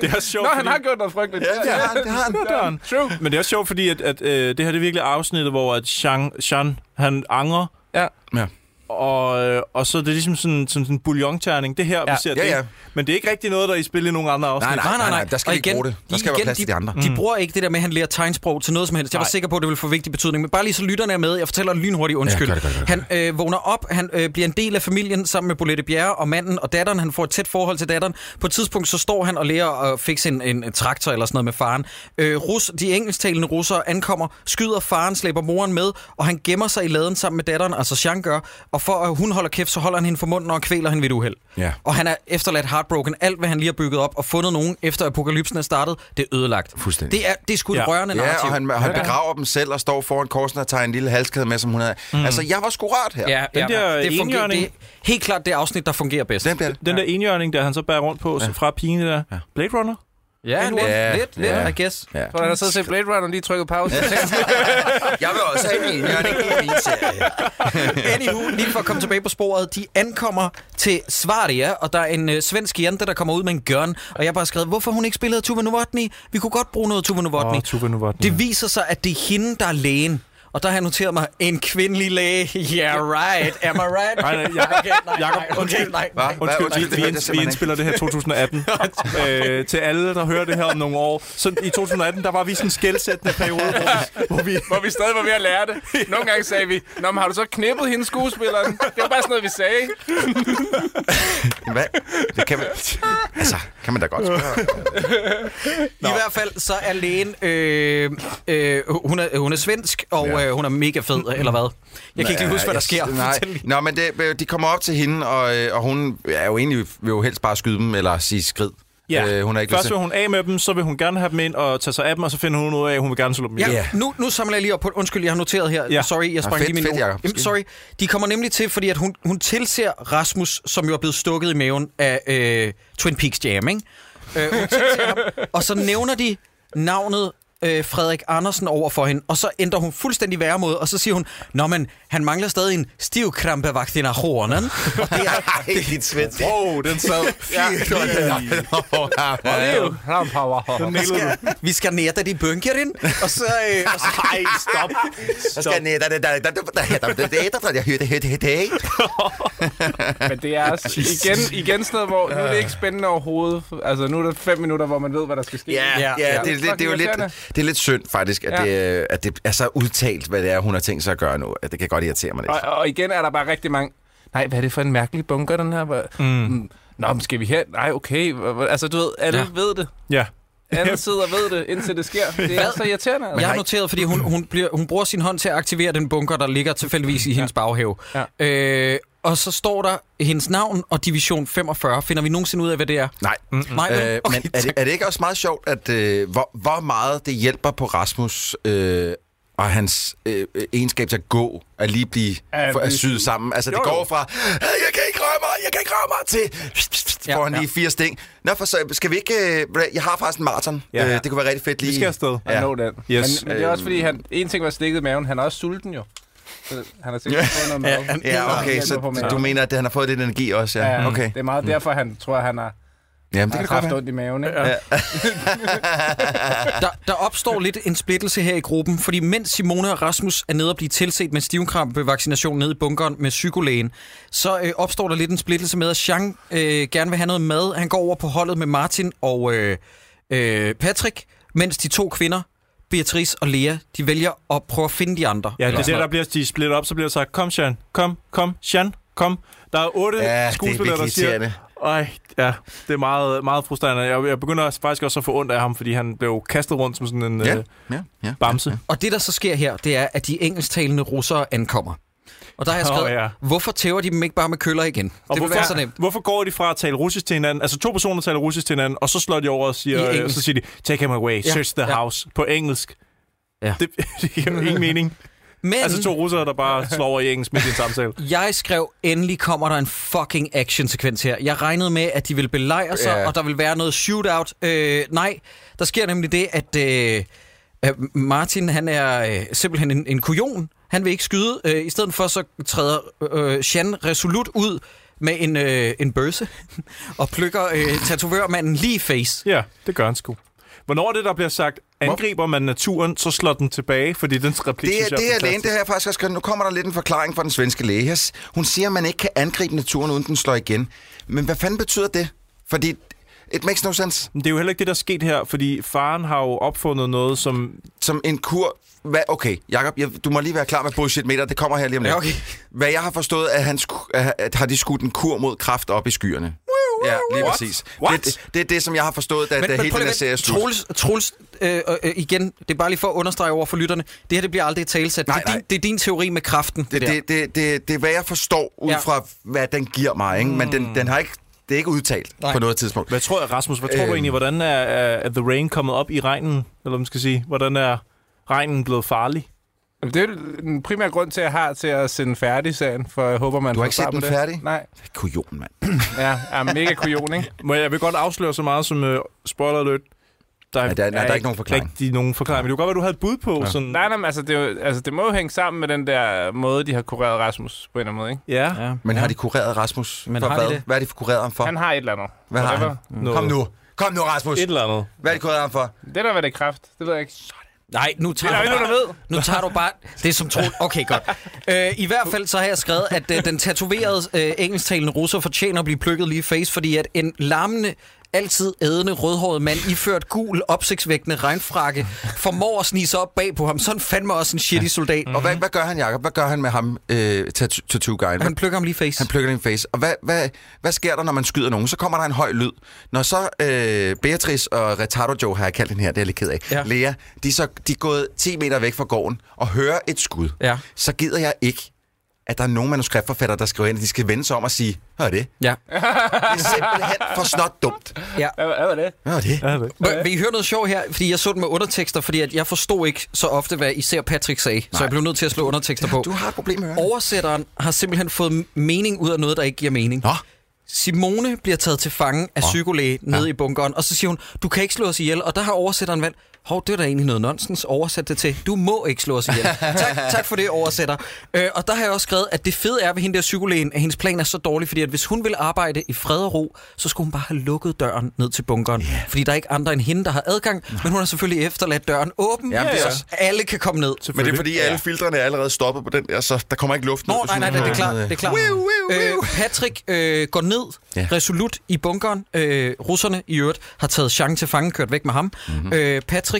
det er også sjovt,
Nå, han
fordi-
har gjort noget frygteligt.
Ja, det har han, det har
(laughs)
han.
Det har han. True.
Men det er også sjovt, fordi at, at øh, det her det er virkelig afsnittet, hvor at Jean, Jean han angrer.
Ja.
Ja.
Og, øh, og så er det ligesom sådan, sådan en bouillon-terning. Det her, ja. vi ser
Ja,
det.
ja.
Men det er ikke rigtig noget, der er i spil i nogen andre afsnit.
Nej, nej, nej, nej, der skal
Og
vi ikke bruge det. Der skal være plads
de, Mm.
til de andre.
De bruger ikke det der med, at han lærer tegnsprog til noget som helst. Jeg var
Nej.
sikker på, at det ville få vigtig betydning. Men bare lige så lytterne er med. Jeg fortæller lynhurtigt undskyld.
Ja, gør det, gør det,
Han øh, vågner op. Han øh, bliver en del af familien sammen med Bolette Bjerre og manden og datteren. Han får et tæt forhold til datteren. På et tidspunkt så står han og lærer at fikse en, en, en traktor eller sådan noget med faren. Øh, Rus, de engelsktalende russere ankommer, skyder faren, slæber moren med, og han gemmer sig i laden sammen med datteren, altså Jean gør. Og for at hun holder kæft, så holder han hende for munden og kvæler hende ved et uheld.
Ja.
Og han er efterladt heartbroken. Alt, hvad han lige har bygget op og fundet nogen efter apokalypsen er startet, det er ødelagt.
Fuldstændig.
Det er, det er sgu ja.
Ja.
et rørende
Ja,
narrativ.
og han, han begraver dem selv og står foran korsen og tager en lille halskæde med, som hun havde. Altså, jeg var sgu rart her.
Ja,
Den
ja,
der
det fungerer,
enhjørning-
det er helt klart det afsnit, der fungerer bedst.
Den bliver det.
Den der enhjørning, der han så bærer rundt på ja. fra pigen der. Ja. Blade Runner?
ja, lidt,
Ja,
lidt, lidt,
ja.
I guess.
Ja.
Så han har siddet og set Blade Runner og lige trykket pause.
Jeg vil også have en enhjørning i min serie.
(laughs) Anywho, lige for at komme tilbage på sporet, de ankommer til Svaria, og der er en øh, svensk jante, der kommer ud med en gun, og jeg har bare skrevet, hvorfor hun ikke spillede Tuva Novotny? Vi kunne godt bruge noget Tuva Novotny.
Åh, Tuva Novotny, ja.
Det viser sig, at det er hende, der er lægen. Og der har jeg noteret mig, en kvindelig læge. (laughs) Yeah, right. Am I right?
Nej, nej, Jacob.
okay, nej,
Jacob,
nej, okay,
undskyld.
nej,
Hva?
nej.
Hva?
Undskyld,
Undskyld, det
vi,
hørte
inds-
jeg
vi
simpelthen
indspiller det her 2018. øh, til alle, der hører det her om nogle år. Så i 2018, der var vi i sådan en skældsættende periode, hvor vi, hvor vi
(laughs) Hvor vi stadig var ved at lære det. Nogle gange sagde vi, Nå, men har du så knippet hende skuespilleren? Det var bare sådan noget, vi sagde. ikke?
ikke. Hvad? Det kan man... Altså, kan man da godt spørge.
I hvert fald så er lægen, øh, øh, hun, er, hun er svensk, og
Ja.
øh, hun er mega fed, eller hvad? Jeg kan ikke lige huske, hvad der
Ja,
sker.
Nej.
Fortæl lige.
Nå, men det, øh, de kommer op til hende, og, øh, og hun er jo egentlig, vil jo helst bare skyde dem, eller sige skrid.
Ja,
Øh, hun er ikke lyst
først
til-
vil hun af med dem, så vil hun gerne have dem ind og tage sig af dem, og så finder hun ud af, at hun vil gerne slå dem ihjel.
Ja,
Ja.
yeah. nu, nu samler jeg lige op på Undskyld, jeg har noteret her.
Ja.
Yeah. Sorry, jeg sprang
fedt,
lige min
fedt,
note.
Jacob.
Jamen, Sorry. De kommer nemlig til, fordi at hun, hun tilser Rasmus, som jo er blevet stukket i maven af øh, Twin Peaks Jam, ikke? Øh, hun tilser
(laughs)
ham, og så nævner de navnet øh, Frederik Andersen over for hende, og så ændrer hun fuldstændig væremåde, og så siger hun, Nå, men han mangler stadig en stivkrampevaccination. Og det er
Ej, dit svensk.
Wow, den sad.
Ja,
Vi ska ner där i bunkern och så...
øh,
eh, Och så nej, stopp!
Men det er også igen, igen sådan noget, hvor nu er det ikke spændende overhovedet. Altså, nu er der fem minutter, hvor man ved, hvad der skal ske.
ja, ja, det, er lidt- det, er jo lidt, det er lidt synd faktisk, at,
Ja.
det, at det er så udtalt, hvad det er, hun har tænkt sig at gøre nu. At Det kan godt irritere mig lidt.
Og, og igen er der bare rigtig mange... Nej, hvad er det for en mærkelig bunker, den her? Hvor- Mm. Nå, men skal vi her? Nej, okay. Hvor- hvor- Altså, du ved, alle
Ja.
ja. ved det.
Ja.
Alle sidder og ved det, indtil det sker. Det er så irriterende.
Jeg
Altså.
har noteret, fordi hun, hun, bliver, hun bruger sin hånd til at aktivere den bunker, der ligger tilfældigvis i hendes baghave. Ja. Øh, og så står der hendes navn og division 45. Finder vi nogensinde ud af, hvad det er?
Nej.
Nej, vel?
Øh,
Okay,
men er det, er det ikke også meget sjovt, at øh, hvor, hvor meget det hjælper på Rasmus øh, og hans øh, øh, egenskab til at gå, at lige blive
Ja,
for, at
vi-
syde sammen? Altså,
Jo,
det går
jo.
fra, "Øh, jeg kan ikke røre mig, jeg kan ikke røre mig, til
Ja,
får han lige
ja.
fire sting. Nå, for så skal vi ikke... Øh, ved du hvad, jeg har faktisk en maraton.
Ja.
Ja. Øh, det kunne være rigtig fedt lige...
Vi skal afsted.
Ja.
Ja. øh.
Know that.
Yes.
Men, men det er også fordi, han, en ting var stikket i maven, han er også sulten jo. Så han har sikkert fået noget mad.
han-
Ja, okay, så du mener, at han har fået lidt energi også, ja.
Ja,
Okay.
Det er meget derfor, han tror, han har,
Jamen, det
har
kan godt
haft
være.
ondt i maven. Ikke? Ja.
Der, der opstår lidt en splittelse her i gruppen, fordi mens Simone og Rasmus er nede og blive tilset med stivkrampevaccination nede i bunkeren med psykolægen, så øh, opstår der lidt en splittelse med, at Jean øh, gerne vil have noget mad. Han går over på holdet med Martin og øh, øh, Patrick, mens de to kvinder, Beatrice og Lea, de vælger at prøve at finde de andre.
ja, det
Eller
er
sådan
der, der
noget.
bliver de splittet op, så bliver der sagt, kom, Sean, kom, kom, Sean, kom. Der er otte
Ja,
ja,
det er
skuespillere, der
virkelig
siger,
irriterende.
Ej, ja, det er meget, meget frustrerende. Jeg, jeg begynder også- faktisk også at få ondt af ham, fordi han blev kastet rundt som sådan en
Ja,
øh,
ja, ja.
bamse.
Og det, der så sker her, det er, at de engelsktalende russere ankommer. Og der har jeg
Åh,
skrevet,
ja.
hvorfor tæver de dem ikke bare med køller igen?
Og
det vil
hvorfor,
være så nemt.
hvorfor går de fra at tale russisk til hinanden? Altså to personer taler russisk til hinanden, og så slår de over og
I
siger, øh,
engelsk.
så siger de, take him away,
Ja,
ja, search the
ja.
ja. house, på engelsk.
Ja.
Det, (laughs) det giver jo ingen mening.
Men...
Altså to russere, der bare slår over i engelsk midt i en samtale.
Jeg skrev, endelig kommer der en fucking action-sekvens her. Jeg regnede med, at de ville belejre sig,
Ja.
og der ville være noget shootout. Øh, nej, der sker nemlig det, at øh, øh, Martin han er øh, simpelthen en, en kujon. Han vil ikke skyde. Øh, I stedet for så træder øh, Jean resolut ud med en, øh, en bøsse (laughs) og plukker øh, tatovørmanden lige i face.
Ja, det gør han sgu. Hvornår er det, der bliver sagt, angriber man naturen, så slår den tilbage, fordi den replik,
Det
synes
er,
jeg
det er alene,
fantastisk.
det her faktisk også Nu kommer der lidt en forklaring fra den svenske læge. her. Hun siger, at man ikke kan angribe naturen, uden den slår igen. Men hvad fanden betyder det? Fordi it makes no sense.
Men det er jo heller ikke det, der er sket her, fordi faren har jo opfundet noget, som...
Som en kur... Hvad? Okay, Jacob, jeg, du må lige være klar med bullshit meter. Det kommer her lige om lidt.
Ja, okay.
Hvad jeg har forstået, er, at, han sku, at, at har de skudt en kur mod kraft op i skyerne. Ja, lige
What?
præcis.
What?
Det, det, det er det, som jeg har forstået, da, da hele
prøv
den
lige
her
at
serie er
vente.
slut.
Troels, Troels øh, øh, igen, det er bare lige for at understrege over for lytterne. Det her, det bliver aldrig talsat.
Nej,
det, er din,
nej.
det er din teori med kraften. Det,
Det,
der.
det, det, det, det er, hvad jeg forstår, ud
Ja.
ja. fra, hvad den giver mig. Ikke? Men den, den har ikke, det er ikke udtalt
Nej.
Nej. på noget tidspunkt.
Hvad tror jeg, Rasmus, hvad tror
Øhm.
du egentlig, hvordan er, er, er The Rain kommet op i regnen? Eller hvad man skal sige, hvordan er regnen blevet farlig?
Jamen, Det er jo den primære grund til, at jeg har til at sende færdig sagen, for jeg håber, man
Du har
får
ikke
svar
set
på
den
det.
færdig?
Nej,
Kujon, mand.
ja, er mega kujon, ikke?
Må jeg, jeg vil godt afsløre så meget som uh, spoiler alert. Der er,
Ja, der- nej, der er ikke nogen forklaring.
Rigtig nogen forklaring. Men det kunne godt være, du havde et bud på. Ja. Sådan,
Nej, nej, men altså det, er jo, altså, det må jo hænge sammen med den der måde, de har kureret Rasmus på en eller anden måde, ikke?
Ja.
Ja.
Men ja. har de kureret Rasmus?
Men
for
har de
hvad?
det?
Hvad er de kureret ham for?
Han har et eller andet.
hvad har
whatever.
han? Kom nu. Kom nu, Rasmus.
Et eller andet.
Hvad er de kureret ham for?
Det der, hvad det er kraft, det ved jeg ikke.
Nej, nu tager
Det
du
er der jo
bare,
ikke nogen, der
nu tager du bare det, som troede. Okay, godt. Øh, I hvert fald så har jeg skrevet, at øh, den tatoverede øh, engelsktalende russer fortjener at blive plukket lige i face, fordi at en larmende, altid ædende, rødhåret mand iført gul, opsigtsvækkende regnfrakke formår at snige sig op bag på ham. Sådan fandme også en shitty soldat.
Og hvad, hvad gør han, Jacob? Hvad gør han med ham, øh, tattoo- tattoo-guyen?
Han plukker ham lige i face.
Han plukker din face. Og hvad, hvad, hvad sker der, når man skyder nogen? Så kommer der en høj lyd. Når så øh, Beatrice og Retardo Joe, har jeg kaldt den her, det er jeg lidt ked af,
Ja.
ja. Lea, de er, så, de er gået 10 meter væk fra gården og hører et skud,
Ja.
så gider jeg ikke, at der er nogen manuskriptforfattere, der skriver ind, at de skal vende sig om og sige, hør det.
Ja.
Det er simpelthen for snot dumt.
ja.
Hvad, hvad var det?
Hør det.
Ja, det.
Vil, vil I høre noget sjovt her? Fordi jeg så den med undertekster, fordi at jeg forstod ikke så ofte, hvad især Patrick sagde. Nej. Så jeg blev nødt til at slå undertekster på.
Du har et problem med ørerne.
Oversætteren har simpelthen fået mening ud af noget, der ikke giver mening.
Nå,
Simone bliver taget til fange af psykolæge nede i bunkeren, og så siger hun, du kan ikke slå os ihjel, og der har oversætteren valgt, hov, det er da egentlig noget nonsens, oversæt det til, du må ikke slå os
(laughs)
ihjel. tak, tak for det, oversætter. Øh, og der har jeg også skrevet, at det fede er ved hende der psykolægen, at hendes plan er så dårlig, fordi at hvis hun vil arbejde i fred og ro, så skulle hun bare have lukket døren ned til bunkeren, yeah. fordi der er ikke andre end hende, der har adgang, men hun har selvfølgelig efterladt døren åben,
Jamen, det er
så
også-
alle kan komme ned.
men det er fordi, alle filtrene er allerede stoppet på den der, så der kommer ikke luft ned.
Nå, nej, nej, nej, det er klart, det er klart.
Wiu, wiu, wiu.
Øh, Patrick øh, går ned ja.
Ja.
resolut i bunkeren. Øh, russerne i øvrigt har taget Jean til fange, kørt væk med ham.
Mhm.
Mm-hmm. Øh, Patrick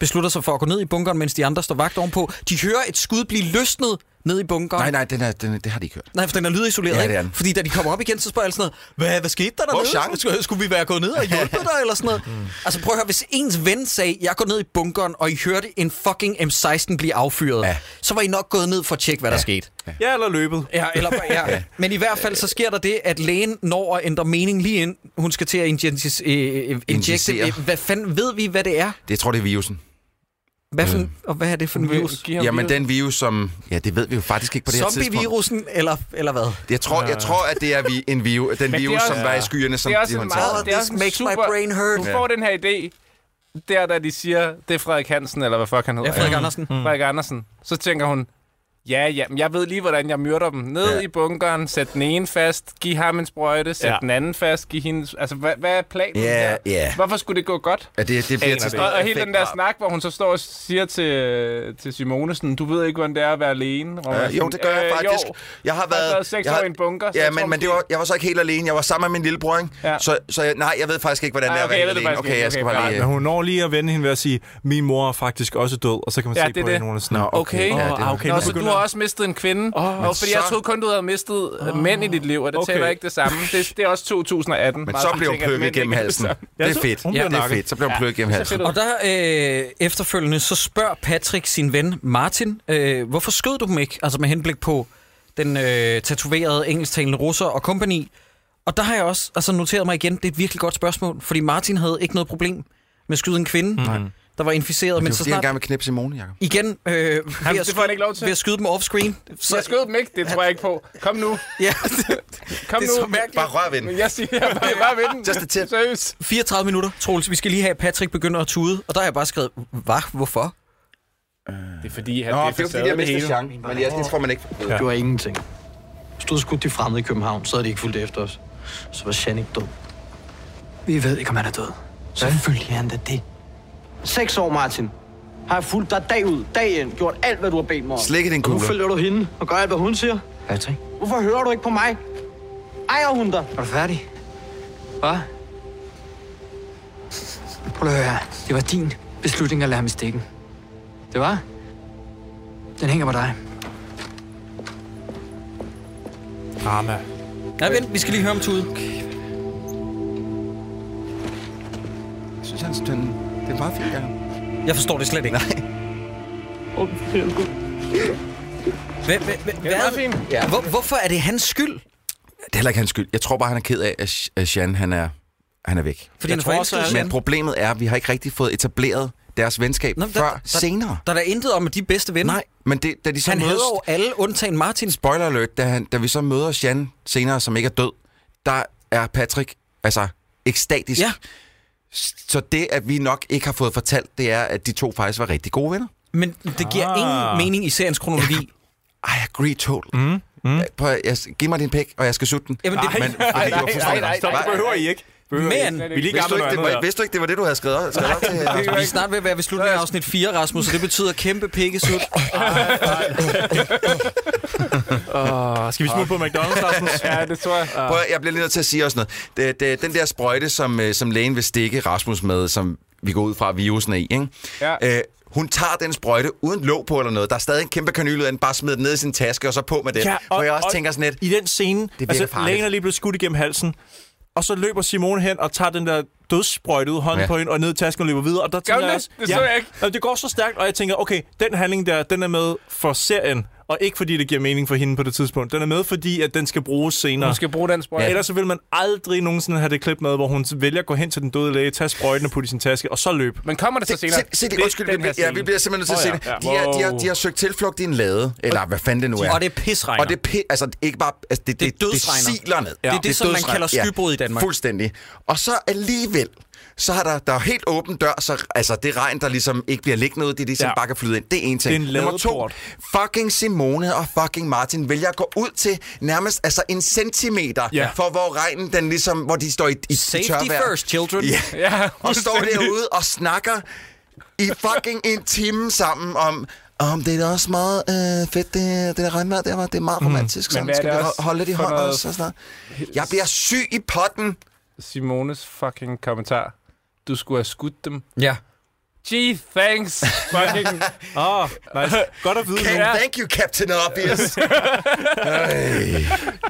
beslutter sig for at gå ned i bunkeren, mens de andre står vagt ovenpå. De hører et skud blive løsnet ned i bunkeren.
Nej, nej, den er, den, er- det har de ikke hørt.
Nej, for den er lydisoleret,
Ja, det er
ikke?
den.
Fordi da de kommer op igen, så spørger alle sådan noget, hvad, hvad skete der
Hvor
dernede?
er Mm. Jean?
Skulle, skulle vi være gået ned
(laughs)
og hjulpet dig, eller sådan noget? Altså prøv at høre, hvis ens ven sagde, jeg går ned i bunkeren, og I hørte en fucking M16 blive affyret, ja.
Ja.
så var I nok gået ned for at tjekke, hvad der skete.
Ja, eller løbet.
Ja, eller, ja. Men i hvert fald så sker der det, at lægen når at ændre mening lige ind. Hun skal til at injektis, øh, øh, injekte.
Injicere.
Øh, hvad fanden ved vi, hvad det er?
Det jeg tror jeg, det er virusen.
Hvad for, og hvad er det for en virus?
Giv ham
Jamen,
livet.
den virus, som... Ja, det ved vi jo faktisk ikke på det her tidspunkt.
Zombie-virusen, eller, eller hvad?
Jeg tror, jeg tror at det er vi, en virus, den
det er
virus,
også-
som var i skyerne, som
det er også
de
en
håndterede.
Oh,
meget- det er
this
også en
makes my
super-
brain hurt.
Du får den her idé, der da de siger, det er Frederik Hansen, eller hvad fuck han hedder.
Ja, Frederik Andersen.
Mm. Frederik Andersen. Så tænker hun, ja, ja, men jeg ved lige, hvordan jeg myrder dem. Ned ja.
Ja.
i bunkeren, sæt den ene fast, giv ham en sprøjte, sæt
Ja.
ja. den anden fast, giv hende... Altså, hvad, hvad er planen
Ja,
her?
ja.
Hvorfor skulle det gå godt?
Ja, det, det bliver til
Og, og hele den der snak, hvor hun så står og siger til, til Simonesen, du ved ikke, hvordan det er at være alene. Hvor man er
Ja, jo,
sådan,
det gør jeg
"Øh,
faktisk.
Jo, jeg
Jeg har
har været
været...
seks
jeg har-
år i en bunker, så
Ja,
jeg tror
men, men det var, jeg var så ikke helt alene. Jeg var sammen med min lillebror, ikke?
Ja.
Så, så jeg, nej, jeg ved faktisk ikke, hvordan
Nej,
det er at
okay,
være
jeg
helt
ved det
alene.
faktisk
Okay,
ikke.
jeg skal
Okay,
bare
fair.
lige...
Men hun når lige at vende hende ved at sige, min mor er faktisk også død, og så kan man
Ja,
se
det er
på
det.
hende, hun er sådan,
Nå,
okay.
Åh,
Ja,
det er-
okay,
Nå,
nu
så du
begynder
har også mistet en kvinde. Oh,
men
og fordi jeg
så-
troede kun, du havde mistet oh. mænd i dit liv, og det
Okay.
okay. tæller ikke det samme. Det, det er også 2018.
Men
Bare
så
sådan
blev hun
ting, at
plukket
mænd
gennem
ikke er
halsen.
det
Det er
så-
fedt.
hun
Ja,
bliver
det er
nakket.
fedt. Så blev hun plukket gennem
samme.
halsen.
Fedt ud.
Og der øh, efterfølgende, så spørger Patrick sin ven Martin, øh, hvorfor skød du dem ikke? Altså med henblik på den øh, tatoverede engelsktalende russer og kompagni. Og der har jeg også altså, noteret mig igen, det er et virkelig godt spørgsmål, fordi Martin havde ikke noget problem med at skyde en kvinde, mm. der var inficeret, men
Men
så
fordi han
snart...
gerne vil knipse Simone, Jacob.
Igen, øh, ved,
Han,
at
det får han
skyde,
ikke lov til.
ved at skyde dem off-screen.
Så jeg skød dem ikke, det tror jeg ikke på. Kom nu,
Ja, (laughs) det,
kom
det
nu.
er så mærkeligt.
Bare rør ved den.
Men jeg siger, jeg bare, jeg bare ved den.
Just a tip.
Seriøst.
34 minutter, Troels. Vi skal lige have, at Patrick begynder at tude. Og der har jeg bare skrevet, hvad? Hvorfor?
Det er fordi, han
Nå,
det er
det er jo fordi, jeg mistede chancen. Men ja, det tror man ikke.
Ja. Gjorde ingenting. Stod skudt de fremmede i København, så havde de ikke fulgt efter os. Så var Jan ikke død.
Vi ved ikke, om han er død.
Selvfølgelig er han da det. Seks år, Martin. Har jeg fulgt dig dag ud, dag ind, gjort alt, hvad du har bedt mig om.
Slikke din
Og nu
kugle.
følger du hende og gør alt, hvad hun siger.
Patrick,
Hvorfor hører du ikke på mig? Ejer hun dig?
er du færdig? Hvad? Prøv lige at høre her. Det var din beslutning at lade ham i stikken. Det var? Den hænger på dig.
Karma.
Nej, vent, vi skal lige høre om tude.
Jeg synes, han, den, det er meget fint, Jacob.
Jeg forstår det slet ikke. Nej. Hvad, hvad, hvad, hvad, ja. Hvor, hvorfor er det hans skyld?
Det er heller ikke hans skyld. Jeg tror bare, han er ked af, at Sh- at Jan, han er, han er væk.
Fordi han er
tror også,
forelsket
at-
i
Men
Jan.
problemet er, at vi har ikke rigtig fået etableret deres venskab
Nå,
Nå,
men
der,
der-
før
der-
der, senere.
Der er da intet om, at de er bedste venner.
Nej, men det, da de så
Han
mødes...
havde jo alle, undtagen Martins.
Spoiler alert, da, han, da vi så møder Jan senere, som ikke er død, der er Patrick altså ekstatisk.
Ja,
Så det, at vi nok ikke har fået fortalt, det er, at de to faktisk var rigtig gode venner.
men det giver ah. ingen mening i seriens kronologi.
I agree total. Mm, mm. Prøv, at- jeg, giv mig din pæk, og jeg skal sutte den.
Jamen, det-
men, fordi det var fuldstændig-
Stop, det behøver I ikke. Behøver
Men-
ikke. vi er lige
Vidste
gamle
du, ikke,
noget
det
andet
var,
her.
vidste du ikke, det var det, du havde skrevet, op- skrevet op til? Rasmus?
Vi er snart ved at være ved slutningen af afsnit 4, Rasmus, så det betyder kæmpe pikkesut. (laughs)
Åh, Skal vi smutte på
(laughs)
McDonald's, Rasmus?
Ja, det tror jeg.
Prøv, at- jeg bliver lige nødt til at sige også noget. Det, det, den der sprøjte, som, øh, som lægen vil stikke Rasmus med, som vi går ud fra at virusen er i, ikke?
Ja.
Øh, hun tager den sprøjte uden låg på eller noget. Der er stadig en kæmpe kanyl ud af den, bare smider den ned i sin taske, og så på med den. Ja, og, hvor jeg også tænker sådan lidt,
I den scene, det
virker
altså,
farligt.
lægen er lige blevet skudt igennem halsen, og så løber Simone hen og tager den der dødssprøjte ud af hånden
Ja.
ja. på hende, og ned i tasken og løber videre. Og der
hun
tænker jeg
det?
også,
Det så jeg ikke.
Jamen, det går så stærkt, og jeg tænker, okay, den handling der, den er med for serien, og ikke fordi det giver mening for hende på det tidspunkt. Den er med, fordi at den skal bruges senere.
Du skal bruge den sprøjte.
Ja. Ellers så vil man aldrig nogensinde have det klip med, hvor hun vælger at gå hen til den døde læge, tage sprøjten og putte i sin taske, og så løb.
Men kommer det så
Se,
senere?
se det,
er
undskyld,
den
vi,
her
ja,
scene.
vi bliver simpelthen nødt til at se
Åh,
det.
ja.
De, er, de, har,
Wow.
de har søgt tilflugt i en lade, eller hvad fanden det nu er.
Og det er pisregner.
Og det er pi- altså ikke bare, altså det,
Det er
det, det, det
dødsregner.
siler ned.
det er det, som man kalder skybrud i Danmark.
Fuldstændig. Og så alligevel, så har der, der er helt åben dør, så altså det regn, der ligesom ikke bliver liggende ud, det er ligesom
Ja.
ja. bare kan flyde ind. Det er en ting.
Det er en
Nummer to,
ladeport.
fucking Simone og fucking Martin vælger at gå ud til nærmest altså en centimeter,
Ja.
ja. for hvor regnen den ligesom, hvor de står i, i, i
Safety
tørvejr.
first, children.
Ja.
Ja,
og står derude og snakker i fucking en time sammen om, om det er da også meget øh, fedt, det, det der regnvejr der var. Det er meget romantisk. Mm.
hvad
Sådan,
er
skal vi
det
ho-
også
holde lidt i
for
hånden
noget-
også? Og sådan noget. Jeg bliver syg i potten.
Simones fucking kommentar. Du skulle have skudt dem.
Ja.
Gee, thanks. (laughs) Fucking.
Åh, oh, nice. Godt at vide.
Can,
nu.
Thank you, Captain
(laughs)
Obvious.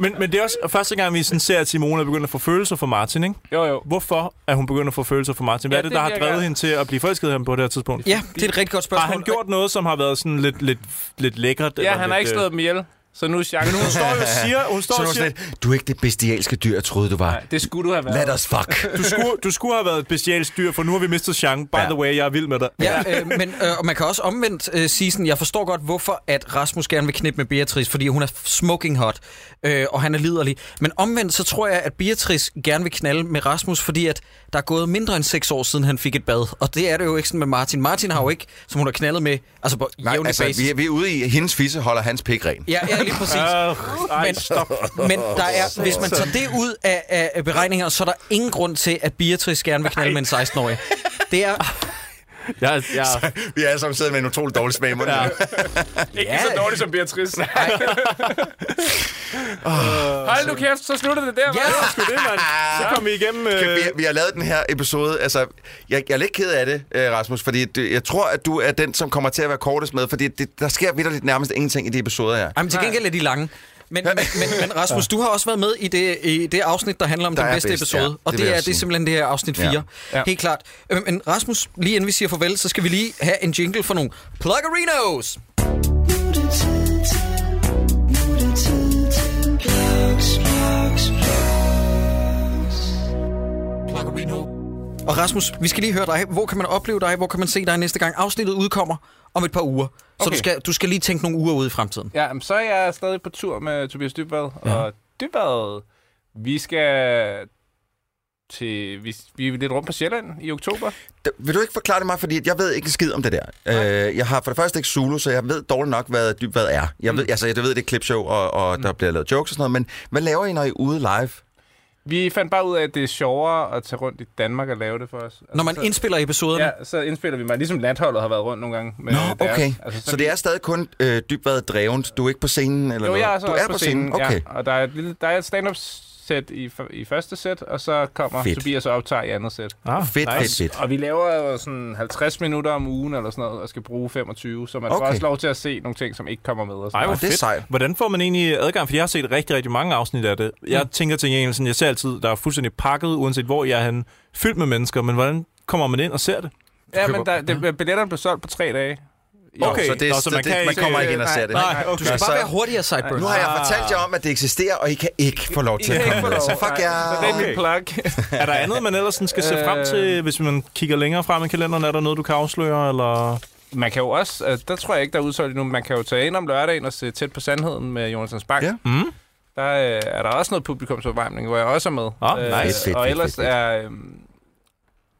Men, men det er også første gang, vi sådan ser, at Simone er begyndt at få følelser for Martin, ikke?
Jo, jo.
Hvorfor er hun begyndt at få følelser for Martin? Hvad
Ja,
er det,
det
der har
virker-
drevet hende til at blive forelsket i ham på det her tidspunkt?
ja, det er et rigtig godt
Har
spørgsmål.
han gjort noget, som har været sådan lidt, lidt, lidt lækkert?
Ja, han har ikke
lidt, øh,
slået dem ihjel. Så nu er chancen.
Hun står
(laughs)
jo og siger, hun
Så
står
er
og
hun
siger
sådan lidt, du er ikke det bestialske dyr, jeg troede, du var.
Nej, det skulle du have været.
Let us fuck.
du skulle, du skulle have været et bestialsk dyr, for nu har vi mistet Jean. By
Ja.
the way, jeg er vild med dig.
Ja, øh, men øh, og man kan også omvendt øh, sige sådan, jeg forstår godt, hvorfor at Rasmus gerne vil knippe med Beatrice, fordi hun er smoking hot, øh, og han er liderlig. Men omvendt, så tror jeg, at Beatrice gerne vil knalde med Rasmus, fordi at der er gået mindre end seks år siden, han fik et bad. Og det er det jo ikke sådan med Martin. Martin har jo ikke, som hun har knaldet med, altså på
Nej,
jævnlig
altså,
basis.
vi, er, vi er ude i, hendes fisse holder hans pik ren.
Ja, ja, lige
(laughs)
præcis.
Ej,
men,
stop.
men der er, hvis man tager det ud af, af af beregninger, så er der ingen grund til, at Beatrice gerne vil knalde med en 16-årig. Det er...
Jeg, jeg,
(laughs) Vi er alle sammen siddet med en utrolig dårlig smag i munden. Ja.
Ikke ja. så dårligt som
(laughs)
Beatrice. (laughs) Hold nu kæft, så slutter det der.
Ja!
hva'?
sgu det, mand. Så kom vi igennem... Øh,
vi, vi har lavet den her episode. Altså, jeg, jeg er lidt ked af det, øh, Rasmus, fordi det, jeg tror, at du er den, som kommer til at være kortest med, fordi det, der sker vidderligt nærmest ingenting i de episoder her.
Ej, men til gengæld er de lange. Men, men, men, men
(laughs)
Rasmus, du har også været med i det, i det afsnit, der handler om
Der
den
er
bedste
bedst,
episode.
ja.
Ja,
Det
og
vil
det
jeg
er,
også
det er
sige.
simpelthen det her afsnit 4. Ja.
Ja.
Helt klart. Øh, Men Rasmus, lige inden vi siger farvel, så skal vi lige have en jingle for nogle Pluggerinos. Og Rasmus, vi skal lige høre dig. Hvor kan man opleve dig? Hvor kan man se dig næste gang? Afsnittet udkommer om et par uger. Så
Okay.
du, skal, du skal lige tænke nogle uger ud i fremtiden.
Ja, men så er jeg stadig på tur med Tobias Dybvad. Ja. Og Dybvad, vi skal til... Vi, vi er lidt rundt på Sjælland i oktober.
D- Vil du ikke forklare det mig, fordi at jeg ved ikke en skid om det der. Øh, jeg har for det første ikke Zulu, så jeg ved dårligt nok, hvad Dybvad er. Jeg ved, altså, jeg ved, det er et klipshow, og, og der bliver lavet jokes og sådan noget, men hvad laver I, når I er ude live?
Vi fandt bare ud af, at det er sjovere at tage rundt i Danmark og lave det for os.
Når man
så,
indspiller episoderne.
Ja, så indspiller vi mig, ligesom landholdet har været rundt nogle gange. Med
Nå,
deres.
Øh, okay.
Altså,
Så det er stadig kun øh, Dybvad drevent. Du er ikke på scenen? Eller
Jo,
noget?
jeg er så
du
også på scenen,
Okay.
ja. Og der er et, lille, der er et stand-up sæt i, f- i første sæt, og så kommer
Fedt.
Fedt. Tobias og optager i andet sæt.
ah,
Fedt, fedt, fedt.
Og vi laver jo sådan 50 minutter om ugen eller sådan noget, og skal bruge 25, så man okay. får
Okay.
også lov til at se nogle ting, som ikke kommer med. Og sådan
Ej, hvor
det er
fedt.
sejt.
Hvordan får man egentlig adgang? For jeg har set rigtig, rigtig mange afsnit af det. Jeg mm. tænker til gengæld, sådan, jeg ser altid, der er fuldstændig pakket, uanset hvor jeg er henne, fyldt med mennesker. Men hvordan kommer man ind og ser det?
noget. Ja, men der, det, billetterne blev solgt på tre dage.
Nå,
Okay.
så det,
Nå, så
så
man
man, det,
kan
man
ikke-
kommer ikke ind og
Nej,
ser det.
nej,
nej, okay.
Du skal
Altså-
bare være hurtigere, Sideburn.
Nu har jeg fortalt jer om, at det eksisterer, og I kan ikke få lov til at komme med. Så fuck
Så det er
jer.
min plug.
Er der andet, man ellers sådan skal se frem
Øhm.
til, hvis man kigger længere frem i kalenderen? Er der noget, du kan afsløre? Eller?
Man kan jo også, altså, der tror jeg ikke, der er udsolgt endnu, men man kan jo tage ind om lørdagen og se tæt på sandheden med Jonas Bank.
Ja.
Mm. Der øh, er der også noget publikumsopvarmning, hvor jeg også er med. Øh,
Ah, nice.
Fedt, fedt,
og
fedt,
ellers
fedt, fedt.
er... øhm,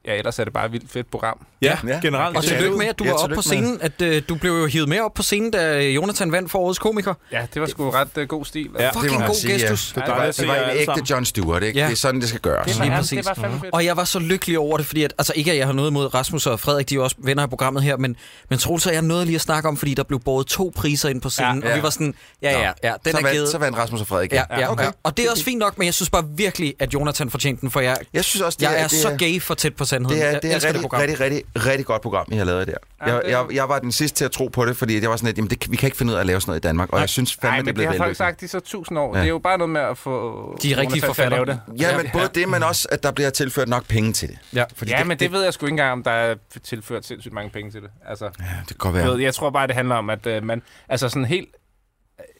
Ja, ellers er det bare et vildt fedt program.
Ja,
Ja.
ja. generelt.
Og
Ja,
tillykke
det-
med, at du
ja,
var oppe på
tillykke med.
scenen. At, øh, du blev jo hivet med op på scenen, da Jonathan vandt for årets komiker.
Ja, det var sgu ret øh, god stil.
Ja.
Det må
Fucking
man
god
sige, ja.
gestus.
Det er
Det var,
dejligt at
det
se
var
jer
en
alle
ægte
sammen.
John Stewart, ikke?
Ja.
Ja. Det er sådan, det skal gøres.
Lige præcis.
Det var fandme fedt.
Og jeg var så lykkelig over det, fordi at, altså ikke at jeg har noget imod Rasmus og Frederik, de er jo også venner af programmet her, men, men Troels og jeg nåede lige at snakke om, fordi der blev båret to priser ind på scenen, ja,
Ja.
og vi var sådan, ja, ja, ja, den
så,
er
vandt,
givet.
så vandt Rasmus og Frederik.
Ja, ja, okay. ja. Og det er også fint nok, men jeg synes bare virkelig, at Jonathan fortjente den, for jeg,
Jeg synes også, det
jeg er,
er,
er
det
så gay for tæt på sandheden.
Det er,
Jeg
det er et
elsker det
rigtig,
program.
rigtig, rigtig, rigtig godt program, I har lavet der. jeg,
det-
jeg, jeg var den sidste til at tro på det, fordi jeg var sådan lidt, jamen det, vi kan ikke finde ud af at lave sådan noget i Danmark, og jeg synes fandme,
Nej,
det
men
blev
det har folk
vellykket.
sagt i så tusind år. Ja. Det er jo bare noget med at få...
De er rigtige
Jonas til at
forfattere.
lave det.
Ja, men både det, men også, at der bliver tilført nok penge til det.
Ja.
Fordi
Ja, men det ved jeg sgu ikke engang, om der er tilført sindssygt mange penge til det. Altså,
Ja, det kan godt
ja.
være.
ved, jeg tror bare, det handler om, at øh, man altså sådan helt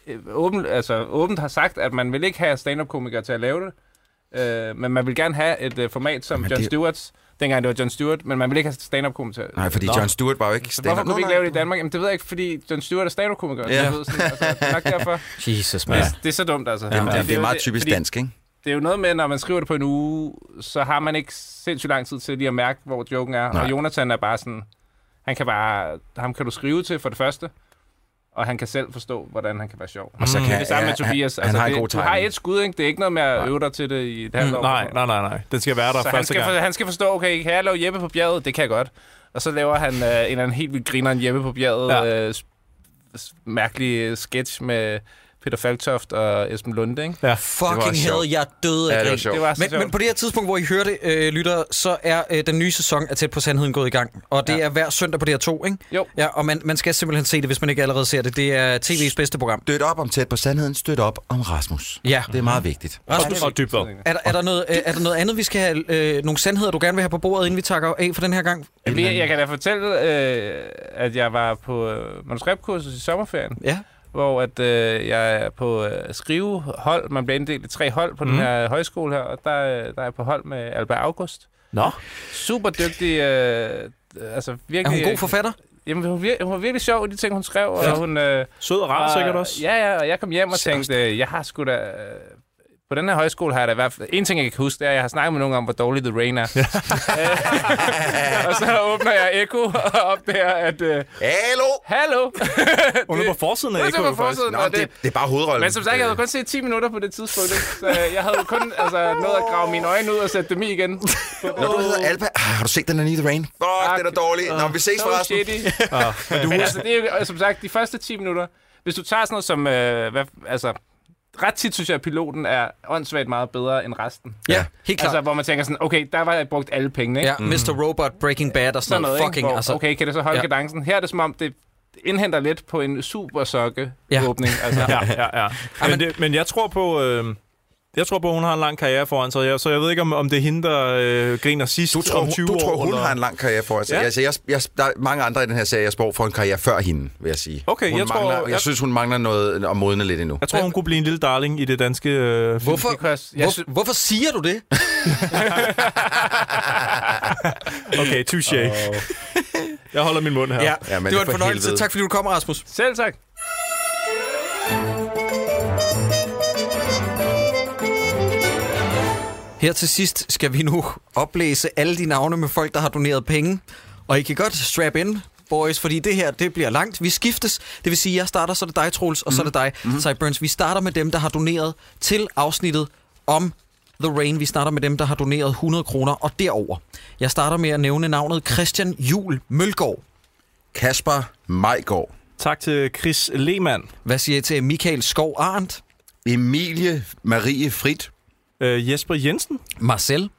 øh, åbent, altså, åbent har sagt, at man vil ikke have stand-up-komikere til at lave det, øh, men man vil gerne have et øh, format som
Men
John
det-
Stewart's, dengang det var John Stewart, men man vil ikke have stand-up-komikere.
Nej, fordi
Nå.
John Stewart var jo ikke
Så
stand-up.
Hvorfor kunne vi ikke
Nå, nej.
lave det i Danmark? Jamen, det ved jeg ikke, fordi John Stewart er stand-up-komiker.
Ja.
Ja. Ved, sådan, altså, det er nok derfor.
Jesus,
Ja.
man.
Det, det er så dumt, altså.
Jamen,
Fordi
det, det er
jo
meget typisk
fordi
dansk, ikke?
Det er jo noget med, når man skriver det på en uge, så har man ikke sindssygt lang tid til lige at mærke, hvor joken er.
Nej.
Og Jonathan er bare sådan, han kan bare, ham kan du skrive til for det første, og han kan selv forstå, hvordan han kan være sjov.
Og så kan,
Det er det samme med Tobias. Altså,
Han, han har
det,
en god
du har
timing. Mm,
et skud, ikke? Det er ikke noget med at øve dig til det i et halvt år.
Nej, nej, nej, nej. Den skal være der
Så han
første
skal,
gang.
for, han skal forstå, okay, kan jeg lave Jeppe på bjerget? Det kan jeg godt. Og så laver han øh, en eller anden helt vildt grineren Jeppe på bjerget,
Ja.
ja. øh, s- s- mærkelig øh, sketch med Peter Falktoft og Esben Lunde, ikke?
Ja.
Det var
Fucking
sjovt.
hell, jeg døde af
Ja, det var
grin.
sjovt.
Det var så
Men,
sjovt.
men på det her tidspunkt, hvor I hører det, øh, lytter, så er øh, den nye sæson af Tæt på Sandheden gået i gang. Og det ja. er hver søndag på DR2, ikke?
Jo.
Ja, og man, man skal simpelthen se det, hvis man ikke allerede ser det. Det er tv's bedste program.
Støt op om tæt på sandheden, støt op om Rasmus.
Ja.
Det er meget
Mhm.
vigtigt.
Rasmus,
Og dybt op.
er der, er, der noget, øh, er der noget andet, vi skal have? Øh, nogle sandheder, du gerne vil have på bordet, inden vi takker af for den her gang?
Jamen, jeg, jeg kan da fortælle, øh, at jeg var på øh, manuskriptkursus i sommerferien,
Ja.
hvor at, øh, jeg er på øh, skrivehold. Man bliver inddelt i tre hold på
Mhm.
mm. den her højskole her, og der, øh, der er jeg på hold med Albert August.
Nå.
Super dygtig, øh, altså
Er
virkelig...
hun god forfatter?
Jamen, hun, vir- hun var virkelig sjov i de ting, hun skrev, og hun... Øh,
Sød og rar
og-
sikkert også.
Ja, ja, og jeg kom hjem og tænkte, øh, jeg har sgu da... øh, På den her højskole har jeg da i hvert fald... En ting, jeg kan huske, det er, at jeg har snakket med nogen om, hvor dårlig The Rain er. Øh, (laughs) og så åbner jeg Echo (laughs) og opdager, at... Øh,
Hallo!
(laughs)
Hallo! (laughs)
Hun er på forsiden af
Det
Eko.
var
jo, faktisk. Øh.
forsiden,
Nå,
og
det,
det...
det er bare hovedrollen.
Men som sagt, jeg havde kun set 10 minutter på det tidspunkt, ikke? så jeg havde jo kun altså, nået at grave mine øjne ud og sætte dem i igen.
Når du hedder Alba, ah, har du set den her Need the Rain? Fuck, den er dårlig.
Øh,
Nå, vi ses
So
forresten.
shitty. Men altså, det er jo, som sagt, de første 10 minutter, hvis du tager sådan noget som, øh, hvad, altså, ret tit synes jeg, at piloten er åndssvagt meget bedre end resten.
Ja, helt klart.
Altså, hvor man tænker sådan, okay, der var jeg brugt alle pengene, ikke? Mm.
Ja, Mr. Robot, Breaking Bad og sådan noget.
ikke?
Fucking,
hvor,
altså.
Okay, kan det så holde
Ja.
ja. kadencen? Her er det som om, det indhenter lidt på en super sokke
Ja.
åbning. Altså, ja.
ja, ja, ja. Men, det, men jeg tror på... Øh, jeg tror på, hun har en lang karriere foran sig, jeg, så jeg ved ikke, om, om det er hende, der øh, griner sidst
Du tror,
om 20
hun, du
år.
tror, hun
eller-
har en lang karriere foran sig.
Ja.
Altså, jeg, jeg, der er mange andre i den her serie, jeg spår for en karriere før hende, vil jeg sige.
Okay,
hun
jeg tror-
mangler,
jeg-
jeg synes, hun mangler noget at modne lidt endnu.
Jeg tror, hun kunne blive en lille darling i det danske... Øh, film.
Hvorfor,
Because jeg
hvor,
sy-
hvorfor siger du det?
Okay, touché. (laughs) Jeg holder min mund her.
Ja,
Ja, men
det var en
for
fornøjelse.
helvede.
Tak fordi du kom, Rasmus.
Selv tak.
Her til sidst skal vi nu oplæse alle de navne med folk, der har doneret penge. Og I kan godt strap in, boys, fordi det her, det bliver langt. Vi skiftes, det vil sige, jeg starter, så er det dig, Troels, og så er det dig, mm-hmm. Burns. Vi starter med dem, der har doneret til afsnittet om The Rain. Vi starter med dem, der har doneret 100 kroner og derover. Jeg starter med at nævne navnet Christian Jul Mølgaard.
Kasper Majgaard,
Tak til Chris Lehmann,
Hvad siger I til Michael Skov Arndt?
Emilie Marie Frit,
øh, Jesper Jensen,
Marcel?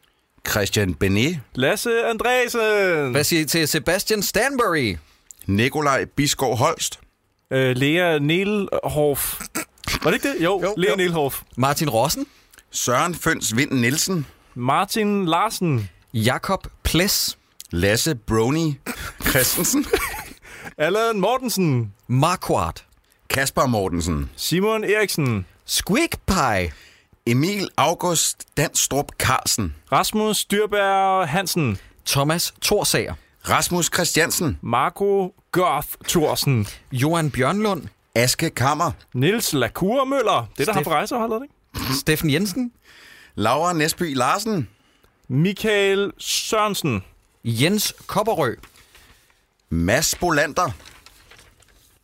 Christian Benet,
Lasse Andresen,
Hvad siger I til Sebastian Stanbury?
Nikolaj Biskov Holst,
øh, Lea Nielhoff. Var det ikke det?
Jo,
Jo, jo
jo.
Lea jo. Nielhoff.
Martin Rossen?
Søren Føns Vind Nielsen,
Martin Larsen,
Jakob Ples?
Lasse Brony Christensen,
Allan Mortensen,
Marquardt?
Kasper Mortensen,
Simon Eriksen,
Squeak Pie?
Emil August Danstrup Carlsen,
Rasmus Dyrberg Hansen,
Thomas Torsager,
Rasmus Christiansen,
Marco Goth Thorsen,
Johan Bjørnlund,
Aske Kammer,
Nils Lacour Møller. Det er der ham fra rejseholdet, ikke?
Steffen Jensen,
Laura Nesby Larsen,
Michael Sørensen,
Jens Kopperø,
Mads Bolander.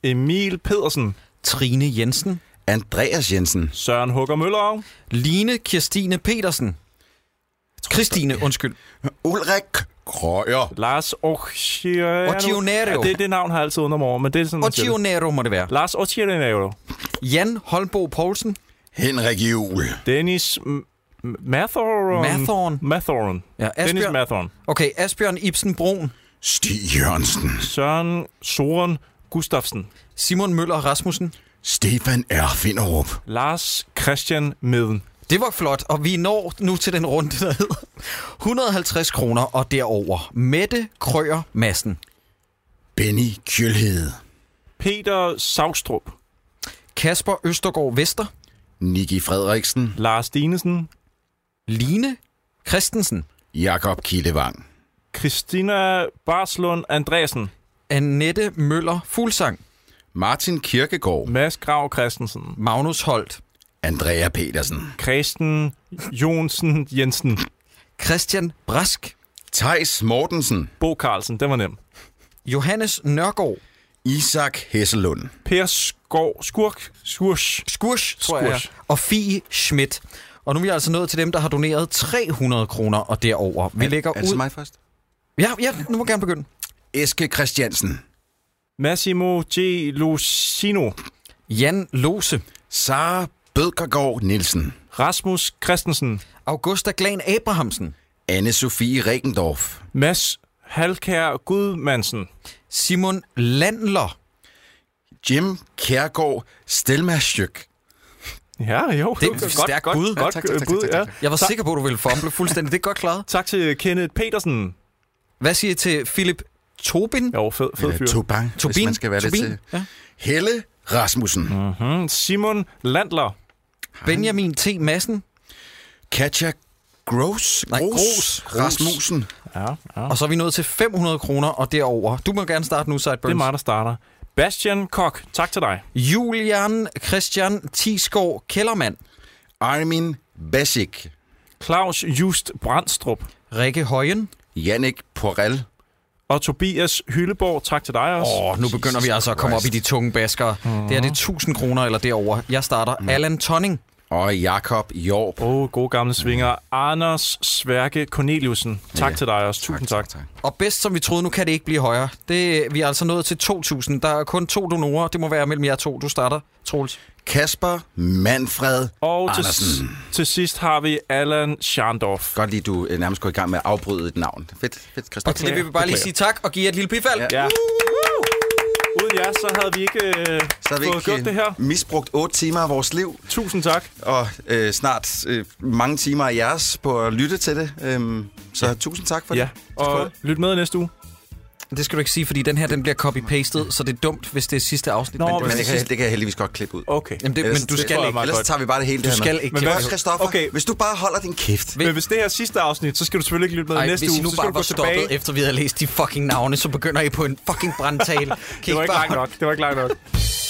Emil Pedersen,
Trine Jensen,
Andreas Jensen.
Søren Hugger Møllerov,
Line Kirstine Petersen. Christine, undskyld.
Ulrik Krøyer.
Lars Occhiano.
Occhionero.
Ja, det, det navn har jeg altid undret mig over, men det er sådan, man siger det.
Otionero må det være.
Lars Occhiano.
Jan Holbo Poulsen.
Henrik Juhl.
Dennis M- M- Mathorn.
Mathorn.
Mathorn.
Ja,
Dennis
Asbjørn.
Mathorn.
Okay, Asbjørn Ibsen Brun.
Stig Jørgensen.
Søren Soren Gustafsen.
Simon Møller Rasmussen.
Stefan R. Finderup.
Lars Christian Midden.
Det var flot, og vi når nu til den runde, der hedder 150 kroner og derover. Mette Krøyer Madsen.
Benny Kjølhede.
Peter Savstrup.
Kasper Østergaard Vester.
Niki Frederiksen.
Lars Dinesen.
Line Christensen.
Jakob Kildevang.
Christina Barslund Andreasen.
Annette Møller Fuglsang.
Martin Kirkegaard.
Mads Grav Christensen.
Magnus Holt.
Andrea Petersen.
Kristen Jonsen Jensen.
Christian Brask.
Tejs Mortensen.
Bo Carlsen, den var nem.
Johannes Nørgaard.
Isak Hesselund.
Per Skov Skurk. Skursch.
Skursch, tror jeg.
Skursch.
Og Fie Schmidt. Og nu er vi altså nået til dem, der har doneret 300 kroner og derover. Vi lægger
Er det så
ud...
mig først?
Ja, ja, nu må jeg gerne begynde.
Eske Christiansen.
Massimo G. Lucino.
Jan Lose.
Sara Bødkergaard Nielsen.
Rasmus Christensen.
Augusta Glan Abrahamsen.
Anne-Sophie Regendorf.
Mads Halkær Gudmansen.
Simon Landler.
Jim Kærgaard Stelmarsjøk.
Ja, jo.
Det er et stærkt bud.
Godt,
tak, tak, tak,
bud,
tak, tak,
ja.
tak.
Jeg var sikker på, at du ville fumble fuldstændig. Det er godt klaret.
Tak til Kenneth Petersen.
Hvad siger I til Philip Tobin?
Jo, fed, fed fyr.
øh, Tobang, Tobin, hvis man skal være
Tobin?
lidt til.
Ja.
Helle Rasmussen. Mm.
Mm, Simon Landler.
Benjamin T. Madsen.
Katja Gross.
Nej,
Gros.
Gros.
Rasmussen.
Ja, ja.
Og så er vi nået til 500 kroner og derover. Du må gerne starte nu,
Det er
Sideburns.
mig, der starter. Bastian Kok, tak til dig.
Julian Christian Tisgaard Kellermann.
Armin Basic.
Claus Just Brandstrup.
Rikke Højen.
Jannik Porel.
Og Tobias Hylleborg, tak til dig også.
Åh, oh, nu begynder vi altså at komme op i de tunge baskere. Mm-hmm. Det er det 1000 kroner eller derover. Jeg starter mm. Allan Tonning,
Og Jakob Jorp.
Åh, oh, gode gamle svinger. Anders Sværke Corneliusen, tak
Ja.
til dig også. Tusind tak. tak.
og bedst som vi troede, nu kan det ikke blive højere. Det, vi er altså nået til 2000. Der er kun to donorer. Det må være mellem jer to. Du starter, Troels.
Kasper Manfred
Og til,
Andersen.
til sidst har vi Allan Schandorf.
Godt lige, du øh, nærmest går i gang med at afbryde et navn. Fedt, fedt,
Og til
Christoffer.
det vil vi bare lige sige tak og give jer et lille bifald. Ja.
Ja. Uden jer, så havde vi ikke øh,
Så har vi
fået
ikke
gjort det her.
øh, misbrugt 8 timer af vores liv,
Tusind tak.
og øh, snart øh, mange timer af jeres på at lytte til det. Øhm, så ja. tusind tak for
Ja,
det.
og lyt med i næste uge.
Det skal du ikke sige, fordi den her den bliver copy-pastet, så det er dumt, hvis det er sidste afsnit.
Nå,
men,
Men det kan, jeg- det kan jeg heldigvis godt klippe ud.
Okay.
jamen det,
Ellers-
men du
det-
skal
tror jeg
ikke.
meget
Ellers
godt.
tager vi bare det hele
Du
det her
skal
med.
ikke.
Men
kæmpe.
hvad-
Også Christoffer,
Okay.
okay. hvis du bare holder din kæft.
Ved-
Men hvis det her er sidste afsnit, så skal du selvfølgelig ikke lytte med
Ej,
næste
hvis I
uge.
nu
så skal
bare
du gå
var
tilbage.
stoppet, efter vi havde læst de fucking navne, så begynder I på en fucking brandtale. Kan I
(laughs) Det var ikke
bare-
langt nok. Det var ikke langt nok.